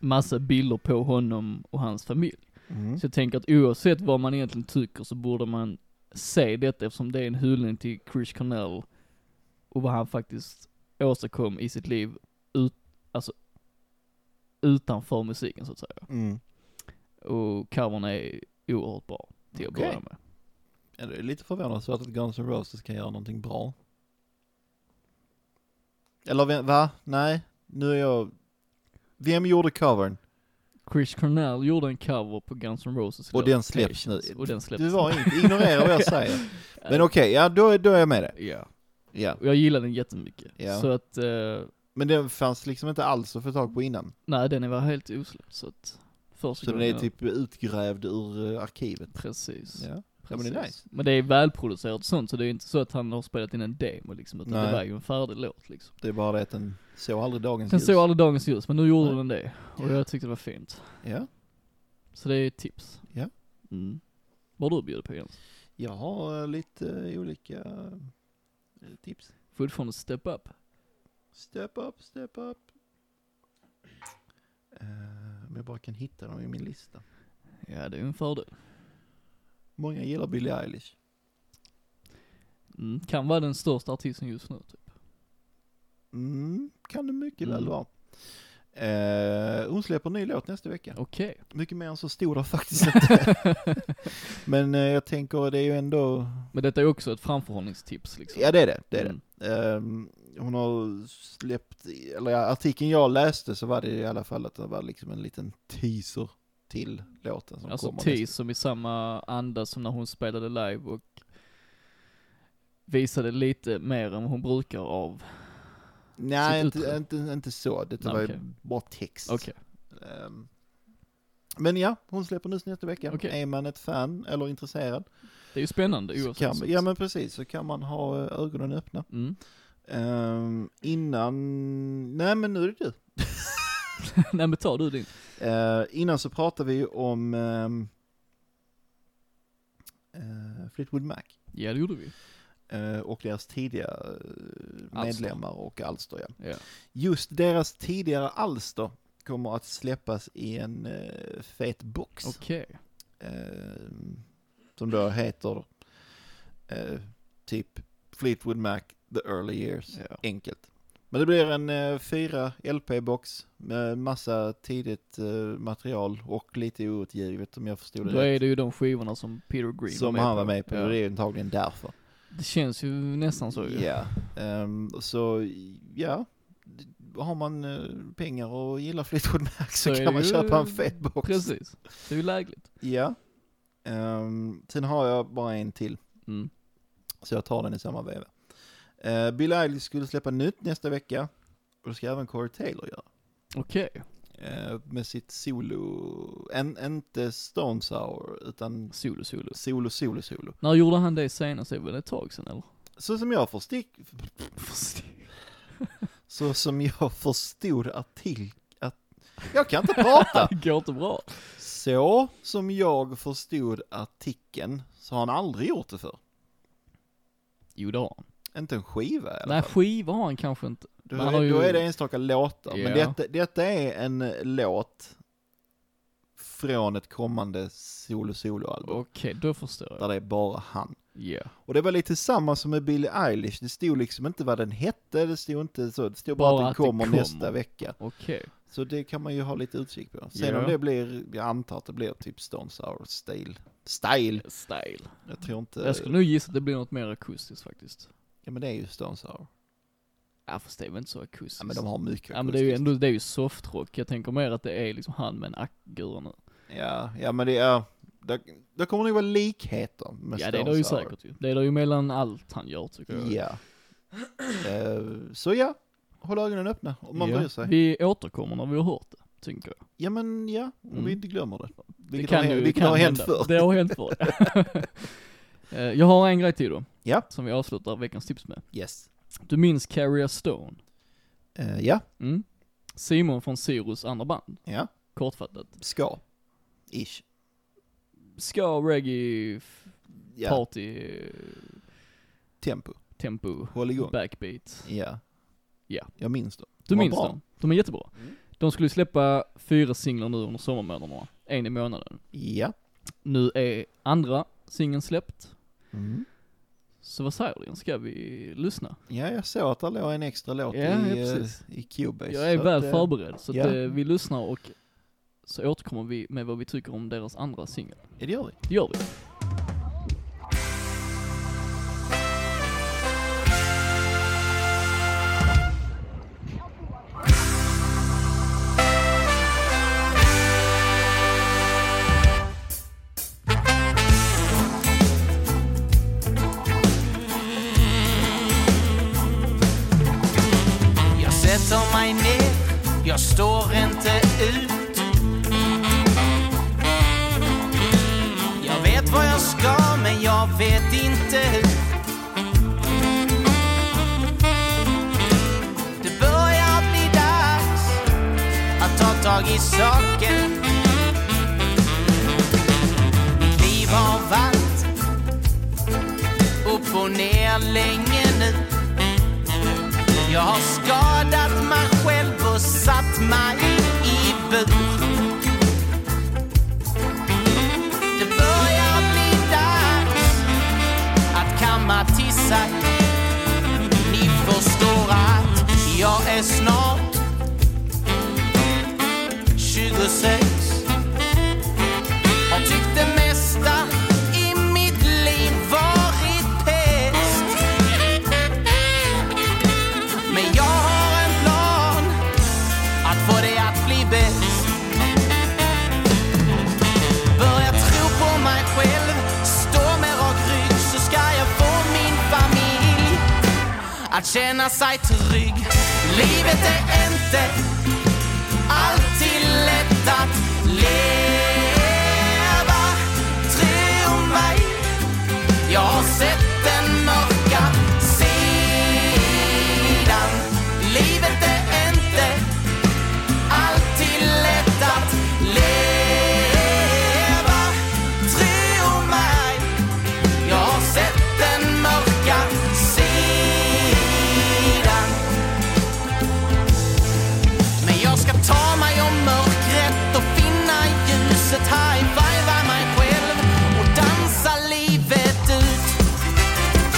S2: massa bilder på honom och hans familj.
S1: Mm.
S2: Så jag tänker att oavsett vad man egentligen tycker så borde man se detta eftersom det är en hyllning till Chris Cornell och vad han faktiskt åstadkom i sitt liv ut, alltså utanför musiken så att säga.
S1: Mm.
S2: Och covern är oerhört bra till att
S1: Okej.
S2: börja med.
S1: Ja, det är lite förvånansvärt att Guns N' Roses kan göra någonting bra. Eller vem, va? Nej, nu är jag... Vem gjorde covern?
S2: Chris Cornell gjorde en cover på Guns N' Roses
S1: Och
S2: låt
S1: den släpps nu.
S2: Patience, Och den släpps
S1: Du var inte, ignorera vad jag säger. Men okej, ja då, är- då är jag med det.
S2: Ja.
S1: Ja.
S2: Och jag gillar den jättemycket.
S1: Ja.
S2: Så att, eh,
S1: Men den fanns liksom inte alls att få tag på innan.
S2: nej den är väl helt osläppt så att första
S1: Så den
S2: gången
S1: är
S2: jag-
S1: typ utgrävd ur eh, arkivet.
S2: Precis.
S1: Ja. men det
S2: precis.
S1: är nice.
S2: Men det är välproducerat och sånt så det är inte så att han har spelat in en demo liksom utan
S1: Nej.
S2: det var ju en färdig låt liksom.
S1: Det är bara det att den såg aldrig dagens
S2: Den
S1: ljus.
S2: såg aldrig dagens ljus men nu gjorde
S1: Nej.
S2: den det och jag tyckte det var fint.
S1: Ja.
S2: Så det är ett tips.
S1: Ja.
S2: Mm. Vad har du bjudit på Jens?
S1: Jag har eh, lite eh, olika eh, tips.
S2: Fortfarande step up?
S1: Step up, step up. Eh, Om jag bara kan hitta dem i min lista.
S2: Ja det är ju en fördel.
S1: Många gillar Billie Eilish.
S2: Mm. Kan vara den största artisten just nu typ.
S1: Mm, kan det mycket väl
S2: Mm.
S1: vara. Eh, hon släpper en ny låt nästa vecka.
S2: Okej.
S1: Mycket mer än så stod det faktiskt inte. Men eh, jag tänker det är ju ändå,
S2: Men detta är också ett framförhållningstips liksom.
S1: ja det är det, det är det.
S2: Mm.
S1: Ehm, hon har släppt, eller ja, artikeln jag läste så var det i alla fall att det var liksom en liten teaser till låten som
S2: Alltså
S1: kommer.
S2: T som i samma anda som när hon spelade live och visade lite mer än hon brukar av.
S1: Nej,
S2: sitt
S1: inte,
S2: utrymme.
S1: inte, inte så. Det
S2: Nej,
S1: var
S2: okej.
S1: bara text.
S2: Okej,
S1: Ehm, Men ja, hon släpper nyss nästa vecka.
S2: Okej.
S1: Är man ett fan eller intresserad,
S2: det är ju spännande
S1: så
S2: oavsett.
S1: kan,
S2: sånt.
S1: ja men precis, så kan man ha eh, ögonen öppna.
S2: mm.
S1: Ehm, innan, nej men nu är det du.
S2: Nej men tar du din.
S1: Eh, innan så pratade vi ju om ehm, eh, Fleetwood Mac
S2: Ja det gjorde vi.
S1: eh, och deras tidiga eh,
S2: Alster.
S1: medlemmar och alster. Ja.
S2: Ja.
S1: Just deras tidigare alster kommer att släppas i en eh, fet box.
S2: Okej.
S1: eh, som då heter eh, typ Fleetwood Mac The Early Years.
S2: Ja.
S1: Enkelt. Men det blir en eh, fyra LP-box med massa tidigt eh, material och lite outgivet om jag förstod det
S2: Då är
S1: rätt.
S2: det ju de skivorna som Peter Green
S1: Som han var med på,
S2: Ja.
S1: det är antagligen därför.
S2: Det känns ju nästan så ju.
S1: Ja, ehm, så ja. Har man eh, pengar och gillar Fleetwood Mac så,
S2: Så är
S1: kan
S2: det
S1: man
S2: ju-
S1: köpa en fet box.
S2: Precis. Det är ju lägligt.
S1: Ja. Ehm, sen har jag bara en till.
S2: Mm.
S1: Så jag tar den i samma veva. Eh, Bill Eilish skulle släppa nytt nästa vecka. Och det ska även Corey Taylor göra.
S2: Okej.
S1: Eh, med sitt solo, en, inte Stones Hour, utan
S2: Solo, solo.
S1: solo, solo, solo.
S2: När gjorde han det senast? Det är väl ett tag sedan eller?
S1: Så som jag förstod, så som jag förstod artikel, att, jag kan inte prata!
S2: det går inte bra.
S1: Så som jag förstod artikeln så har han aldrig gjort det för.
S2: Jo det har han.
S1: Inte en skiva eller?
S2: Nej skiva har han kanske inte.
S1: Då,
S2: Man har
S1: är, då
S2: ju-
S1: är det enstaka låtar, men
S2: Ja.
S1: detta, detta är en eh, låt från ett kommande solo-solo-album,
S2: Okej, då förstår jag.
S1: där det är bara han.
S2: Ja.
S1: Och det var lite samma som med Billie Eilish, det stod liksom inte vad den hette, det stod inte så, det stod bara,
S2: Bara
S1: att
S2: att
S1: den
S2: det
S1: kommer,
S2: kommer.
S1: nästa vecka.
S2: Okej.
S1: Så det kan man ju ha lite utkik på. Sen
S2: Ja.
S1: om det blir, jag antar att det blir typ Stones Sour Style. Style!
S2: Style.
S1: Jag tror inte...
S2: Jag skulle nog gissa att det blir något mer akustiskt faktiskt.
S1: Ja men det är ju Stones Sour.
S2: Ja fast det är väl inte så akustiskt.
S1: Ja men de har mycket
S2: Ja men det är ju
S1: akustiskt.
S2: ändå, det är ju softrock. Jag tänker mer att det är liksom han med en ackgura nu.
S1: Ja, ja men det är... Det, det kommer nog vara likheter med
S2: Ja det är
S1: Stones
S2: det ju
S1: Sour.
S2: säkert ju. Det är det ju mellan allt han gör tycker jag.
S1: Ja. Eh, så ja, håll ögonen öppna om man
S2: Ja.
S1: bryr sig.
S2: Vi återkommer när vi har hört det, tänker jag.
S1: Ja men ja, om
S2: Mm.
S1: vi inte glömmer det. Vilket
S2: det
S1: har,
S2: kan
S1: hänt-
S2: ju,
S1: vilket
S2: kan
S1: har hänt
S2: hända.
S1: förr.
S2: Det har hänt förr. Eh, jag har en grej till då.
S1: Ja.
S2: Som vi avslutar veckans tips med.
S1: Yes.
S2: Du minns Carrie Stone?
S1: Eh, ja,
S2: Mm. Simon från Sirius andra band,
S1: ja,
S2: kortfattat.
S1: ska. Ish.
S2: Ska, reggae, f-
S1: Ja,
S2: party, eh,
S1: tempo.
S2: tempo,
S1: Håll igång.
S2: backbeat.
S1: Ja.
S2: Ja.
S1: Jag minns det.
S2: Du
S1: De var
S2: minns
S1: bra.
S2: dem? De är jättebra.
S1: Mm.
S2: De skulle släppa fyra singlar nu under sommarmånaderna, en i månaden.
S1: Ja.
S2: Nu är andra singeln släppt.
S1: Mm.
S2: Så vad säger du? Ska vi lyssna?
S1: Ja, jag såg att det låg en extra låt
S2: Ja,
S1: i,
S2: ja,
S1: eh,
S2: precis.
S1: i Cubase.
S2: Jag är
S1: så
S2: väl
S1: att, eh,
S2: förberedd, så att,
S1: ja.
S2: eh, vi lyssnar och så återkommer vi med vad vi tycker om deras andra singel.
S1: Ja, det gör vi.
S2: Det gör vi.
S4: Jag sätter mig ner, jag står inte ut Jag vet vad jag ska men jag vet inte hur Det börjar bli dags att ta tag i saken Mitt liv har varit upp och ner länge nu jag har skadat mig själv och satt mig i bur. Det börjar bli dags att kamma till sig. Ni förstår att jag är snart 26. Har tyckt det mesta i mitt liv varit pest. att känna sig trygg. Livet är inte alltid lätt att leva, tro mig. Jag har sett den mörka sidan. Livet är inte alltid lätt att leva. Tro mig, jag har sett den mörka sidan. Men jag ska ta mig om mörkret och finna ljuset. High-fivea mig själv och dansa livet ut.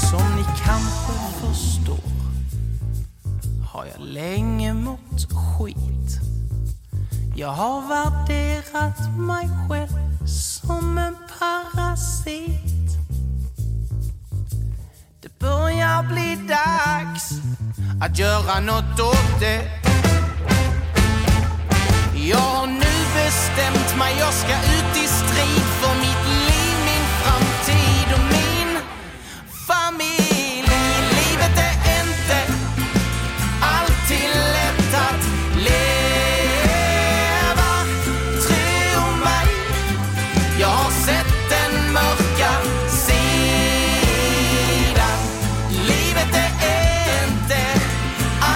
S4: Som ni kanske förstår har jag länge mått skit. Jag har värderat mig själv som en parasit. Det börjar bli dags att göra något åt det. Jag har nu bestämt mig, jag ska ut i strid för mitt liv, min framtid och min familj. Livet är inte alltid lätt att leva. Tro mig, jag har sett den mörka sidan. Livet är inte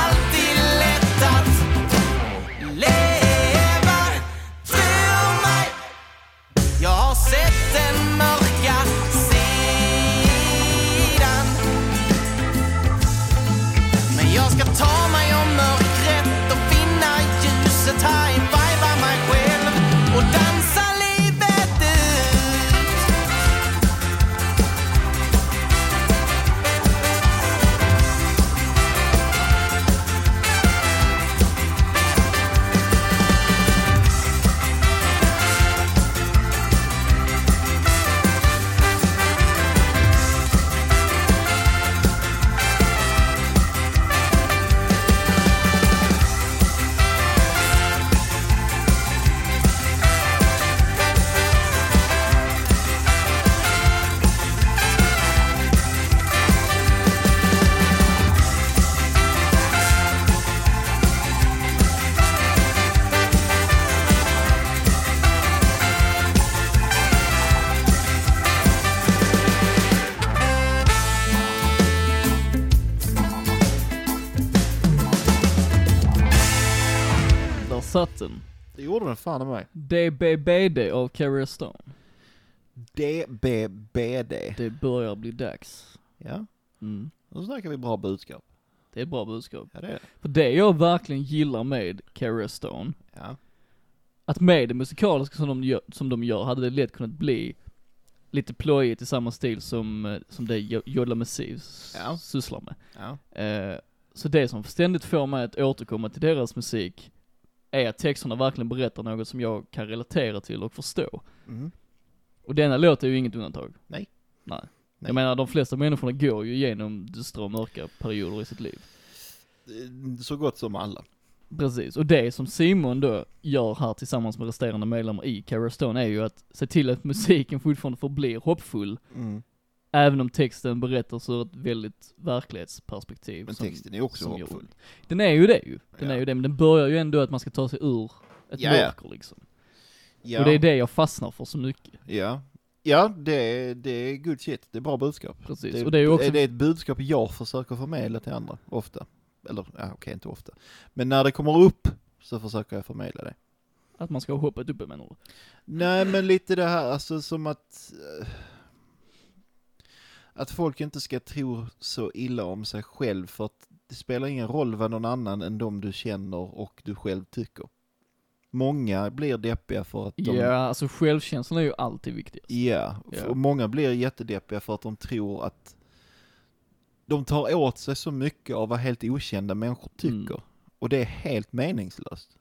S4: alltid lätt att leva. Tro mig, jag har sett den mörka sidan. Men jag ska ta mig om mörkret och finna ljuset här i viva mig själv och dansa livet ut.
S2: Där satt den.
S1: Det gjorde den fan i mig.
S2: DBBD av Carrier Stone.
S1: DBBD.
S2: Det börjar bli dags.
S1: Ja,
S2: Mm.
S1: nu snackar vi bra budskap.
S2: Det är ett bra budskap.
S1: Ja, det är det.
S2: För det jag verkligen gillar med Carrier Stone,
S1: Ja.
S2: att med det musikaliska som de gör, som de gör hade det lätt kunnat bli lite plojigt i samma stil som, eh, som det Jo- Jodla Massiv
S1: Ja.
S2: sysslar med.
S1: Ja.
S2: Eh, Så det som ständigt får mig att återkomma till deras musik är att texterna verkligen berättar något som jag kan relatera till och förstå.
S1: Mm.
S2: Och denna låt är ju inget undantag.
S1: Nej.
S2: Nej.
S1: Nej.
S2: Jag menar, de flesta människorna går ju igenom dystra och mörka perioder i sitt liv.
S1: Eh, Så gott som alla.
S2: Precis, och det som Simon då gör här tillsammans med resterande medlemmar i Carrier Stone är ju att se till att musiken fortfarande förblir hoppfull,
S1: Mm.
S2: även om texten berättas ur ett väldigt verklighetsperspektiv.
S1: Men
S2: som-
S1: texten är också
S2: som gör
S1: hoppfull.
S2: Den är ju det ju. Den
S1: Ja.
S2: är ju det, men den börjar ju ändå att man ska ta sig ur ett
S1: Ja, ja.
S2: mörker liksom.
S1: Ja.
S2: Och det är det jag fastnar för så mycket.
S1: Ja, ja det, är, det är good shit. Det är bra budskap.
S2: Precis. och det är ju också,
S1: det är ett budskap jag försöker förmedla till andra, ofta. Eller, ja, okej, inte ofta. Men när det kommer upp så försöker jag förmedla det.
S2: Att man ska ha hoppet uppe menar du?
S1: Nej, men lite det här, alltså som att... eh, Att folk inte ska tro så illa om sig själv för att det spelar ingen roll vad någon annan än de du känner och du själv tycker. Många blir deppiga för att de...
S2: Ja, alltså självkänslan är ju alltid viktigast.
S1: Ja,
S2: Ja.
S1: och många blir jättedeppiga för att de tror att de tar åt sig så mycket av vad helt okända människor tycker.
S2: Mm.
S1: Och det är helt meningslöst.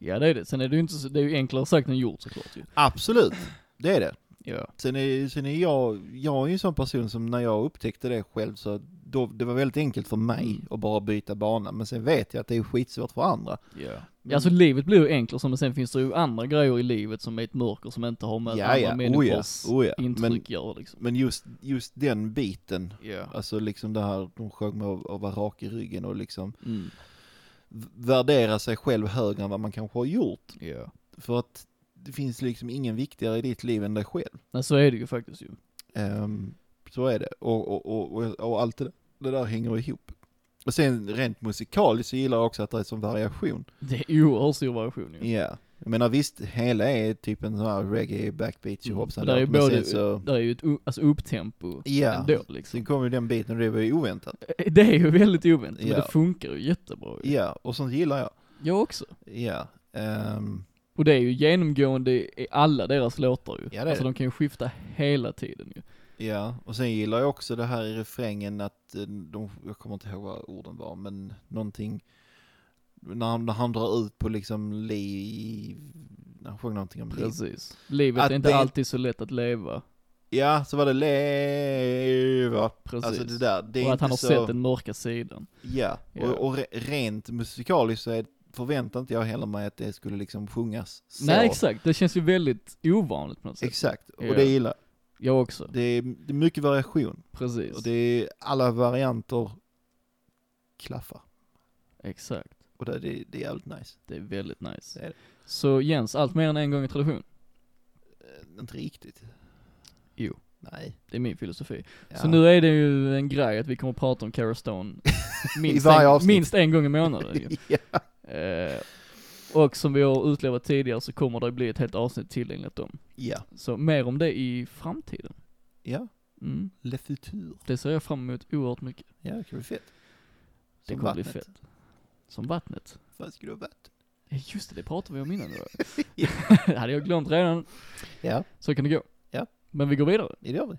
S2: Ja det är det. Sen är det ju inte så, det är ju enklare sagt än gjort såklart ju.
S1: Absolut, det är det.
S2: Ja.
S1: Sen är, sen är jag, jag är ju en sån person som när jag upptäckte det själv så då, det var väldigt enkelt för mig
S2: Mm.
S1: att bara byta bana. Men sen vet jag att det är skitsvårt för andra.
S2: Ja. Alltså livet blir ju enklare men sen finns det ju andra grejer i livet som är ett mörker som inte har med
S1: Ja,
S2: andra
S1: ja.
S2: människors
S1: Oh, ja. Oh, ja. Men-
S2: intryck att göra liksom.
S1: Men just, just den biten,
S2: Ja.
S1: alltså liksom det här, de sjöng med att att vara rak i ryggen och liksom
S2: Mm.
S1: v- värdera sig själv högre än vad man kanske har gjort.
S2: Ja.
S1: För att det finns liksom ingen viktigare i ditt liv än dig själv.
S2: Nej så är det ju faktiskt ju.
S1: Ehm, så är det. Och, och, och, och, och allt det, det där hänger ihop. Och sen rent musikaliskt så gillar jag också att det är sån variation.
S2: Det är oerhört stor variation ju.
S1: Ja, jag menar visst, hela är typ en sån här reggae backbeat
S2: Mm.
S1: tjohoppsan
S2: Där är ju
S1: låt, men
S2: både,
S1: sen så...
S2: där är ju ett u- alltså upptempo
S1: Ja.
S2: ändå liksom. Eh,
S1: Sen kom ju den biten och det var ju oväntat.
S2: Det är ju väldigt oväntat
S1: Ja.
S2: men det funkar ju jättebra
S1: Ja,
S2: ju.
S1: och sånt gillar jag.
S2: Jag också.
S1: Ja. ehm,
S2: Och det är ju genomgående i alla deras låtar ju.
S1: Ja, det är
S2: alltså
S1: det. Mm.
S2: de kan ju skifta hela tiden ju.
S1: Ja, och sen gillar jag också det här i refrängen att eh, de, jag kommer inte ihåg vad orden var, men någonting när han, när han drar ut på liksom liv, när han sjöng någonting om liv.
S2: Precis. Livet
S1: Att
S2: är inte
S1: det-
S2: alltid så lätt att leva.
S1: Ja, så var det leva.
S2: Precis.
S1: Alltså det där, det är
S2: och att
S1: inte
S2: han har
S1: så...
S2: sett den mörka sidan.
S1: Ja,
S2: Ja.
S1: och, och re- rent musikaliskt så är, förväntar inte jag heller mig att det skulle liksom sjungas så.
S2: Nej exakt, det känns ju väldigt ovanligt på något sätt.
S1: Exakt, och
S2: Ja.
S1: det gillar jag.
S2: jag också,
S1: det är, det är mycket variation.
S2: precis.
S1: Och det är alla varianter klaffar.
S2: Exakt.
S1: Och det, det, det är jävligt nice.
S2: Det är väldigt nice.
S1: Det är det.
S2: Så Jens, allt mer än en gång i tradition.
S1: Eh, Inte riktigt.
S2: Jo.
S1: Nej.
S2: Det är min filosofi.
S1: Ja.
S2: Så nu är det ju en grej att vi kommer att prata om Cara Stone minst,
S1: varje
S2: en,
S1: avsnitt.
S2: minst en gång i månaden ju.
S1: ja.
S2: Eh, och som vi har utlovat tidigare så kommer det bli ett helt avsnitt tillgängligt om.
S1: ja.
S2: Så mer om det i framtiden.
S1: Ja.
S2: Mm.
S1: Le futur.
S2: Det ser jag fram emot oerhört mycket.
S1: Ja, det kan bli fett.
S2: Det
S1: Som
S2: kommer bli
S1: vattnet.
S2: fett. Som vattnet.
S1: Vad ska du ha vatten?
S2: Eh, Just det, det pratade vi om innan. då. det hade jag glömt redan.
S1: Ja,
S2: Så kan det gå.
S1: Ja.
S2: Men vi går vidare.
S1: det gör vi.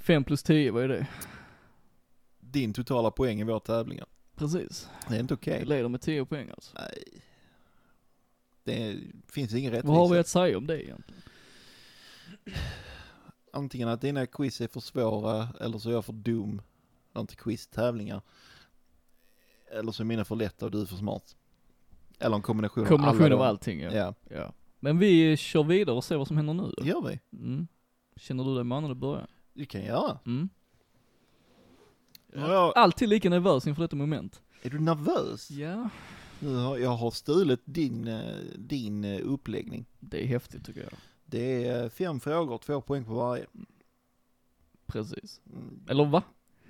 S2: 5 plus 10, vad är det?
S1: Din totala poäng i våra tävlingar.
S2: Precis.
S1: Det är inte okej.
S2: Vi leder med 10 poäng alltså.
S1: Nej. Det finns ingen rättvisa.
S2: Vad har vi att säga om det egentligen?
S1: Antingen att dina quiz är för svåra eller så är jag för dum. Jag har inte quiz-tävlingar. Eller så är mina för lätta och du är för smart. Eller en kombination,
S2: Kombination av
S1: Mm, alla
S2: allting
S1: dem.
S2: ja.
S1: Ja,
S2: ja. Men vi eh, kör vidare och ser vad som händer nu
S1: det
S2: då.
S1: gör vi.
S2: Mm. Känner du dig manad att börja?
S1: Du kan göra.
S2: Mm.
S1: Ja.
S2: Alltid lika nervös inför detta moment.
S1: Är du nervös?
S2: Ja.
S1: Nu har, jag har stulit din, eh, din eh, uppläggning.
S2: Det är häftigt tycker jag.
S1: Det är eh, fem frågor, två poäng på varje.
S2: Precis.
S1: Mm.
S2: Eller va?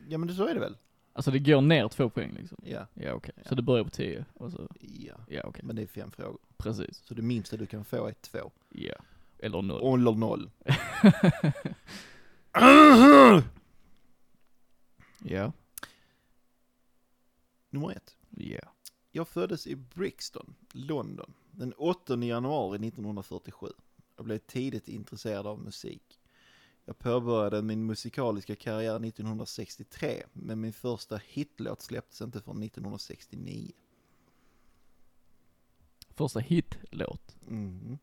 S1: Ja men så är det väl?
S2: Alltså det går ner två poäng liksom.
S1: Ja.
S2: Ja okej.
S1: Ja.
S2: Så det börjar på 10 och så,
S1: ja.
S2: ja okej.
S1: Men det är fem frågor.
S2: Precis.
S1: Så det minsta du kan få är två.
S2: Ja. Eller noll.
S1: Eller noll.
S2: ja.
S1: Nummer ett.
S2: Ja.
S1: Jag föddes i Brixton, London, den 8 januari 1947. Jag blev tidigt intresserad av musik. Jag påbörjade min musikaliska karriär 1963, men min första hitlåt släpptes inte förrän 1969.
S2: Första hitlåt.
S1: Mhm.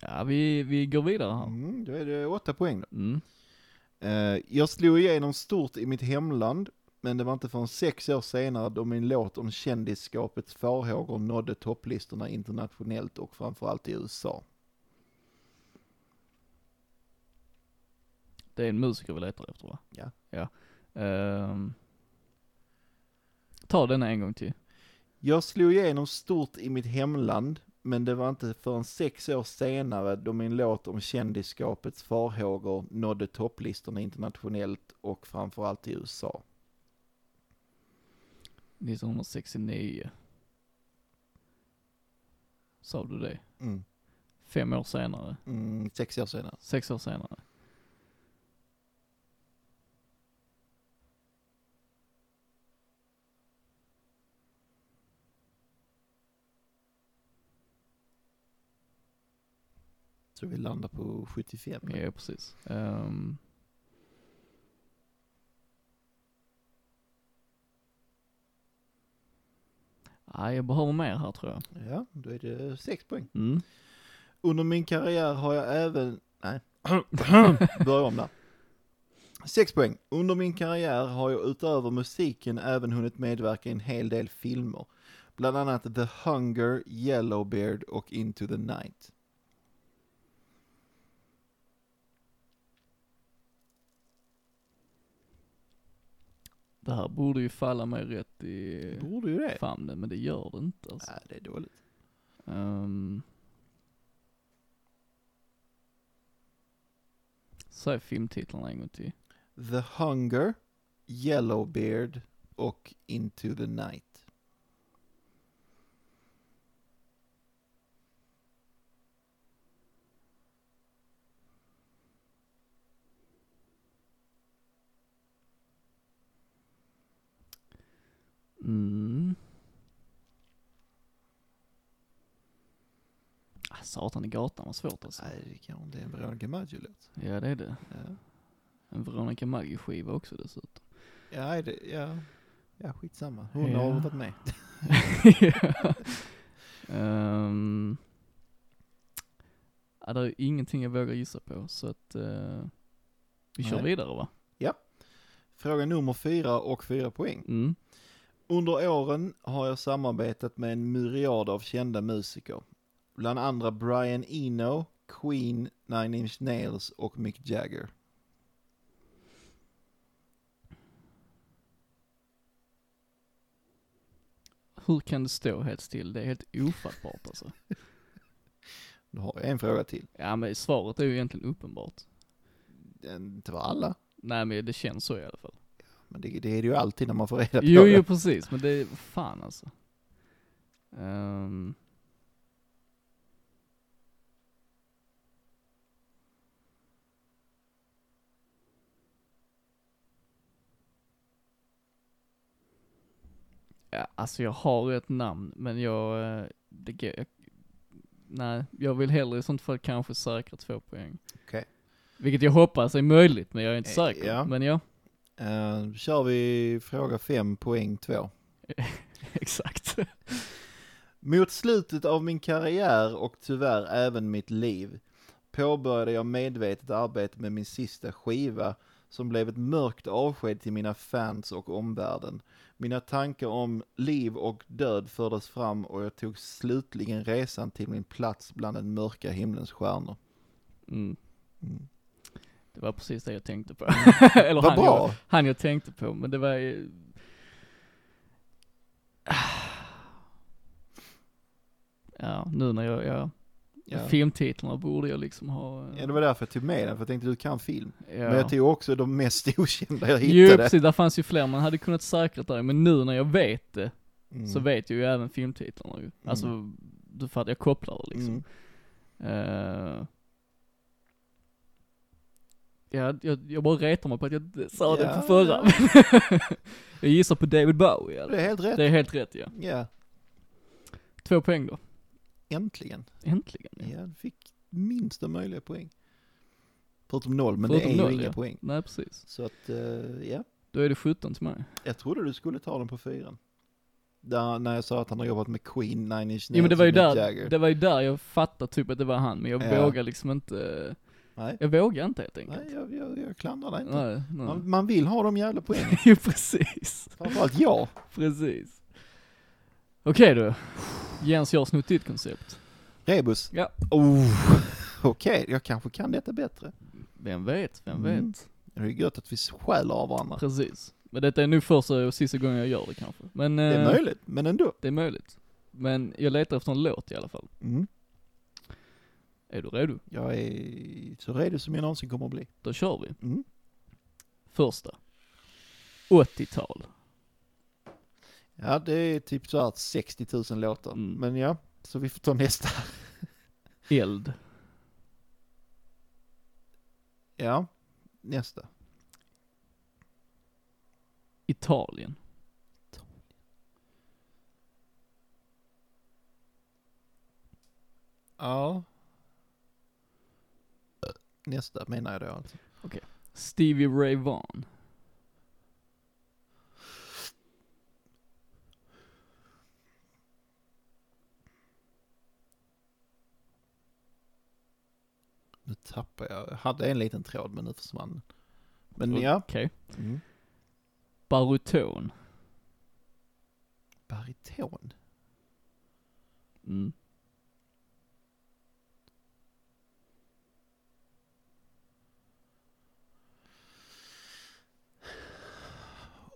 S2: Ja vi, vi går vidare här.
S1: Mm, då är det åtta poäng då.
S2: Mm.
S1: Eh, Jag slog igenom stort i mitt hemland, men det var inte förrän sex år senare då min låt om kändisskapets farhågor nådde topplistorna internationellt och framförallt i USA.
S2: Det är en musiker vi letar efter va?
S1: Ja.
S2: Ja. Ehm. ta den en gång till.
S1: Jag slog igenom stort i mitt hemland, Men det var inte förrän sex år senare då min låt om kändisskapets farhågor nådde topplistorna internationellt och framförallt i USA.
S2: 1969. Sa du det?
S1: Mm.
S2: Fem år senare?
S1: Mm, sex år senare.
S2: Sex år senare?
S1: Så vi landar på 75.
S2: Ja, precis. Ehm. Nej, jag behöver mer här tror jag.
S1: Ja, då är det sex poäng.
S2: Mm.
S1: Under min karriär har jag även... Nej. Börja om där. Sex poäng. Under min karriär har jag utöver musiken även hunnit medverka i en hel del filmer. Bland annat The Hunger, Yellowbeard och Into the Night.
S2: Det här borde ju falla mig rätt i
S1: Borde ju det.
S2: famnen, men det gör det inte alltså.
S1: Nej, det är dåligt.
S2: Um, Säg filmtitlarna en gång till.
S1: The Hunger, Yellowbeard och Into the Night.
S2: Mm. Ah, Satan i gatan var svårt alltså.
S1: Nej, det kanske inte är en Veronica Maggio-låt.
S2: Ja det är det.
S1: Ja.
S2: En Veronica Maggio-skiva också dessutom.
S1: Ja, det, ja. ja, skitsamma. Hon
S2: Ja.
S1: har varit med.
S2: um, ja, det är ingenting jag vågar gissa på så att eh, vi kör
S1: Nej.
S2: vidare va?
S1: Fråga nummer fyra och fyra poäng.
S2: Mm.
S1: Under åren har jag samarbetat med en myriad av kända musiker. Bland andra Brian Eno, Queen, Nine Inch Nails och Mick Jagger.
S2: Hur kan det stå helt still? Det är helt ofattbart alltså.
S1: Nu har jag en fråga till.
S2: Ja men svaret är ju egentligen uppenbart.
S1: Inte för alla,
S2: Nej men det känns så i alla fall.
S1: men det, det är det ju alltid när man får reda på
S2: Jo,
S1: det.
S2: jo precis, men det är, fan alltså. Ehm. Ja, alltså jag har ett namn, men jag, eh, det, går- jag, nej, jag vill hellre i sånt fall kanske säkra två poäng.
S1: Okej.
S2: Vilket jag hoppas är möjligt, men jag är inte
S1: Eh,
S2: säker.
S1: ja.
S2: Men ja,
S1: Eh, kör vi fråga fem, poäng två.
S2: exakt.
S1: Mot slutet av min karriär och tyvärr även mitt liv påbörjade jag medvetet arbete med min sista skiva som blev ett mörkt avsked till mina fans och omvärlden. Mina tankar om liv och död fördes fram och jag tog slutligen resan till min plats bland den mörka himlens stjärnor.
S2: Mm.
S1: Mm.
S2: Det var precis det jag tänkte på. Eller
S1: Vad
S2: han,
S1: bra!
S2: Jag, han jag tänkte på, men det var ju... Ja, nu när jag, jag
S1: Ja.
S2: filmtitlarna borde jag liksom ha... eh,
S1: ja, det var därför jag tog med den, för jag tänkte du kan film.
S2: ja.
S1: Men jag tog också de mest okända jag
S2: Jo,
S1: hittade.
S2: precis, där fanns ju fler man hade kunnat säkra där, men nu när jag vet det,
S1: Mm.
S2: så vet jag ju även filmtitlarna ju. Alltså, du fattar, jag kopplar det liksom.
S1: Mm.
S2: Eh, ja, jag, jag bara retar mig på att jag inte sa det
S1: Ja,
S2: på förra. jag gissar på David Bowie
S1: Det
S2: eller?
S1: är helt rätt.
S2: Det är helt rätt ja.
S1: Ja,
S2: Två poäng då.
S1: äntligen.
S2: Äntligen.
S1: Ja, du fick minsta möjliga poäng. Förutom noll, men
S2: Förutom
S1: det är
S2: noll,
S1: ju inga
S2: ja.
S1: poäng.
S2: Nej precis.
S1: Så att, eh, ja.
S2: Då är det 17 till mig.
S1: Jag trodde du skulle ta den på fyran. Där, när jag sa att han har jobbat med Queen, Nine Inch Nails
S2: jo men det var ju
S1: och Mick
S2: där,
S1: Jagger.
S2: det var ju där jag fattade typ att det var han, men jag
S1: Ja.
S2: vågar liksom inte,
S1: Nej,
S2: jag vågar inte helt enkelt.
S1: nej jag, jag, jag klandrar dig inte.
S2: Nej, nej.
S1: Man, man vill ha de jävla poängen.
S2: Jo precis,
S1: Framförallt jag.
S2: precis. Okej du. Jens, jag har snott ditt koncept.
S1: Rebus.
S2: Ja.
S1: Oh, Okej, jag kanske kan detta bättre.
S2: Vem vet, vem
S1: Mm.
S2: vet.
S1: Det är gött att vi stjäl av
S2: Eh.
S1: varandra.
S2: Precis. Men detta är nu första och sista gången jag gör det kanske. Men
S1: Det är
S2: eh,
S1: möjligt, men ändå.
S2: det är möjligt. Men jag letar efter en låt i alla fall.
S1: Mm.
S2: Är du redo?
S1: Jag är så redo som jag någonsin kommer att bli.
S2: Då kör vi.
S1: Mm.
S2: Första. 80-tal.
S1: Ja, det är typ så här 60 000 låtar.
S2: Mm.
S1: Men ja, så vi får ta nästa.
S2: Eld.
S1: Ja, nästa.
S2: Italien.
S1: Ja. Nästa menar jag då alltså.
S2: Stevie Ray Vaughan.
S1: Nu tappar jag. Jag hade en liten tråd men nu försvann den. Men
S2: Okej.
S1: ja. Mm.
S2: Baryton.
S1: Bariton.
S2: Mm.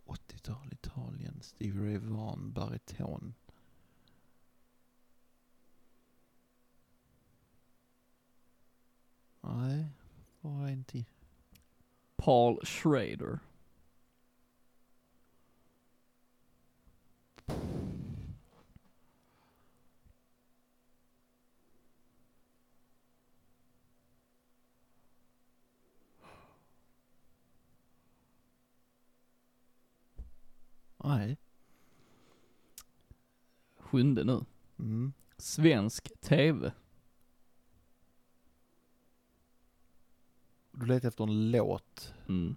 S1: Ja, 80-tal Italien. Stevie Ray Vaughan, bariton. Nej, bara en till.
S2: Paul Schrader.
S1: Nej.
S2: Sjunde nu.
S1: Mm.
S2: Svensk TV.
S1: Du letar efter en låt.
S2: Mm.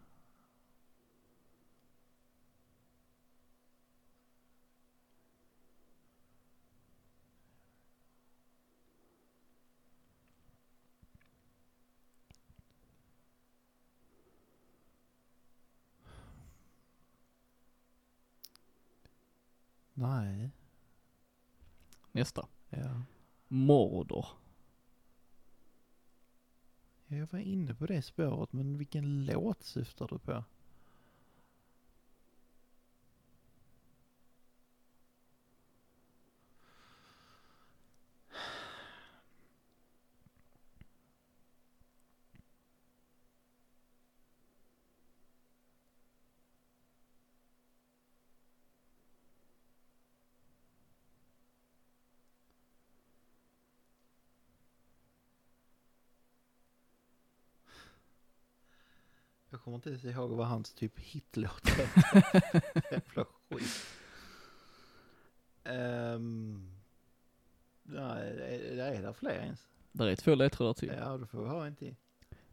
S1: Nej.
S2: Nästa.
S1: Ja.
S2: Mordor.
S1: Ja, Jag var inne på det spåret, men vilken låt syftar du på? Jag kommer inte ens ihåg vad hans typ hitlåt var. Jävla skit. Ehm, nej, är, är det fler ens?
S2: Där är två ledtrådar till.
S1: Ja, då får vi ha en till.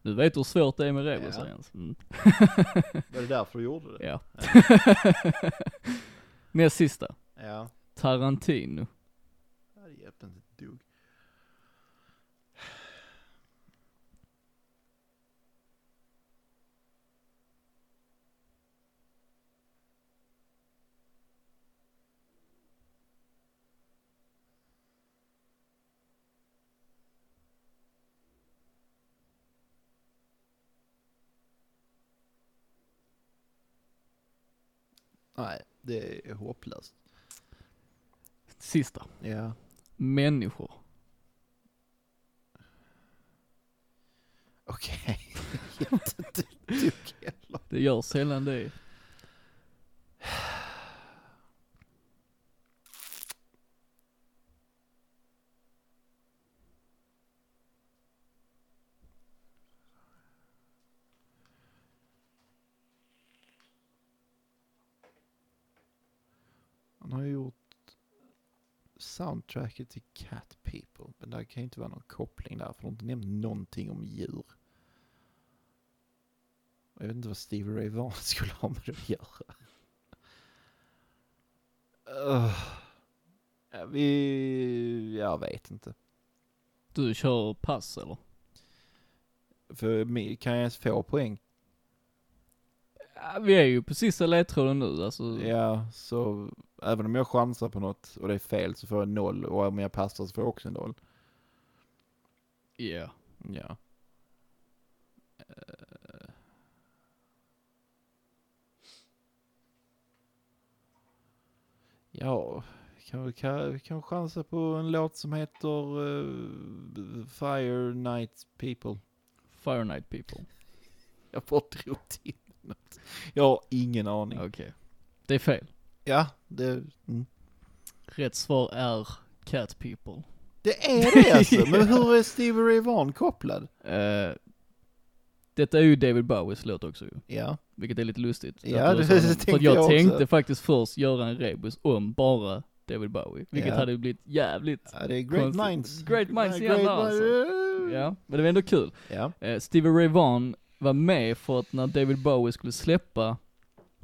S2: Du vet hur svårt det är med rebus
S1: Ja.
S2: Jens. mm.
S1: Var det därför du gjorde det?
S2: Ja. Näst sista.
S1: Ja.
S2: Tarantino.
S1: Ja, Det hjälpte inte ett dugg. Nej, det är hopplöst.
S2: Sista.
S1: Ja.
S2: Människor.
S1: Okej. Hjälpte inte ett dugg heller.
S2: Det gör sällan det.
S1: Han har ju gjort soundtracket till Cat People. Men det kan ju inte vara någon koppling där. För de har inte nämnt någonting om djur. Och jag vet inte vad Stevie Ray Vaughan skulle ha med det att göra. Ugh. Ja, vi... Jag vet inte.
S2: Du kör pass eller?
S1: För mig- kan jag ens få poäng?
S2: Ja, vi är ju på sista ledtråden nu alltså.
S1: Ja, så även om jag chansar på något och det är fel så får jag noll. Och om jag passar så får jag också noll.
S2: Ja.
S1: Ja. Eh. Ja, Kan vi kan, kan vi chansa på en låt som heter eh, Fire Night People?
S2: Fire Night People.
S1: Jag bara drog till med något. Jag har ingen aning.
S2: Okej. Det är fel.
S1: Ja, det... Mm.
S2: Rätt svar är Cat People.
S1: Det är det alltså! Men hur är Stevie Ray Vaughan kopplad?
S2: Eh, detta är ju David Bowies låt också ju,
S1: Ja.
S2: vilket är lite lustigt.
S1: Ja,
S2: Att du
S1: det
S2: sa För
S1: tänkte
S2: att jag,
S1: jag också.
S2: tänkte faktiskt först göra en rebus om bara David Bowie, vilket
S1: Ja.
S2: hade blivit jävligt,
S1: ja, det är Great
S2: Konstigt.
S1: Minds.
S2: Great minds igen alltså.
S1: Ja.
S2: ja, men det var ändå kul.
S1: ja.
S2: Eh, Stevie Ray Vaughan var med för att när David Bowie skulle släppa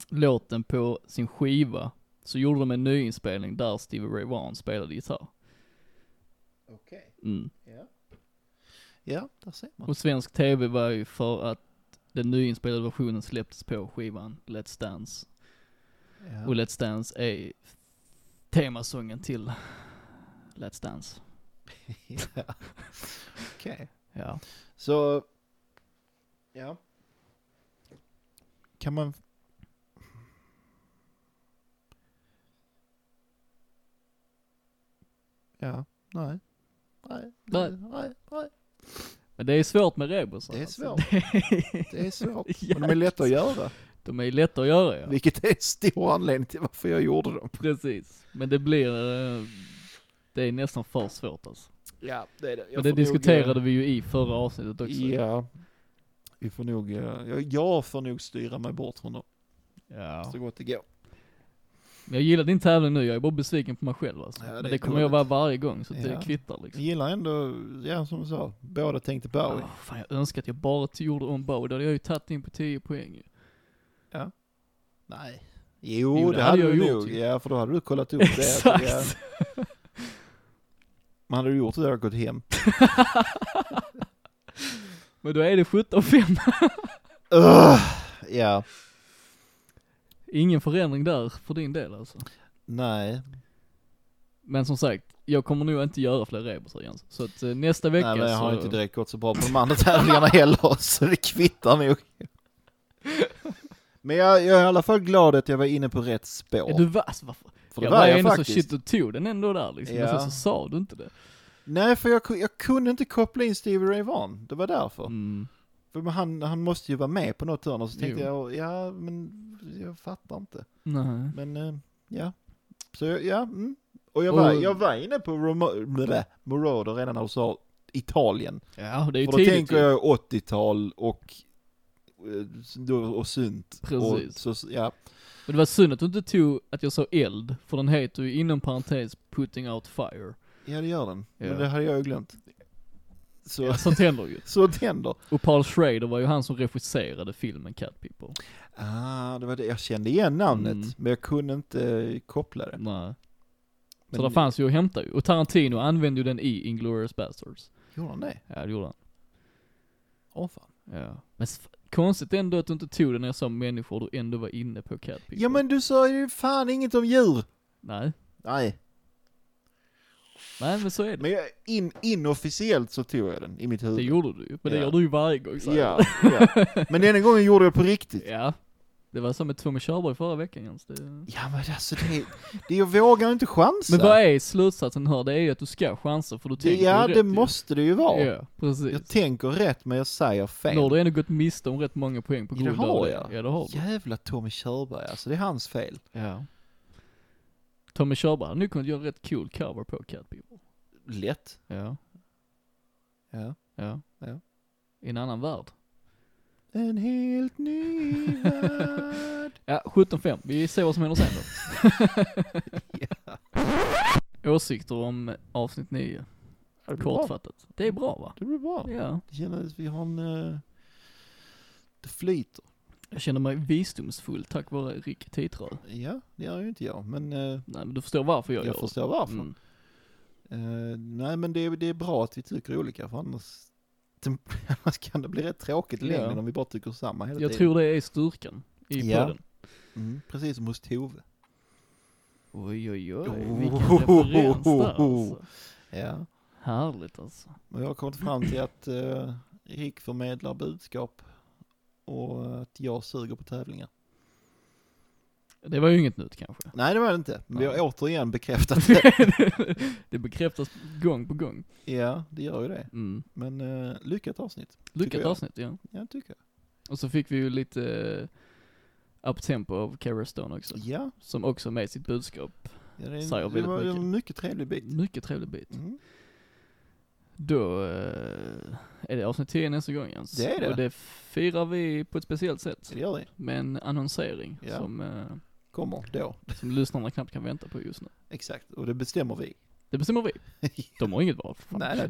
S2: låten på sin skiva så gjorde de en nyinspelning där Stevie Ray Vaughan spelade gitarr.
S1: Okej.
S2: Mm.
S1: Ja. Ja, där ser man.
S2: Och svensk TV var ju för att den nyinspelade versionen släpptes på skivan Let's Dance. Och
S1: Ja.
S2: Let's Dance är temasången till Let's Dance.
S1: Ja. Okej.
S2: Ja.
S1: Så... Ja. Kan man... Ja, nej. Nej,
S2: Nej.
S1: nej, nej.
S2: Men det är svårt med rebusar.
S1: Det är
S2: alltså.
S1: svårt. Det är svårt. Men de är
S2: Jäkligt.
S1: lätta att göra.
S2: De är lätta att göra ja.
S1: Vilket är en stor anledning till varför jag gjorde dem.
S2: Precis. Men det blir, eh, det är nästan för svårt alltså.
S1: Ja, det är det.
S2: Men det diskuterade vi ju i förra avsnittet också.
S1: eh, Ja. Vi får nog... eh, Jag, jag får nog styra mig bort från dem
S2: ja.
S1: så gott det går.
S2: Men jag gillar din tävling nu, jag är bara besviken på mig själv alltså.
S1: Ja, det
S2: Men
S1: är
S2: det kommer jag vara
S1: dåligt.
S2: varje gång så att
S1: Ja.
S2: det kvittar liksom.
S1: Jag gillar ändå, ja som du sa, båda tänkte Bowie.
S2: Åh, fan, jag önskar att jag bara t- gjorde om Bowie, då hade jag ju tagit in på 10 poäng ju.
S1: Nej. Jo, det, hade jag gjort.
S2: ju.
S1: Ja, för då hade du kollat upp det.
S2: Exakt.
S1: Ja. Men hade du gjort det hade jag gått hem.
S2: Men då är det 17-5.
S1: Ugh, ja,
S2: Ingen förändring där för din del alltså.
S1: nej.
S2: Men som sagt, jag kommer nog inte göra fler rebusar Jens. Så att eh, nästa vecka
S1: nej men jag
S2: så...
S1: har inte direkt gått så bra på de andra tävlingarna heller, så det kvittar nog. Men jag, jag är i alla fall glad att jag var inne på rätt spår.
S2: Ja, Du var, alltså, varför?
S1: för det
S2: jag
S1: var jag
S2: ändå
S1: faktiskt.
S2: så shit, du tog den ändå där liksom. Men
S1: Ja.
S2: sen så sa du inte det.
S1: Nej, för jag, ku- jag kunde inte koppla in Stevie Ray Vaughan. Det var därför.
S2: Mm.
S1: För men han, han måste ju vara med på något hörn och så tänkte
S2: Jo.
S1: jag, ja men jag fattar inte.
S2: Nej.
S1: Men eh, ja, så jag- ja. Mm. Och jag
S2: Och-
S1: var, jag var inne på Romo- blä, Moroder redan när du sa Italien.
S2: Ja, det är ju
S1: För då
S2: tidigt
S1: tänker
S2: ju.
S1: jag 80-tal och, eh, då- och synt.
S2: Precis.
S1: Och, så, ja.
S2: Men det var synd att du inte tog att jag sa eld, för den heter ju inom parentes putting out fire.
S1: ja, det gör den.
S2: Ja.
S1: Men det hade jag ju glömt. Så,
S2: Ja, sånt händer ju.
S1: så det händer.
S2: Och Paul Schrader var ju han som regisserade filmen Cat People.
S1: Ah, det var det. Jag kände igen namnet,
S2: Mm.
S1: men jag kunde inte koppla det.
S2: Nej.
S1: Men,
S2: så där fanns ju att hämta ju. Och Tarantino använde ju den i Inglourious Basterds.
S1: Gjorde han det?
S2: Ja, det gjorde han.
S1: Åh fan.
S2: Ja. Men s- konstigt ändå att du inte tog den när jag sa människor och du ändå var inne på Cat People.
S1: Ja men du sa ju fan inget om djur.
S2: Nej.
S1: Nej.
S2: Nej men så är det.
S1: Men jag, in, inofficiellt så tog jag den i mitt huvud.
S2: Det gjorde du ju. Men det
S1: Ja.
S2: gör du ju varje gång så.
S1: Ja, ja. Men denna gången gjorde jag på riktigt.
S2: ja. Det var som med Tommy Körberg förra veckan Jens. Det... Men
S1: Ja men alltså det, det jag vågar inte chansa.
S2: vad är slutsatsen här? Det är ju att du ska chansa för du
S1: det,
S2: tänker
S1: ja
S2: ju rätt
S1: det
S2: ju.
S1: måste det ju vara.
S2: Ja, precis.
S1: Jag tänker rätt men jag säger fel.
S2: Nu har du ändå gått miste om rätt många poäng på
S1: Ja, det
S2: grund av
S1: har
S2: det.
S1: jag.
S2: Ja, det har du.
S1: Jävla Tommy Körberg alltså, det är hans fel.
S2: Ja. Tommy Körberg hade nu kunnat göra en rätt cool cover på Cat People.
S1: Lätt.
S2: Ja.
S1: Ja.
S2: Ja.
S1: Ja.
S2: I en annan värld.
S1: En helt ny värld.
S2: Ja, 17.5. Vi ser vad som händer sen då. Åsikter om avsnitt 9.
S1: Det blir bra.
S2: Kortfattat. Det är bra va?
S1: Det blir bra.
S2: Ja.
S1: Det kändes, vi har en... eh, Det flyter.
S2: Jag känner mig visdomsfull tack vare Rick Titrö.
S1: Ja, det gör ju inte jag, men eh,
S2: Nej men du förstår varför jag,
S1: jag
S2: gör
S1: förstår
S2: det.
S1: varför.
S2: Mm.
S1: Eh, nej men det, är- det är bra att vi tycker olika för annars, annars kan det bli rätt tråkigt i
S2: Ja.
S1: längden om vi bara tycker samma hela
S2: Jag
S1: tiden.
S2: tror det är styrkan i
S1: Ja.
S2: podden.
S1: Mm, precis som hos Tove.
S2: Oj oj oj,
S1: Oh.
S2: vilken referens där alltså.
S1: Ja.
S2: Härligt alltså.
S1: Och jag har kommit fram till att eh, Rick förmedlar budskap och att jag suger på tävlingar.
S2: Det var ju inget nytt kanske.
S1: Nej det var det inte. Men Vi har
S2: Nej.
S1: återigen bekräftat det.
S2: det bekräftas gång på gång.
S1: ja, det gör ju det.
S2: Mm.
S1: Men eh, lyckat avsnitt. Tycker
S2: Lyckat
S1: jag.
S2: avsnitt, ja.
S1: Ja, tycker jag.
S2: Och så fick vi ju lite eh, uptempo av Cara Stone också.
S1: Ja,
S2: Som också med sitt budskap.
S1: ja det,
S2: Säger
S1: är, det
S2: väldigt
S1: var
S2: mycket.
S1: en mycket trevlig bit.
S2: Mycket trevlig bit.
S1: Mm.
S2: Då eh, är det avsnitt 10 nästa gång Jens.
S1: Det är det.
S2: Och det firar vi på ett speciellt sätt.
S1: Det gör det.
S2: Med en annonsering
S1: Ja.
S2: som, eh,
S1: Kommer då.
S2: som lyssnarna knappt kan vänta på just nu.
S1: Exakt, och det bestämmer vi.
S2: Det bestämmer vi. De har inget val. för fan.
S1: Nej, nej,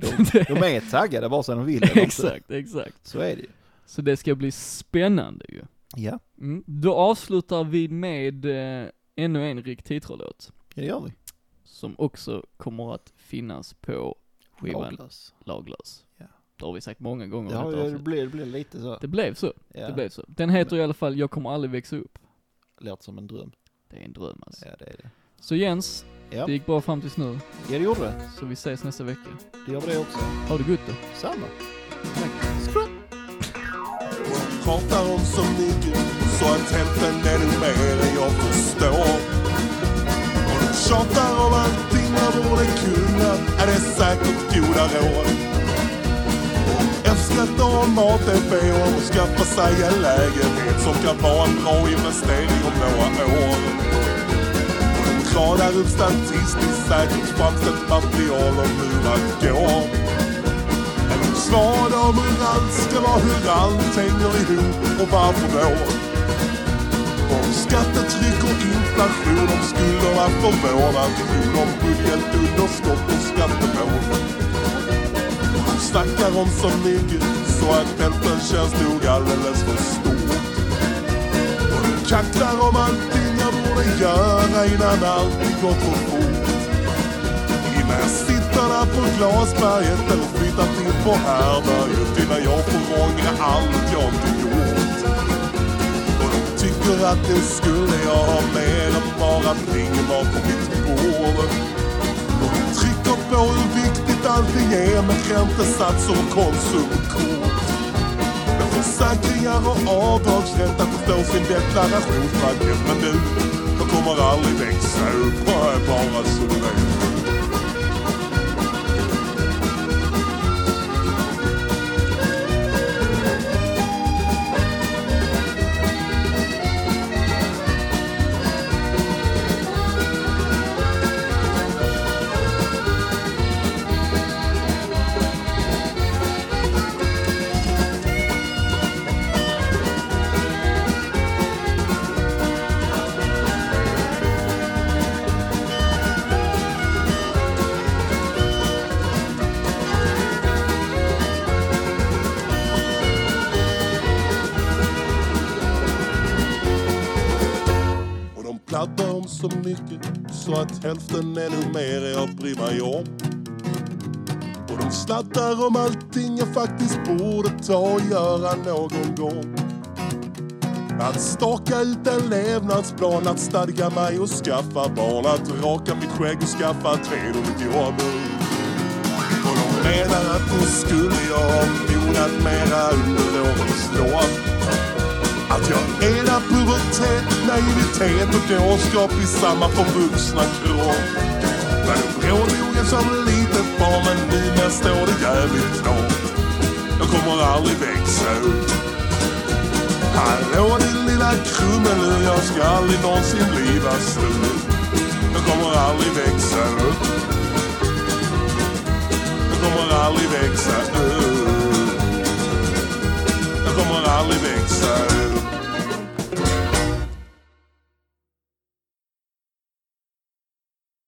S1: De är taggade vare sig de vill eller inte.
S2: Exakt, exakt.
S1: Så är det ju.
S2: Så det ska bli spännande ju.
S1: Ja,
S2: Mm. Då avslutar vi med eh, ännu en Rick Titro-låt.
S1: det gör vi.
S2: Som också kommer att finnas på skivan Laglös.
S1: Laglös. Ja.
S2: Det har vi sagt många gånger i
S1: Ja,
S2: detta
S1: det,
S2: avsnitt.
S1: blir, det blir lite så.
S2: det blev så.
S1: Ja.
S2: Det blev så. Den heter i alla fall Jag kommer aldrig växa upp.
S1: Låter som en dröm.
S2: Det är en dröm alltså.
S1: Ja, det är det.
S2: Så Jens,
S1: Ja,
S2: det gick bra fram tills nu.
S1: ja det gjorde det.
S2: Så vi ses nästa vecka.
S1: Det gör vi det också.
S2: Ha det gott då.
S1: Samma.
S5: pratar om så mycket så att hälften är nu mer än jag förstår. Och de tjatar om allting man borde kunna, är det säkert goda råd. F-skrattar om ATP och om att skaffa sig en lägenhet som kan vara en bra investering om några år. Och de radar upp statistiskt säkert framställt material om hur det går. En svad om hur allt ska vara, hur allt hänger ihop och varför då? Om skattetryck och inflation, om skulderna för vår nation, om budgetunderskott och skattemål. De snackar om så mycket så att hälften känns nog alldeles för stor. Och de kacklar om allting jag borde göra innan allting gått för fort. Innan jag sitter där på glasberget eller flyttat in på härbärget innan jag får ångra allt jag inte gjort. Och de tycker att nu skulle jag ha mer än bara pengar på mitt bord. Och de trycker på hur viktigt allting är med räntesatser och konsumkort. Med försäkringar och avdragsrätt att förstå sin deklaration. Facket, men du, jag kommer aldrig växa upp. Jag är bara så du vet. Och de plattar om så mycket så att hälften är nu mer än jag bryr mig om. Och de slattar om allting jag faktiskt borde ta och göra någon gång. Att staka ut en levnadsplan, att stadga mig och skaffa barn, att raka mitt skägg och skaffa ett hederligt jobb. Och de menar att nu skulle jag ha mognat mera under årens lopp. Att jag är där pubertet, naivitet och dårskap i samma förvuxna kropp. Men en brådmogen som litet barn, men numera står det jävligt klart. Jag kommer aldrig växa upp. Hallå din lilla krumelur, jag ska aldrig någonsin bli vasslur. Jag kommer aldrig växa upp. Jag kommer aldrig växa upp. Jag kommer aldrig växa upp.